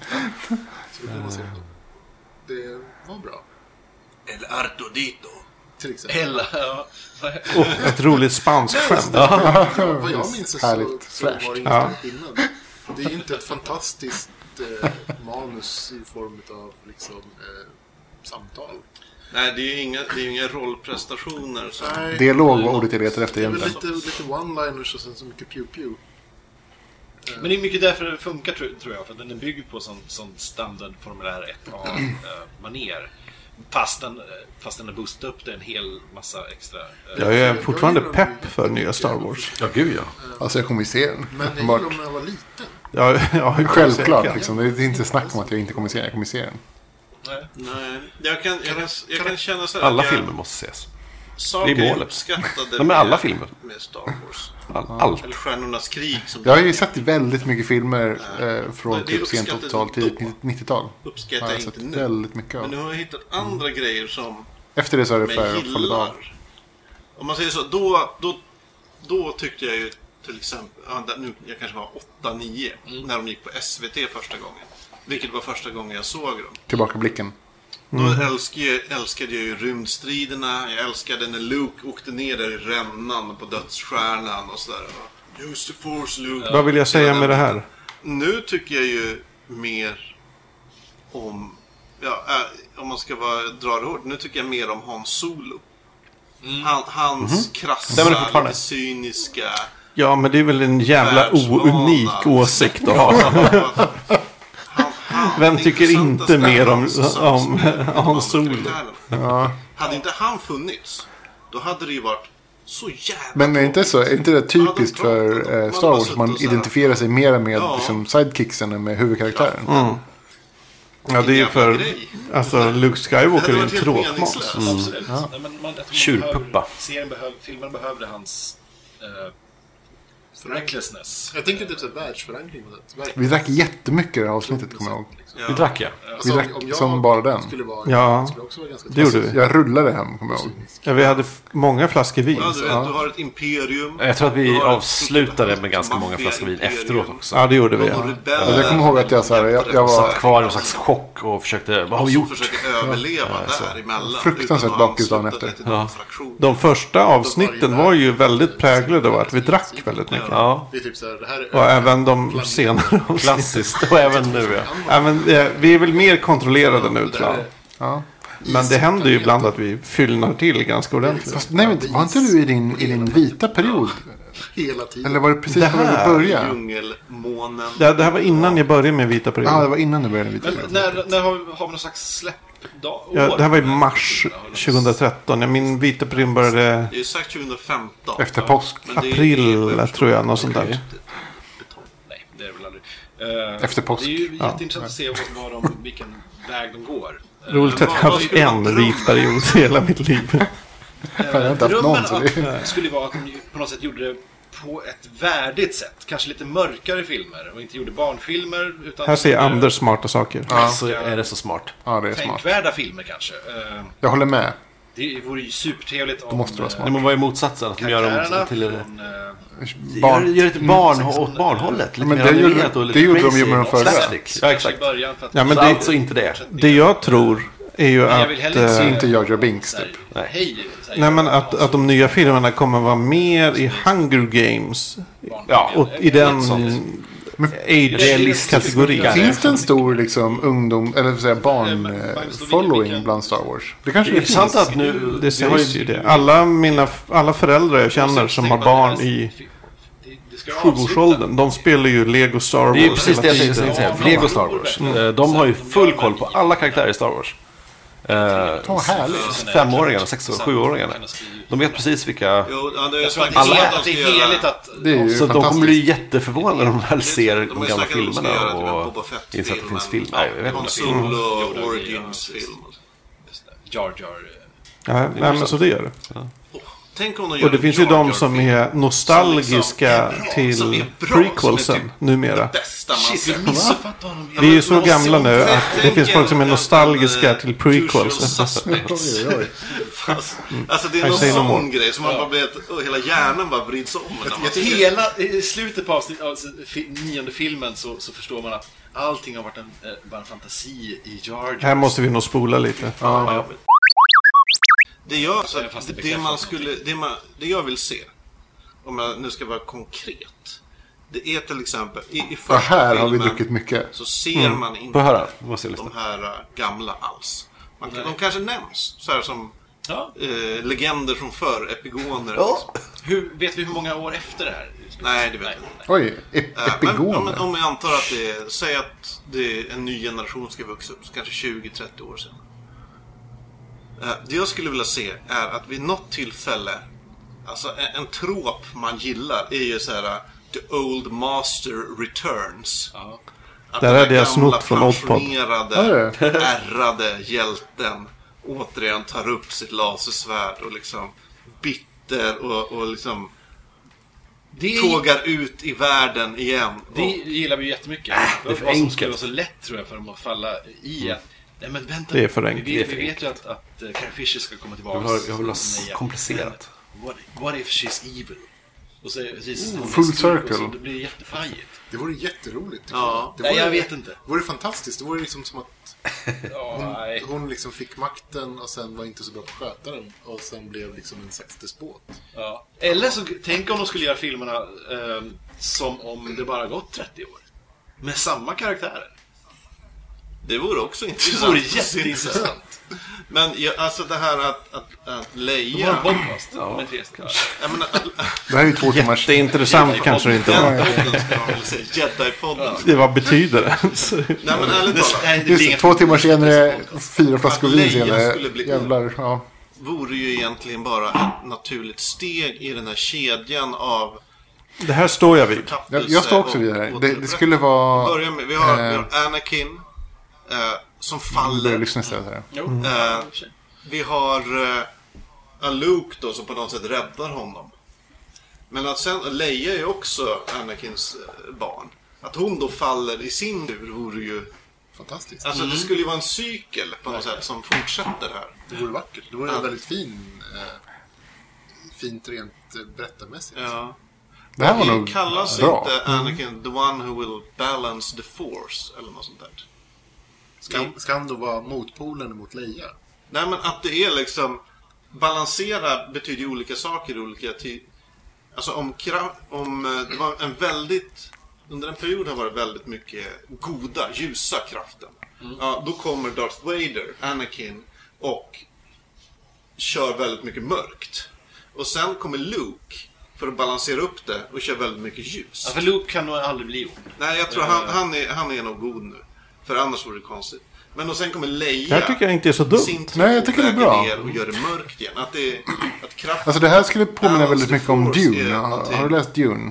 [SPEAKER 6] så det får man se. Det var bra.
[SPEAKER 5] El Arto Dito.
[SPEAKER 6] Till exempel.
[SPEAKER 7] Hela, ja.
[SPEAKER 1] Oh, ett roligt spanskt skämt.
[SPEAKER 6] Vad jag minns så,
[SPEAKER 4] Härligt.
[SPEAKER 6] så var det ingen
[SPEAKER 1] Ja.
[SPEAKER 6] stor skillnad. Det är ju inte ett fantastiskt eh, manus i form av liksom, eh, samtal.
[SPEAKER 5] Nej, det är ju inga, det är ju inga rollprestationer. Så.
[SPEAKER 6] Nej, det
[SPEAKER 4] Dialog var ordet jag letade efter
[SPEAKER 6] är väl
[SPEAKER 4] egentligen.
[SPEAKER 6] lite, lite one-liners och sen så mycket pew-pew.
[SPEAKER 7] Men det är mycket därför det funkar tror tror jag, för att den är byggd på sån, sån standard formulär 1A-manér. Fast den, eh, fast den har boostat upp det en hel massa extra. eh,
[SPEAKER 1] Jag är fortfarande pepp för nya Star Wars.
[SPEAKER 2] Ja, gud ja.
[SPEAKER 4] Alltså jag kommer ju se den.
[SPEAKER 6] Men jag
[SPEAKER 4] uppenbart.
[SPEAKER 6] gillar om jag var liten.
[SPEAKER 1] Ja, ja,
[SPEAKER 4] Självklart,
[SPEAKER 1] säkert.
[SPEAKER 4] liksom. det är inte snack om att jag inte kommer se den. Jag kommer se den.
[SPEAKER 7] nej.
[SPEAKER 5] Nej, jag kan, jag kan, jag kan känna så här
[SPEAKER 2] Alla
[SPEAKER 5] att jag,
[SPEAKER 2] filmer måste ses.
[SPEAKER 5] Saker
[SPEAKER 2] Det är
[SPEAKER 5] jag
[SPEAKER 2] målet.
[SPEAKER 5] uppskattade
[SPEAKER 2] Ja, men alla filmer.
[SPEAKER 5] med Star Wars.
[SPEAKER 2] All, allt.
[SPEAKER 5] Eller Stjärnornas krig som
[SPEAKER 4] Jag har ju sett väldigt mycket filmer eh,
[SPEAKER 5] Men
[SPEAKER 4] från
[SPEAKER 5] det
[SPEAKER 4] typ sent
[SPEAKER 5] uppskattade
[SPEAKER 4] 80-tal,
[SPEAKER 5] då.
[SPEAKER 4] tidigt 90-tal. Jag
[SPEAKER 5] uppskattar
[SPEAKER 4] har
[SPEAKER 5] jag
[SPEAKER 4] sett
[SPEAKER 5] inte nu.
[SPEAKER 4] väldigt mycket
[SPEAKER 5] Men nu
[SPEAKER 4] av.
[SPEAKER 5] har jag hittat andra grejer som
[SPEAKER 4] Efter det så har det
[SPEAKER 5] mig
[SPEAKER 4] för- fallit av.
[SPEAKER 5] gillar. Om man säger så, då, då, då tyckte jag ju till exempel, ja, där- nu, jag kanske var 8-9
[SPEAKER 7] Mm.
[SPEAKER 5] när de gick på SVT första gången. Vilket var första gången jag såg dem.
[SPEAKER 4] Tillbaka blicken.
[SPEAKER 5] Då älskade jag, älskade jag ju rymdstriderna. Jag älskade när Luke åkte ner där i rännan på dödsstjärnan och sådär. Use the force Luke.
[SPEAKER 1] Vad vill jag säga med det här?
[SPEAKER 5] Nu tycker jag ju mer om ja, eh, om man ska vara, dra det hårt, nu tycker jag mer om Hans Solo. Han, hans
[SPEAKER 1] Mhm.
[SPEAKER 2] Stämmer det
[SPEAKER 5] krassa,
[SPEAKER 2] fortfarande?
[SPEAKER 5] lite cyniska...
[SPEAKER 1] Ja, men det är väl en jävla
[SPEAKER 5] Världsvana.
[SPEAKER 1] ounik åsikt att ha.
[SPEAKER 5] Han- han-
[SPEAKER 1] Vem
[SPEAKER 5] det
[SPEAKER 1] tycker
[SPEAKER 5] intressanta
[SPEAKER 1] inte mer om,
[SPEAKER 5] Stellans som-
[SPEAKER 1] om Hans Solo?
[SPEAKER 5] Hade inte han funnits, då hade det ju varit så jävla
[SPEAKER 4] Men är inte, så, är inte det typiskt för eh, Star Wars? att Man identifierar sig mer med
[SPEAKER 5] Ja.
[SPEAKER 4] liksom, sidekicksen än med huvudkaraktären.
[SPEAKER 1] Mm. Ja, det är ju för... Alltså, Luke Skywalker är ju en tråkmåns.
[SPEAKER 5] meningslöst.
[SPEAKER 7] Absolut. Nej, men man, jag tror man
[SPEAKER 2] Tjurpuppa.
[SPEAKER 7] behöver- Serien behöv, filmen behövde hans eh, recklessness.
[SPEAKER 6] Jag tänker typ så här världsförankring. på det. Världs-
[SPEAKER 4] Vi drack jättemycket i det här avsnittet, kommer jag ihåg.
[SPEAKER 2] Det drack jag.
[SPEAKER 6] Alltså,
[SPEAKER 4] drack som bara den.
[SPEAKER 6] Skulle vara,
[SPEAKER 1] Ja.
[SPEAKER 6] skulle jag också vara ganska
[SPEAKER 1] Det gjorde vi.
[SPEAKER 4] Jag rullade hem, kommer jag ihåg.
[SPEAKER 1] Ja, vi hade f- många flaskor vin.
[SPEAKER 5] Ja, du vet, du har ett imperium.
[SPEAKER 2] Jag tror att
[SPEAKER 5] Du
[SPEAKER 2] vi
[SPEAKER 5] har ett
[SPEAKER 2] avslutade med ganska många
[SPEAKER 5] maffia
[SPEAKER 2] flaskor vin
[SPEAKER 5] imperium.
[SPEAKER 2] efteråt också.
[SPEAKER 1] Ja, det gjorde vi.
[SPEAKER 5] Och
[SPEAKER 1] Ja.
[SPEAKER 5] rebeller.
[SPEAKER 4] Alltså, jag kommer ihåg att jag så här, jag- jag var-
[SPEAKER 2] Satt kvar i någon slags chock och försökte... Vad har vi
[SPEAKER 5] Som
[SPEAKER 2] gjort?
[SPEAKER 5] försöker överleva däremellan.
[SPEAKER 4] Fruktansvärt
[SPEAKER 5] utan att
[SPEAKER 4] bakis dagen
[SPEAKER 5] ansluta
[SPEAKER 4] efter.
[SPEAKER 5] sig till någon fraktion.
[SPEAKER 1] De första avsnitten var ju väldigt präglade av att vi drack väldigt mycket.
[SPEAKER 2] Ja,
[SPEAKER 6] Det är typ så här, det här är
[SPEAKER 1] Och även de senare avsnitten.
[SPEAKER 2] klassiskt. Och även nu ja.
[SPEAKER 1] Ja, men, eh, vi är väl mer kontrollerade nu tror jag.
[SPEAKER 4] Ja.
[SPEAKER 1] Men det händer ju ibland att vi fyllnar till ganska ordentligt.
[SPEAKER 4] Fast, nej, men, var inte du i din, i din vita period?
[SPEAKER 6] hela tiden.
[SPEAKER 4] Eller var det precis
[SPEAKER 1] Det
[SPEAKER 4] när
[SPEAKER 1] här
[SPEAKER 4] du började?
[SPEAKER 5] Djungelmånen.
[SPEAKER 1] Det, det här var innan jag började med Vita
[SPEAKER 4] Ja, det
[SPEAKER 1] perioden.
[SPEAKER 4] var innan du började den vita
[SPEAKER 7] Men
[SPEAKER 4] perioden.
[SPEAKER 7] när, när har, vi- har vi någon slags släppdag?
[SPEAKER 1] Ja, det här var i mars 2013. Ja, Min Vita period började
[SPEAKER 5] Det är ju sagt 2015.
[SPEAKER 4] Efter påsk.
[SPEAKER 5] Men det är-
[SPEAKER 1] april tror jag. Något sånt där.
[SPEAKER 7] Nej, det är det väl aldrig. Eh,
[SPEAKER 4] Efter påsk.
[SPEAKER 7] Det är ju jätteintressant att se vad, vad de, vilken väg de går. Eh,
[SPEAKER 1] Roligt att jag
[SPEAKER 5] Vad-
[SPEAKER 1] har
[SPEAKER 5] vad
[SPEAKER 1] haft
[SPEAKER 5] skulle man
[SPEAKER 1] en
[SPEAKER 5] tro?
[SPEAKER 1] vit period i hela mitt liv.
[SPEAKER 4] Jag har inte haft någon,
[SPEAKER 7] Drömmen
[SPEAKER 4] så det
[SPEAKER 7] att- skulle vara att de ju på något sätt gjorde det på ett värdigt sätt. Kanske lite mörkare filmer och inte gjorde barnfilmer. Utan
[SPEAKER 1] Här ser
[SPEAKER 7] gjorde
[SPEAKER 1] Anders smarta saker.
[SPEAKER 2] Så är det så smart.
[SPEAKER 4] ja, det är smart.
[SPEAKER 7] Tänkvärda filmer kanske. Eh,
[SPEAKER 4] Jag håller med.
[SPEAKER 7] Det vore ju supertrevligt om... eh,
[SPEAKER 4] måste det vara smart.
[SPEAKER 2] Nej, men vad är motsatsen? Att de gör dem
[SPEAKER 7] Karaktärerna
[SPEAKER 2] till...
[SPEAKER 7] från... eh,
[SPEAKER 2] Barn. Gör,
[SPEAKER 4] Barn.
[SPEAKER 2] gör ett barn åt barnhållet. Lite
[SPEAKER 4] Men
[SPEAKER 2] mer
[SPEAKER 4] det gjorde-
[SPEAKER 2] animerat och lite
[SPEAKER 4] det gjorde de
[SPEAKER 2] crazy.
[SPEAKER 4] ju med de förra.
[SPEAKER 2] Slapstick. Ja,
[SPEAKER 7] i
[SPEAKER 2] exakt.
[SPEAKER 7] början för att...
[SPEAKER 1] Ja, men
[SPEAKER 2] så
[SPEAKER 1] det-
[SPEAKER 2] alltså inte det.
[SPEAKER 1] Det jag tror är ju
[SPEAKER 7] jag
[SPEAKER 1] att...
[SPEAKER 7] vill heller inte
[SPEAKER 1] eh,
[SPEAKER 7] se-
[SPEAKER 4] Inte Jar Jar Binks,
[SPEAKER 7] så här,
[SPEAKER 4] typ.
[SPEAKER 7] Hej! så här,
[SPEAKER 1] Nej men att, att de nya filmerna kommer vara mer i Hunger Games.
[SPEAKER 2] Ja.
[SPEAKER 1] Och i den
[SPEAKER 2] Realistisk
[SPEAKER 1] age-kategorin.
[SPEAKER 2] tycker
[SPEAKER 4] Finns det en stor liksom, ungdom, eller så säga,
[SPEAKER 5] Mm,
[SPEAKER 7] Magnus
[SPEAKER 4] barn-following
[SPEAKER 7] Lundin,
[SPEAKER 4] bland Star Wars? Det kanske
[SPEAKER 2] Det är
[SPEAKER 4] det
[SPEAKER 2] sant
[SPEAKER 4] finns.
[SPEAKER 2] att nu...
[SPEAKER 1] Det
[SPEAKER 2] vi har
[SPEAKER 1] sägs ju det. Alla, mina, alla föräldrar jag känner som har barn i
[SPEAKER 7] Det- det ska jag avsluta.
[SPEAKER 1] sjuårsåldern, de spelar ju Lego Star Wars
[SPEAKER 2] Det är ju precis det jag
[SPEAKER 1] hela
[SPEAKER 2] tänkte
[SPEAKER 1] tiden.
[SPEAKER 2] säga. Lego Star Wars. Eh, De har ju full koll på alla karaktärer i Star Wars. Eh,
[SPEAKER 4] Vad härligt.
[SPEAKER 2] Femåringarna, sex och sjuåringarna. De vet precis vilka...
[SPEAKER 5] Jo, ja, det är
[SPEAKER 7] Jag tror att
[SPEAKER 5] sagt
[SPEAKER 7] det är,
[SPEAKER 5] alla
[SPEAKER 7] att det är heligt att...
[SPEAKER 4] Det är ju
[SPEAKER 2] Så de kommer
[SPEAKER 4] fantastiskt.
[SPEAKER 2] bli jätteförvånade när de väl ser
[SPEAKER 5] De har
[SPEAKER 2] de
[SPEAKER 5] ju
[SPEAKER 2] gamla
[SPEAKER 5] snackat om att de ska göra
[SPEAKER 2] filmerna
[SPEAKER 5] typ en Boba
[SPEAKER 2] och
[SPEAKER 5] Fett-film,
[SPEAKER 2] inser att det finns
[SPEAKER 5] men-
[SPEAKER 2] film. Nej, jag vet
[SPEAKER 5] Han
[SPEAKER 2] inte.
[SPEAKER 5] Solo
[SPEAKER 7] Mm.
[SPEAKER 5] Origins-film.
[SPEAKER 7] Jar eh, Jar...
[SPEAKER 1] Ja, nej, men så det gör det.
[SPEAKER 5] Tänk om de gör
[SPEAKER 1] Och det
[SPEAKER 5] en
[SPEAKER 1] finns ju
[SPEAKER 5] Jar Jar-film.
[SPEAKER 1] de som är nostalgiska
[SPEAKER 5] som
[SPEAKER 1] till
[SPEAKER 5] är bra, som är
[SPEAKER 1] prequelsen
[SPEAKER 5] typ
[SPEAKER 1] numera.
[SPEAKER 5] bästa man
[SPEAKER 7] Shit,
[SPEAKER 5] ser.
[SPEAKER 7] jag missuppfattade honom.
[SPEAKER 1] Vi är ju så gamla nu
[SPEAKER 5] Tänk
[SPEAKER 1] att det finns folk som är
[SPEAKER 5] en-
[SPEAKER 1] nostalgiska
[SPEAKER 5] en, eh,
[SPEAKER 1] till
[SPEAKER 5] usual
[SPEAKER 1] prequelsen.
[SPEAKER 5] suspects. Fast- Alltså det är
[SPEAKER 1] Jag
[SPEAKER 5] någon
[SPEAKER 1] säger
[SPEAKER 5] sån
[SPEAKER 1] Mm. någon.
[SPEAKER 5] grej som man bara blir att och hela hjärnan bara vrids om. när man ser det.
[SPEAKER 7] Hela i slutet på avsnitt, av fi- nionde filmen så, så förstår man att allting har varit en, eh, bara en fantasi i Jar Jar.
[SPEAKER 1] Här måste vi nog spola lite.
[SPEAKER 5] Det jag, så,
[SPEAKER 7] Fast det
[SPEAKER 5] det,
[SPEAKER 7] bekräftar
[SPEAKER 5] man skulle, det, man, det jag vill se, om jag nu ska vara konkret. Det är till exempel, i, i första
[SPEAKER 4] Ja, här har vi
[SPEAKER 5] filmen
[SPEAKER 4] druckit mycket.
[SPEAKER 5] Mm. så ser man inte
[SPEAKER 2] Får jag höra? Måste jag lyssna.
[SPEAKER 5] de här äh, gamla alls. Man, de kanske nämns, så här som
[SPEAKER 7] Ja.
[SPEAKER 5] eh, legender från förr, epigoner. Liksom.
[SPEAKER 7] Hur, vet vi hur många år efter det här?
[SPEAKER 5] Nej, det vet jag inte.
[SPEAKER 4] Oj, ep
[SPEAKER 5] Äh, Men, om,
[SPEAKER 4] epigoner.
[SPEAKER 5] om jag antar att det är, säg att det är en ny generation ska växa upp, så kanske 20-30 år sedan. Äh, Det jag skulle vilja se är att vid något tillfälle, alltså en, en trop man gillar är ju så här äh, The Old Master Returns. Att
[SPEAKER 1] Där
[SPEAKER 5] den här
[SPEAKER 1] hade jag
[SPEAKER 5] gamla,
[SPEAKER 1] snott från Oddpod.
[SPEAKER 5] pensionerade, ärrade hjälten återigen tar upp sitt lasersvärd och liksom bitter och, och liksom
[SPEAKER 7] Det,
[SPEAKER 5] tågar ut i världen igen.
[SPEAKER 7] det
[SPEAKER 5] Och, Äh,
[SPEAKER 7] gillar vi ju jättemycket.
[SPEAKER 2] det är för
[SPEAKER 7] Vad som
[SPEAKER 2] enkelt.
[SPEAKER 7] skulle vara så lätt tror jag för dem att falla
[SPEAKER 5] Mm.
[SPEAKER 7] i att... Nej men vänta
[SPEAKER 1] Det är för
[SPEAKER 7] nu,
[SPEAKER 1] enkelt.
[SPEAKER 7] Vi,
[SPEAKER 2] Det är
[SPEAKER 7] vet-
[SPEAKER 2] för
[SPEAKER 7] vi vet ju att, att eh, Carrie Fisher ska komma tillbaka.
[SPEAKER 2] Jag vill ha- jag vill ha
[SPEAKER 7] som Leia.
[SPEAKER 2] komplicerat.
[SPEAKER 7] Men What, what if she's evil? Och så, precis,
[SPEAKER 2] Mm,
[SPEAKER 7] hon
[SPEAKER 4] full
[SPEAKER 7] är skurk och
[SPEAKER 4] circle.
[SPEAKER 7] Så, det blir jättepajigt.
[SPEAKER 6] Det vore jätteroligt. tycker
[SPEAKER 5] Ja.
[SPEAKER 6] jag. Det
[SPEAKER 7] Nej,
[SPEAKER 6] vore,
[SPEAKER 7] jag vet inte.
[SPEAKER 6] Det vore fantastiskt. Det vore liksom som att
[SPEAKER 7] Ja, nej.
[SPEAKER 6] hon liksom fick makten och sen var inte så bra på att sköta den. Och sen blev liksom en slags despot.
[SPEAKER 7] Ja. Eller så tänk om de skulle göra filmerna eh, som om det bara gått 30 år. Med samma karaktärer.
[SPEAKER 5] Det vore också intressant.
[SPEAKER 7] Det vore
[SPEAKER 5] att se.
[SPEAKER 7] jätteintressant.
[SPEAKER 5] Men ja, alltså det här att, att, att
[SPEAKER 7] De har en
[SPEAKER 5] Leia...
[SPEAKER 7] podcast med tre kanske.
[SPEAKER 5] Jag menar, att-
[SPEAKER 4] Det här är ju två timmars...
[SPEAKER 1] Det är intressant kanske det inte var.
[SPEAKER 5] Den podden ska man väl säga. Jedi-podden.
[SPEAKER 1] Det var betyder det?
[SPEAKER 5] Nej men ärligt talat.
[SPEAKER 7] Nej, det blir
[SPEAKER 4] Just det,
[SPEAKER 7] inget.
[SPEAKER 4] två timmar senare, fyra flaskor
[SPEAKER 5] Att
[SPEAKER 4] vin
[SPEAKER 5] lejon
[SPEAKER 4] senare.
[SPEAKER 5] skulle bli-
[SPEAKER 4] Jävlar. Ja.
[SPEAKER 5] Vore ju egentligen bara ett naturligt steg i den här kedjan av
[SPEAKER 1] Det här står jag vid.
[SPEAKER 5] tappelse
[SPEAKER 4] Jag, jag står också
[SPEAKER 5] och-
[SPEAKER 4] vid det här.
[SPEAKER 5] och
[SPEAKER 4] Det, det
[SPEAKER 5] återupprättelse.
[SPEAKER 4] skulle vara...
[SPEAKER 5] Börja med, vi har, vi
[SPEAKER 4] eh,
[SPEAKER 5] har Anakin eh, som
[SPEAKER 4] Börja
[SPEAKER 5] faller.
[SPEAKER 4] lyssna istället här.
[SPEAKER 7] Jo.
[SPEAKER 5] Eh, vi har eh, a Luke då som på något sätt räddar honom. Men att sen Leia är ju också Anakins eh, barn. Att hon då faller i sin tur vore ju...
[SPEAKER 6] Fantastiskt.
[SPEAKER 5] Alltså det skulle ju vara en cykel på något sätt som fortsätter här.
[SPEAKER 6] Det vore vackert. Det vore
[SPEAKER 5] Ja.
[SPEAKER 6] en väldigt fin... Eh, fint rent eh, berättarmässigt.
[SPEAKER 5] Ja.
[SPEAKER 4] Det här var
[SPEAKER 5] Det
[SPEAKER 4] nog
[SPEAKER 5] kallas
[SPEAKER 4] bra.
[SPEAKER 5] inte Anakin the one who will balance the force eller något sånt där.
[SPEAKER 6] Ska, ska han då vara motpolen mot Leia?
[SPEAKER 5] Nej men att det är liksom Balansera betyder ju olika saker i olika tid. Alltså om, kra- om eh, det var en väldigt Under en period har det varit väldigt mycket goda, ljusa kraften.
[SPEAKER 7] Mm.
[SPEAKER 5] Ja, då kommer Darth Vader, Anakin och kör väldigt mycket mörkt. Och sen kommer Luke för att balansera upp det och kör väldigt mycket ljus.
[SPEAKER 7] Ja, för Luke kan nog aldrig bli ond. Eh.
[SPEAKER 5] Nej, jag tror han, han, är, han är nog god nu. För annars vore det konstigt. Men och sen kommer Leia.
[SPEAKER 1] Det här tycker jag inte är så dumt.
[SPEAKER 5] sin tur
[SPEAKER 4] Nej, jag tycker det är bra.
[SPEAKER 5] väger ner Och gör det mörkt igen. Att, det, att kraften...
[SPEAKER 4] Alltså det här skulle påminna
[SPEAKER 5] Balance
[SPEAKER 4] väldigt
[SPEAKER 5] the
[SPEAKER 4] mycket om
[SPEAKER 5] force är
[SPEAKER 4] Dune. Har,
[SPEAKER 5] någonting.
[SPEAKER 4] har du läst Dune?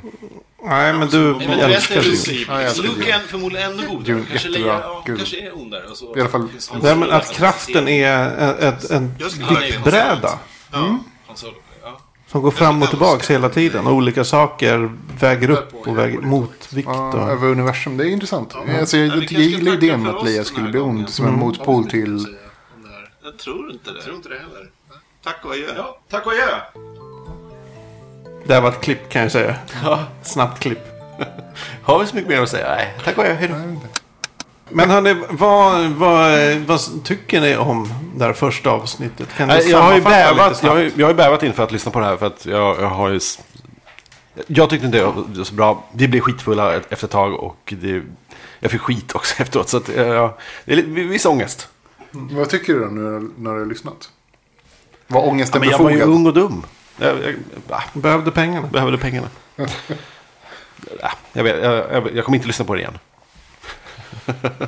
[SPEAKER 1] Nej, men du
[SPEAKER 5] Nej,
[SPEAKER 7] Men
[SPEAKER 5] Jag
[SPEAKER 7] jag
[SPEAKER 1] älskar
[SPEAKER 7] är
[SPEAKER 1] det.
[SPEAKER 7] princip.
[SPEAKER 4] Ja, jag älskar
[SPEAKER 7] Luke
[SPEAKER 4] Dune.
[SPEAKER 7] är förmodligen ännu godare.
[SPEAKER 4] Dune,
[SPEAKER 7] Kanske
[SPEAKER 4] jättebra.
[SPEAKER 7] Leia ja,
[SPEAKER 4] Gud.
[SPEAKER 7] kanske är ondare. Och så.
[SPEAKER 4] I alla fall-
[SPEAKER 7] Finns Han
[SPEAKER 1] Nej, men
[SPEAKER 7] Solo,
[SPEAKER 1] att kraften är en, en
[SPEAKER 5] Jag skulle verkligen ha
[SPEAKER 1] viktbräda.
[SPEAKER 5] sagt-
[SPEAKER 1] Mm.
[SPEAKER 5] Ja.
[SPEAKER 7] Han Solo, ja.
[SPEAKER 1] Som går fram och tillbaks hela tiden. Och olika saker väger upp och väger mot vikt.
[SPEAKER 4] Ja,
[SPEAKER 1] Och...
[SPEAKER 4] eh, över universum. Det är intressant. Alltså, jag,
[SPEAKER 5] vi
[SPEAKER 4] jag, jag
[SPEAKER 5] kanske ska
[SPEAKER 4] gillar
[SPEAKER 5] tacka
[SPEAKER 4] idén
[SPEAKER 5] för
[SPEAKER 4] med att
[SPEAKER 5] oss
[SPEAKER 4] Leia
[SPEAKER 5] den
[SPEAKER 4] skulle
[SPEAKER 5] här
[SPEAKER 4] bli
[SPEAKER 5] gången.
[SPEAKER 4] ond som en
[SPEAKER 2] Mm.
[SPEAKER 4] motpol till...
[SPEAKER 6] Om det här.
[SPEAKER 5] Jag tror inte det.
[SPEAKER 7] Jag tror inte det heller.
[SPEAKER 5] Tack och adjö.
[SPEAKER 7] Ja, tack och adjö.
[SPEAKER 1] Det här var ett klipp kan jag säga. Snabbt klipp.
[SPEAKER 2] Har vi så mycket mer att säga? Nej, tack och hej. då.
[SPEAKER 1] Men hörni, vad, vad, vad tycker ni om det här första avsnittet? Kan ni
[SPEAKER 2] Nej, jag, har ju
[SPEAKER 1] sammanfatta lite
[SPEAKER 2] bävat, jag,
[SPEAKER 1] snabbt?
[SPEAKER 2] har ju, jag har ju bävat inför att lyssna på det här för att jag, jag har ju... s- Jag tyckte inte det var så bra. Vi blev skitfulla ett- efter ett tag och det, jag fick skit också efteråt. Så att, eh, ja, det är lite, viss ångest.
[SPEAKER 4] Vad tycker du då nu när du har lyssnat? Var ångesten
[SPEAKER 2] men jag var ju
[SPEAKER 4] befogad?
[SPEAKER 2] ung och dum. Jag, jag, ah,
[SPEAKER 1] Behövde pengarna.
[SPEAKER 2] behövde pengarna. Ah, jag, vet, jag, jag, jag kommer inte lyssna på det igen.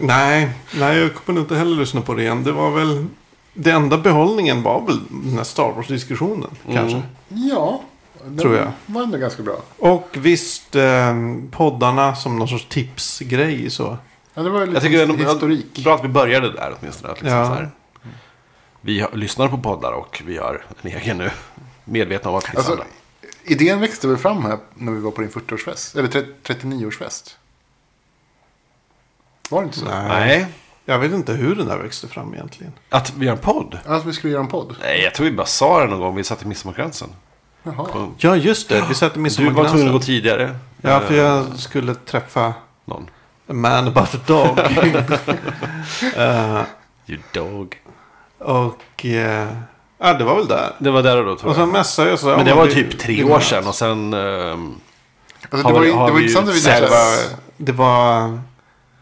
[SPEAKER 1] Nej, nej, jag kommer nog inte heller lyssna på det igen. Det var väl... Det enda behållningen var väl den här Star Wars-diskussionen,
[SPEAKER 2] Mm.
[SPEAKER 1] kanske.
[SPEAKER 4] Ja. Den
[SPEAKER 1] Tror jag.
[SPEAKER 4] var ändå ganska bra.
[SPEAKER 1] Och visst, eh, poddarna som någon sorts tipsgrej så.
[SPEAKER 4] Ja, det var lite
[SPEAKER 2] Jag tycker det är
[SPEAKER 4] historik.
[SPEAKER 2] ändå bra att vi började där åtminstone. Att liksom
[SPEAKER 1] Ja.
[SPEAKER 2] så här, vi har, lyssnar på poddar och vi gör en egen nu. Medvetna om att det finns
[SPEAKER 4] Alltså,
[SPEAKER 2] andra.
[SPEAKER 4] idén växte väl fram här när vi var på din 40-årsfest? Eller 30 39-årsfest? Var det inte så?
[SPEAKER 2] Nej,
[SPEAKER 1] Jag vet inte hur den där växte fram egentligen.
[SPEAKER 2] att vi gör en podd.
[SPEAKER 4] Alltså vi skulle göra en podd.
[SPEAKER 2] Nej, jag tror vi bara sa det någon gång. Vi satt i midsommarkransen.
[SPEAKER 4] Jaha.
[SPEAKER 2] På-
[SPEAKER 1] Ja, just det. Vi satte
[SPEAKER 2] Du var tvungen att gå
[SPEAKER 1] midsommarglansen.
[SPEAKER 2] tidigare. eh,
[SPEAKER 1] Ja, för jag skulle träffa
[SPEAKER 2] Någon.
[SPEAKER 1] a man about a dog. Eh,
[SPEAKER 2] You dog.
[SPEAKER 1] och... eh, ja, det var väl där.
[SPEAKER 2] Det var där och då tror
[SPEAKER 1] Och sen
[SPEAKER 2] jag.
[SPEAKER 1] messade jag så här,
[SPEAKER 2] Men det
[SPEAKER 1] "Ja,
[SPEAKER 2] var
[SPEAKER 1] vi-
[SPEAKER 2] typ tre
[SPEAKER 1] vi
[SPEAKER 2] år
[SPEAKER 1] möts."
[SPEAKER 2] sedan och sen... ehm,
[SPEAKER 4] Alltså,
[SPEAKER 2] Har
[SPEAKER 4] det var,
[SPEAKER 2] vi-
[SPEAKER 4] ju-
[SPEAKER 2] har
[SPEAKER 4] det var
[SPEAKER 2] vi
[SPEAKER 4] intressant att vi
[SPEAKER 2] sett-
[SPEAKER 4] träffades.
[SPEAKER 1] Det var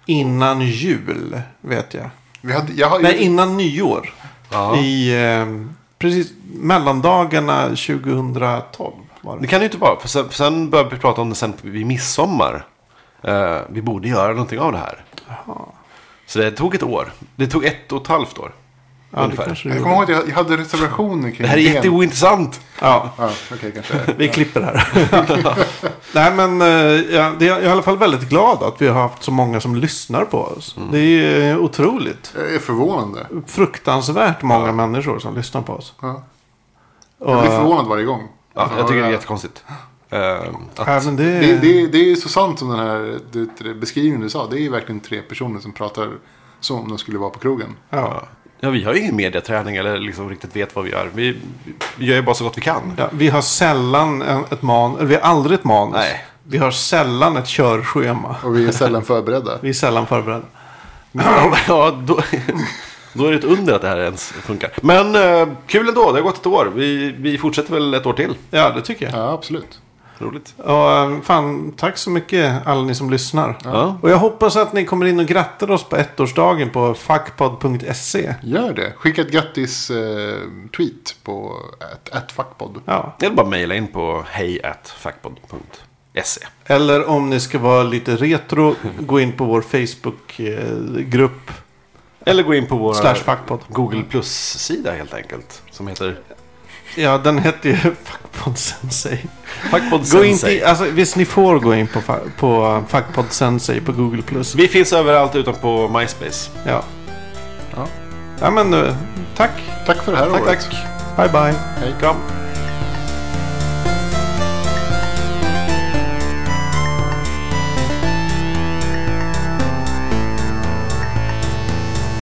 [SPEAKER 1] innan jul, vet jag.
[SPEAKER 4] Vi hade, jag, har-
[SPEAKER 1] Nej, innan nyår.
[SPEAKER 2] Ja.
[SPEAKER 1] I eh, precis mellandagarna 2012 var
[SPEAKER 2] Det
[SPEAKER 1] det.
[SPEAKER 2] kan det ju inte vara. För sen, för sen började vi prata om det sen vid midsommar. Eh, vi borde göra någonting av det här. Så det tog ett år. Det tog ett och ett halvt år.
[SPEAKER 1] Ja, det
[SPEAKER 2] ungefär.
[SPEAKER 1] kanske det
[SPEAKER 4] jag
[SPEAKER 1] gjorde.
[SPEAKER 4] kommer ihåg att jag, jag hade reservationer kring
[SPEAKER 2] Det här är
[SPEAKER 4] idén.
[SPEAKER 2] jätteointressant.
[SPEAKER 1] Ja,
[SPEAKER 4] Ja, okej, kanske.
[SPEAKER 1] vi klipper här. Nej, men eh, ja, det är, jag är i alla fall väldigt glad att vi har haft så många som lyssnar på oss.
[SPEAKER 2] Mm.
[SPEAKER 1] Det är ju eh, otroligt.
[SPEAKER 4] Det är förvånande.
[SPEAKER 1] Fruktansvärt många människor som lyssnar på oss.
[SPEAKER 4] Ja. Jag
[SPEAKER 1] Och,
[SPEAKER 4] blir förvånad varje gång.
[SPEAKER 2] Ja, jag tycker det är
[SPEAKER 4] ja.
[SPEAKER 2] jättekonstigt. Eh, att,
[SPEAKER 1] även det,
[SPEAKER 4] Det, det, det är ju så sant som den här du, det beskrivningen du sa. Det är ju verkligen tre personer som pratar som om de skulle vara på krogen.
[SPEAKER 1] ja.
[SPEAKER 2] ja, vi har ju ingen mediaträning eller liksom riktigt vet vad vi gör. Vi, vi gör ju bara så gott vi kan.
[SPEAKER 1] Ja, vi har sällan en- ett manus, eller vi har aldrig ett manus.
[SPEAKER 2] Nej.
[SPEAKER 1] Vi har sällan ett körschema.
[SPEAKER 4] Och vi är sällan förberedda.
[SPEAKER 1] Vi är sällan förberedda.
[SPEAKER 2] ja, då, då är det ett under att det här ens funkar. Men eh, kul ändå, det har gått ett år. Vi, vi fortsätter väl ett år till.
[SPEAKER 1] Ja, det tycker jag.
[SPEAKER 4] Ja, absolut.
[SPEAKER 2] Roligt.
[SPEAKER 1] Och, eh, fan, tack så mycket alla ni som lyssnar.
[SPEAKER 2] Ja.
[SPEAKER 1] Och jag hoppas att ni kommer in och grattar oss på ettårsdagen på fuckpod.se.
[SPEAKER 4] Gör det. Skicka ett grattis-tweet på at, at fuckpod.
[SPEAKER 1] Ja.
[SPEAKER 2] Eller bara mejla in på hejatfackpodd.se.
[SPEAKER 1] Eller om ni ska vara lite retro, gå in på vår Facebookgrupp.
[SPEAKER 2] Eller gå in på vår
[SPEAKER 1] Slash fuckpod.
[SPEAKER 2] Google Plus-sida helt enkelt. Som heter
[SPEAKER 1] Ja, den heter ju Fuckpod Sensei.
[SPEAKER 2] Fackpodd
[SPEAKER 1] Gå in till,
[SPEAKER 2] Sensei.
[SPEAKER 1] alltså, visst, ni får gå in på, fa- på uh, Fuckpod Sensei på Google+. Plus.
[SPEAKER 2] Vi finns överallt utom på MySpace.
[SPEAKER 1] Ja.
[SPEAKER 4] Ja.
[SPEAKER 1] Ja, men eh, tack.
[SPEAKER 4] Tack för det här
[SPEAKER 1] Tack,
[SPEAKER 4] året.
[SPEAKER 1] tack. Bye, bye.
[SPEAKER 4] Hej.
[SPEAKER 2] Kram.